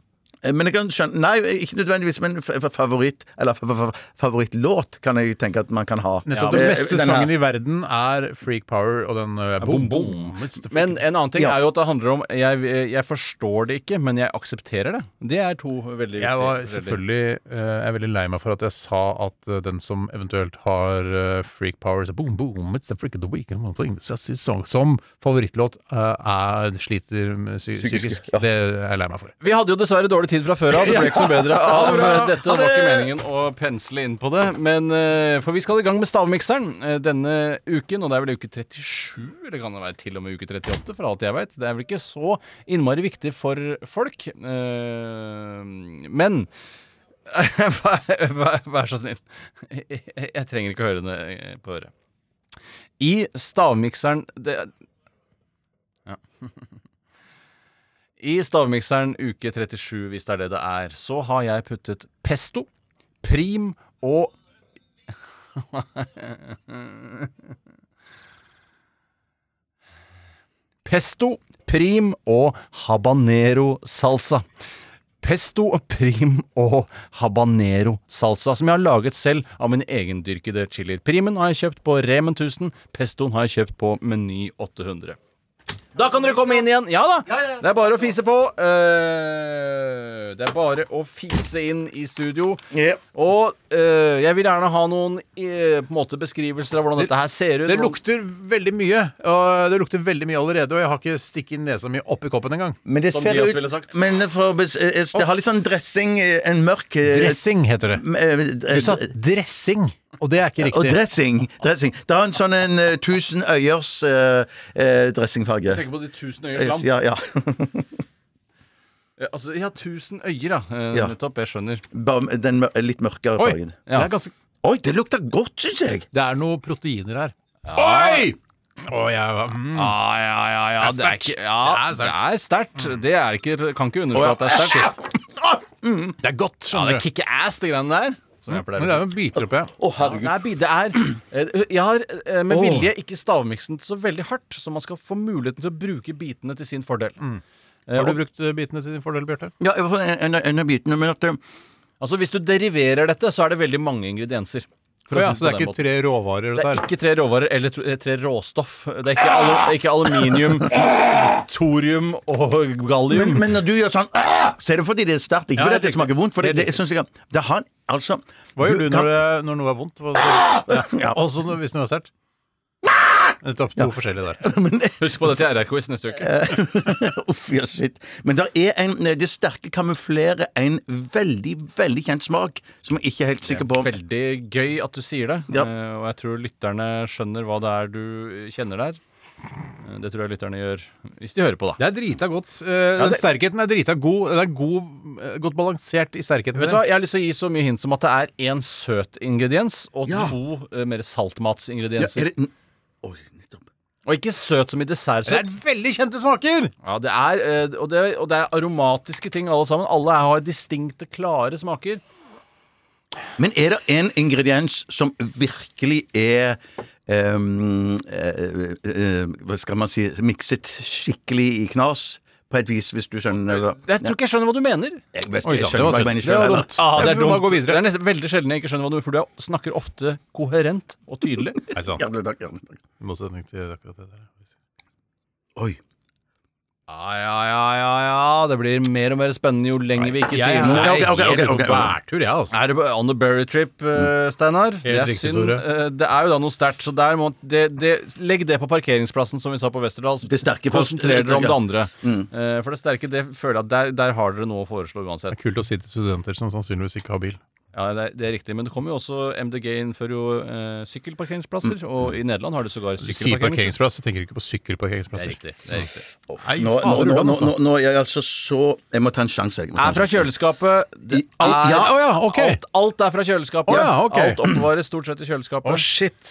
S8: Eh, Men jeg kan skjønne Nei, ikke nødvendigvis, men f- f- favoritt Eller f- f- favorittlåt kan jeg tenke at man kan ha.
S6: Nettopp.
S8: Eh,
S6: Den beste
S8: den her.
S6: sangen i verden er Freak Power, og den eh, boom, boom. It's the freak
S7: Men en annen ting
S8: Ja.
S7: er jo at det handler om jeg, jeg forstår det ikke, men jeg aksepterer det. Det er to veldig
S6: Jeg var
S7: forskjeller.
S6: selvfølgelig eh, Jeg er veldig lei meg for at jeg sa at eh, den som eventuelt har eh, freak powers Boom, boom, it's the freak of the week and one thing, it's a song, Som favorittlåt eh, er, sliter med psy psykisk. Det er jeg lei meg for.
S7: Vi hadde jo dessverre dårlig tid fra før av. Det ble ikke noe bedre av eh, dette. Det var ikke meningen å pensle inn på det. Men eh, For vi skal i gang med stavmikseren eh, denne uken, og det er vel uke 37, eller kan det være til og med uke 38, for alt jeg veit. Det er vel ikke så innmari viktig for folk. Eh, Men vær, vær, vær så snill. Jeg, jeg, jeg trenger ikke å høre det eh, på øret. I stavmikseren det, I stavmikseren uke 37, hvis det er det det er, så har jeg puttet pesto, prim og Pesto, prim og habanero salsa. Pesto, prim og habanero salsa, som jeg har laget selv av mine egendyrkede chilier. Primen har jeg kjøpt på Remen 1000, pestoen har jeg kjøpt på Meny 800. Da kan dere komme inn igjen. Ja da. Det er bare å fise på. Eh, det er bare å fise inn i studio. Og eh, jeg vil gjerne ha noen eh, på en måte beskrivelser av hvordan dette her ser ut.
S6: Det
S7: hvordan-
S6: lukter veldig mye, og eh, det lukter veldig mye allerede. Og jeg har ikke stikket nesa mi oppi koppen engang.
S8: Men det
S7: Som
S8: ser
S7: Dias
S8: ut
S7: ville sagt.
S8: Men for, å bes- eh, eh, det har litt sånn dressing, eh, en mørk eh,
S6: Dressing heter det.
S8: m- eh, eh,
S6: Du sa dressing, og det er ikke
S8: Og
S6: riktig.
S8: dressing. dressing. Det har en sånn en eh, tusen øyers eh, eh, dressingfarge.
S7: Tenk på de tusen øyers
S8: Eh,
S7: lam.
S8: Ja, ja.
S7: Ja, altså, ja, tusen øyer, ja. Eh,
S8: Ja.
S7: Nettopp. Jeg skjønner.
S8: Bare den mør- litt mørkere
S6: Oi,
S8: fargen.
S6: det er, ganske,
S8: Oi, det lukter godt, syns jeg!
S6: det er noe proteiner her.
S10: Oi!
S6: Å, jeg, mm.
S7: Ja, ja, ja. ja. Det er ikke-
S6: Det
S7: ja,
S6: er sterkt.
S7: Det er sterkt. Det er ikke Kan ikke underslå at det er sterkt.
S6: Det er godt,
S7: Ja,
S6: skjønner
S7: det
S6: du.
S7: er kick-ass, de greiene der. Som jeg pleier å
S6: Men det
S7: si.
S6: er liksom- jo biter oppi.
S8: Å, herregud.
S7: Nei, det er eh, Jeg har eh, med vilje ikke stavmiksen så veldig hardt, så man skal få muligheten til å bruke bitene til sin fordel. Eh,
S6: Har du
S7: og-
S6: brukt eh, bitene til din fordel, Bjarte?
S8: Ja, jeg får en, en, en av bitene, men at eh, det-
S7: altså Hvis du deriverer dette, så er det veldig mange ingredienser. For å
S6: Å ja, så
S7: si det
S6: det
S7: på
S6: er
S7: den
S6: ikke tre råvarer,
S7: Det
S6: dette
S7: er
S6: her?
S7: ikke tre råvarer eller tr- eh, tre råstoff. Det er ikke, alu, ikke aluminium, thorium og gallium.
S8: Men, men når du gjør sånn «Ah!», så er det fordi det er sterkt. Ikke
S7: Ja,
S8: fordi
S7: jeg
S8: at det
S7: tenker-
S8: smaker vondt. For det, det, synes jeg det har altså
S12: Hva gjør du når,
S8: kan-
S12: det, når noe er vondt? Hva, så, ja. Også når, hvis noe er sterkt? Nettopp. To forskjellige der.
S7: Husk på det til RR-quiz neste uke.
S8: Uff, ja, shit. Men det er en eh, Det sterke kamuflerer en veldig, veldig kjent smak som jeg ikke er helt sikker på om
S7: Veldig gøy at du sier det. Eh, Og jeg tror lytterne skjønner hva det er du kjenner der. Eh, Det tror jeg lytterne gjør, hvis de hører på, da.
S6: Det er drita godt. Eh, Den
S7: det-
S6: sterkheten er drita god. Den er god, eh, godt balansert i sterkheten.
S7: Vet du hva, Jeg har lyst til å gi så mye hint som at det er én søt ingrediens og
S6: Ja.
S7: to eh, mer
S6: Ja,
S7: saltmatsingredienser.
S6: er det-
S7: og ikke søt som i
S6: Det er
S7: dessertsøt.
S6: veldig kjente smaker!
S7: Ja, det er, eh, og, det, og det er aromatiske ting alle sammen. Alle har distinkte, klare smaker.
S8: Men er det en ingrediens som virkelig er ehm, eh, eh, Hva skal man si Mikset skikkelig i knas? På et vis, hvis du skjønner det.
S7: Jeg tror ikke jeg skjønner hva du mener.
S8: Jeg vet- jeg Oi, sant, skjønner det var hva jeg synd. mener selv, Det var jeg, dumt. da.
S7: Ah, det
S8: Jeg
S7: er
S8: får bare
S7: dumt.
S8: gå
S7: Det er nesten veldig sjelden jeg ikke skjønner hva du mener, for du snakker ofte koherent og tydelig.
S8: Jævlig takk, jævlig takk.
S6: I motsetning til akkurat det der.
S8: Oi.
S7: Ja, ja, ja, ja, ja. Det blir mer og mer spennende jo lenger vi ikke
S6: Jeg
S7: sier
S6: er
S7: noe.
S6: helt på bærtur, jeg, altså.
S7: Er det på on the berry trip, eh, Steinar? Det er
S6: riktig,
S7: synd.
S6: Tore.
S7: Eh, Det er jo da noe sterkt, så der må det, det, Legg det på parkeringsplassen, som vi sa på Westerdals.
S8: Det sterke
S7: Konsentrer dere om det
S8: ja.
S7: andre.
S8: Mm.
S7: Eh, For det sterke, det føler jeg at der, der har dere noe å foreslå uansett.
S6: Kult å si til studenter som sannsynligvis ikke har bil.
S7: Ja, det er, det er riktig, men det kommer jo også MDG innfører jo eh, sykkelparkeringsplasser, og i Nederland har de sågar
S6: Mm. Du sier
S7: sykkelparkeringsplasser.
S6: parkeringsplass, så tenker du ikke på sykkelparkeringsplasser.
S7: Det er riktig, det er riktig.
S6: Nei,
S8: Nå, nå,
S6: fader,
S8: nå,
S6: Ulland,
S8: nå, nå,
S6: altså.
S8: nå er jeg altså så Jeg må ta en sjanse. Jeg må ta
S7: Er
S8: en
S7: fra
S8: sjanse.
S7: kjøleskapet. Det
S8: I-
S7: er-
S8: ja, å ja, ok.
S7: alt, alt er fra kjøleskapet.
S8: Å ja, ok.
S7: Alt oppbevares stort sett i kjøleskapet.
S6: Å, shit.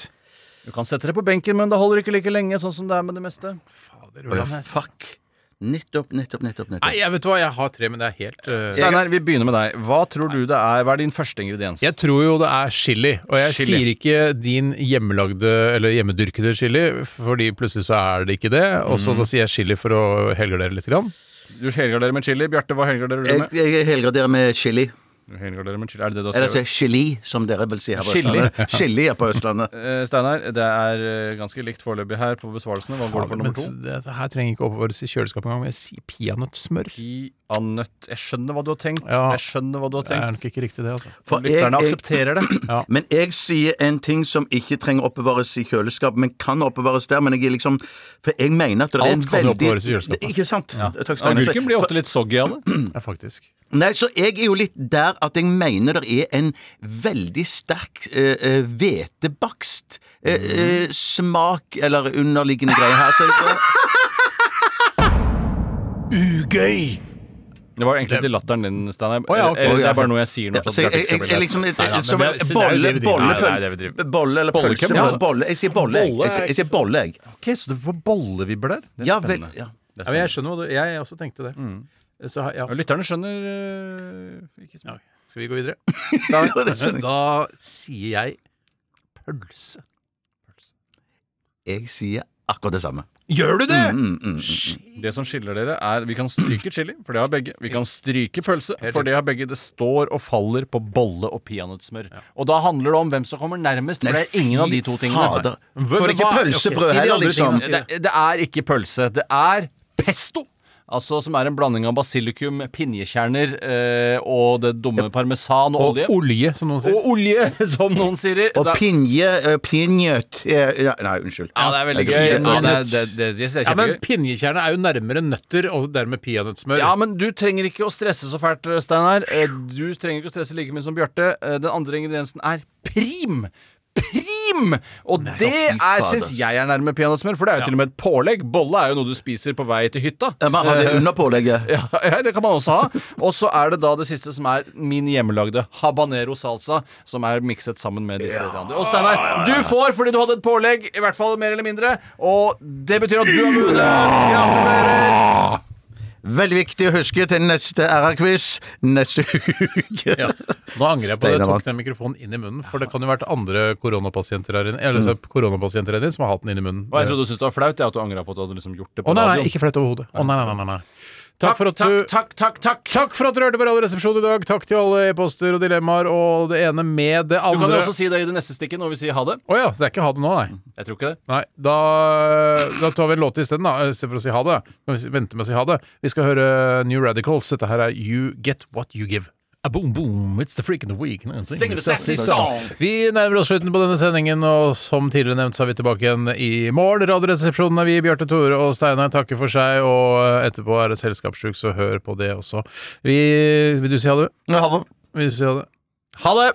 S7: Du kan sette det på benken, men det holder ikke like lenge, sånn som det er med det meste.
S8: Å ja, fuck. Nettopp, nettopp, nettopp. nettopp.
S6: Nei, jeg vet du hva, jeg har tre, men det er helt eh,
S7: Steinar, vi begynner med deg. Hva tror du det er? Hva er din første ingrediens?
S6: Jeg tror jo det er chili, og jeg
S7: Chili.
S6: sier ikke din hjemmelagde eller hjemmedyrkede chili, fordi plutselig så er det ikke det, og
S7: Mm.
S6: så da sier jeg chili for å helgardere litt. Grann.
S7: Du helgarderer med chili. Bjarte, hva helgarderer du
S8: Jeg,
S7: med?
S8: jeg helgraderer med chili.
S7: Du helgarderer med chili. Er det det du har
S8: Eller
S7: skrevet?
S8: altså chili, som dere vil si her på
S7: Chili.
S8: Østlandet. Chili er på Østlandet.
S7: Eh, Steinar, det er eh, ganske likt foreløpig her på besvarelsene. Hva går det for
S6: Men
S7: nummer to?
S6: det, det her trenger ikke oppbevares i kjøleskapet engang, men jeg sier peanøttsmør.
S7: Peanøtt. Jeg skjønner hva du har tenkt.
S6: Ja.
S7: Jeg skjønner hva du har
S6: Det er
S7: tenkt.
S6: nok ikke riktig, det, altså.
S8: For
S7: Lytterne
S8: jeg- jeg-
S7: aksepterer det.
S8: Men jeg sier en ting som ikke trenger oppbevares i kjøleskap, men kan oppbevares der. Men jeg er liksom For jeg mener at det er
S6: Alt
S8: en
S6: kan jo
S8: veldig
S6: oppbevares i kjøleskapet.
S8: Det- Ikke sant? Takk skal du ha.
S7: Agurken blir ofte litt soggy av det.
S6: Ja, faktisk.
S8: Nei, så jeg er jo litt der at jeg mener det er en veldig sterk eh, eh, hvetebakst eh, eh, smak, eller underliggende greie her. Så jeg,
S7: Ugøy! Det var egentlig til latteren din, Steinar.
S6: Å ja, ok.
S7: Eller det er bare noe jeg sier nå.
S8: ja,
S7: for at
S8: så jeg,
S7: Bjarte
S8: jeg,
S7: ikke skal
S8: jeg,
S7: bli
S8: jeg
S7: lei
S8: liksom
S7: seg.
S8: jeg-
S6: Nei, nei,
S8: som
S6: men det er-
S8: bolle,
S6: det er det vi driver
S8: bolle,
S7: med. Nei, det er det vi driver
S8: bolle, bolle eller pølse.
S7: Bollekøm, altså.
S8: Bolle, jeg sier bolle. jeg.
S6: Bolle er
S8: Jeg, sier- jeg
S6: ikke
S8: sier bolle, jeg.
S7: Ok, Så du får bollevibber der? Det er
S8: Ja vel.
S7: spennende. Det er
S8: Ja.
S6: Ja, men
S7: spennende.
S6: jeg skjønner hva du Jeg også tenkte det. Så, ja.
S7: Ja, lytterne skjønner øh, Mm. ikke så
S6: Ja, Skal vi gå videre?
S8: Ja, det skjønner jeg.
S6: Da sier jeg pølse.
S8: Jeg sier akkurat det samme.
S6: Gjør du det?!
S8: Mm, mm, mm.
S7: Det som skiller dere, er Vi kan stryke chili, for det har begge. Vi kan stryke pølse, for det har begge. Det står og faller på bolle og peanøttsmør. Og da handler det om hvem som kommer nærmest, for det er ingen av de to tingene.
S8: Fader. For det er ikke
S6: hva- ok,
S8: pølsebrød
S6: si de
S8: heller,
S6: andre
S8: liksom.
S6: tingene.
S7: Det, det er ikke pølse. Det er pesto. Altså Som er en blanding av basilikum, pinjekjerner eh, og det dumme parmesan og, olje.
S6: Og olje, som noen sier.
S7: Og olje, som noen sier.
S8: Og
S7: Det er-
S8: pinje eh, Pinjøt eh, ja, Nei, unnskyld.
S7: ja, det er veldig gøy.
S8: Jeg-
S7: Ja, det, er- det, det, det, det er
S6: Ja, men
S7: kjempegøy.
S6: pinjekjerne er jo nærmere nøtter og dermed peanøttsmør.
S7: Ja, men du trenger ikke å stresse så fælt, Steinar. Eh, Du trenger ikke å stresse like mye som Bjarte. Eh, Den andre ingrediensen er prim. Prim! Og det
S8: fy
S7: er,
S8: fader.
S7: syns jeg er nærme peanøttsmør, for det er jo til og med et pålegg. Bolle er jo noe du spiser på vei til hytta.
S8: Ja, Man hadde under pålegget.
S7: Ja, ja, det kan man også ha. Og så er det da det siste som er min hjemmelagde habanero salsa, som er mikset sammen med disse andre. Og Steinar, du får fordi du hadde et pålegg, i hvert fall mer eller mindre, og det betyr at du har vunnet. Gratulerer!
S8: Veldig viktig å huske til neste RR-quiz neste uke.
S6: Ja. Nå angrer jeg på at jeg
S8: Steinar
S6: tok
S8: vant.
S6: den mikrofonen inn i munnen, for det kan jo vært andre koronapasienter her inne
S7: Mm.
S6: Eller så koronapasienter her inne som har hatt den inn i munnen.
S7: Og jeg trodde du syntes det var flaut jeg, at du angra på at du hadde liksom gjort det på
S6: Å nei, nei,
S7: radioen.
S6: ikke flaut overhodet. Å nei, nei, nei, nei. Takk for at du
S7: Takk, takk, takk!
S6: Takk for at dere hørte på Radioresepsjonen i dag. Takk til alle e-poster og dilemmaer og det ene med det
S7: Du
S6: andre.
S7: kan jo også si det i det neste stikket når vi sier ha det.
S6: Å ja, det er ikke ha det nå, nei.
S7: Jeg tror ikke det.
S6: Nei, da, da tar vi en låt isteden, da. Eh, Istedenfor å si ha det. Kan vi si- vente med å si ha det. Vi skal høre eh, New Radicals. Dette her er You Get What You Give. A boom, boom, it's the freak in the week. Now sing
S7: Sing
S6: the
S7: the sassy song.
S6: Vi nærmer oss slutten på denne sendingen, og som tidligere nevnt, så er vi tilbake igjen i morgen. Radioresepsjonen er vi, Bjarte Tore og Steinar takker for seg, og eh, etterpå er det selskapssjuk, så hør på det også. Vi, vil du si ha det?
S8: Ha det.
S6: Vil du si ha det?
S7: Ha det!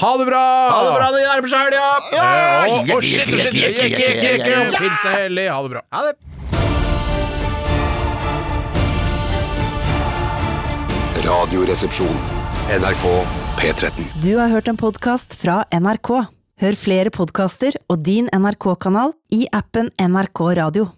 S6: Ha det bra!
S7: Ha det bra, det nærmer seg helga!
S6: Eh, og- og shit, og shit! Jekke, jekke, jekke! Pils er hellig. Ha det bra.
S7: Ha det!
S2: Radioresepsjon. NRK P13.
S1: Du har hørt en podkast fra NRK. Hør flere podkaster og din NRK-kanal i appen NRK Radio.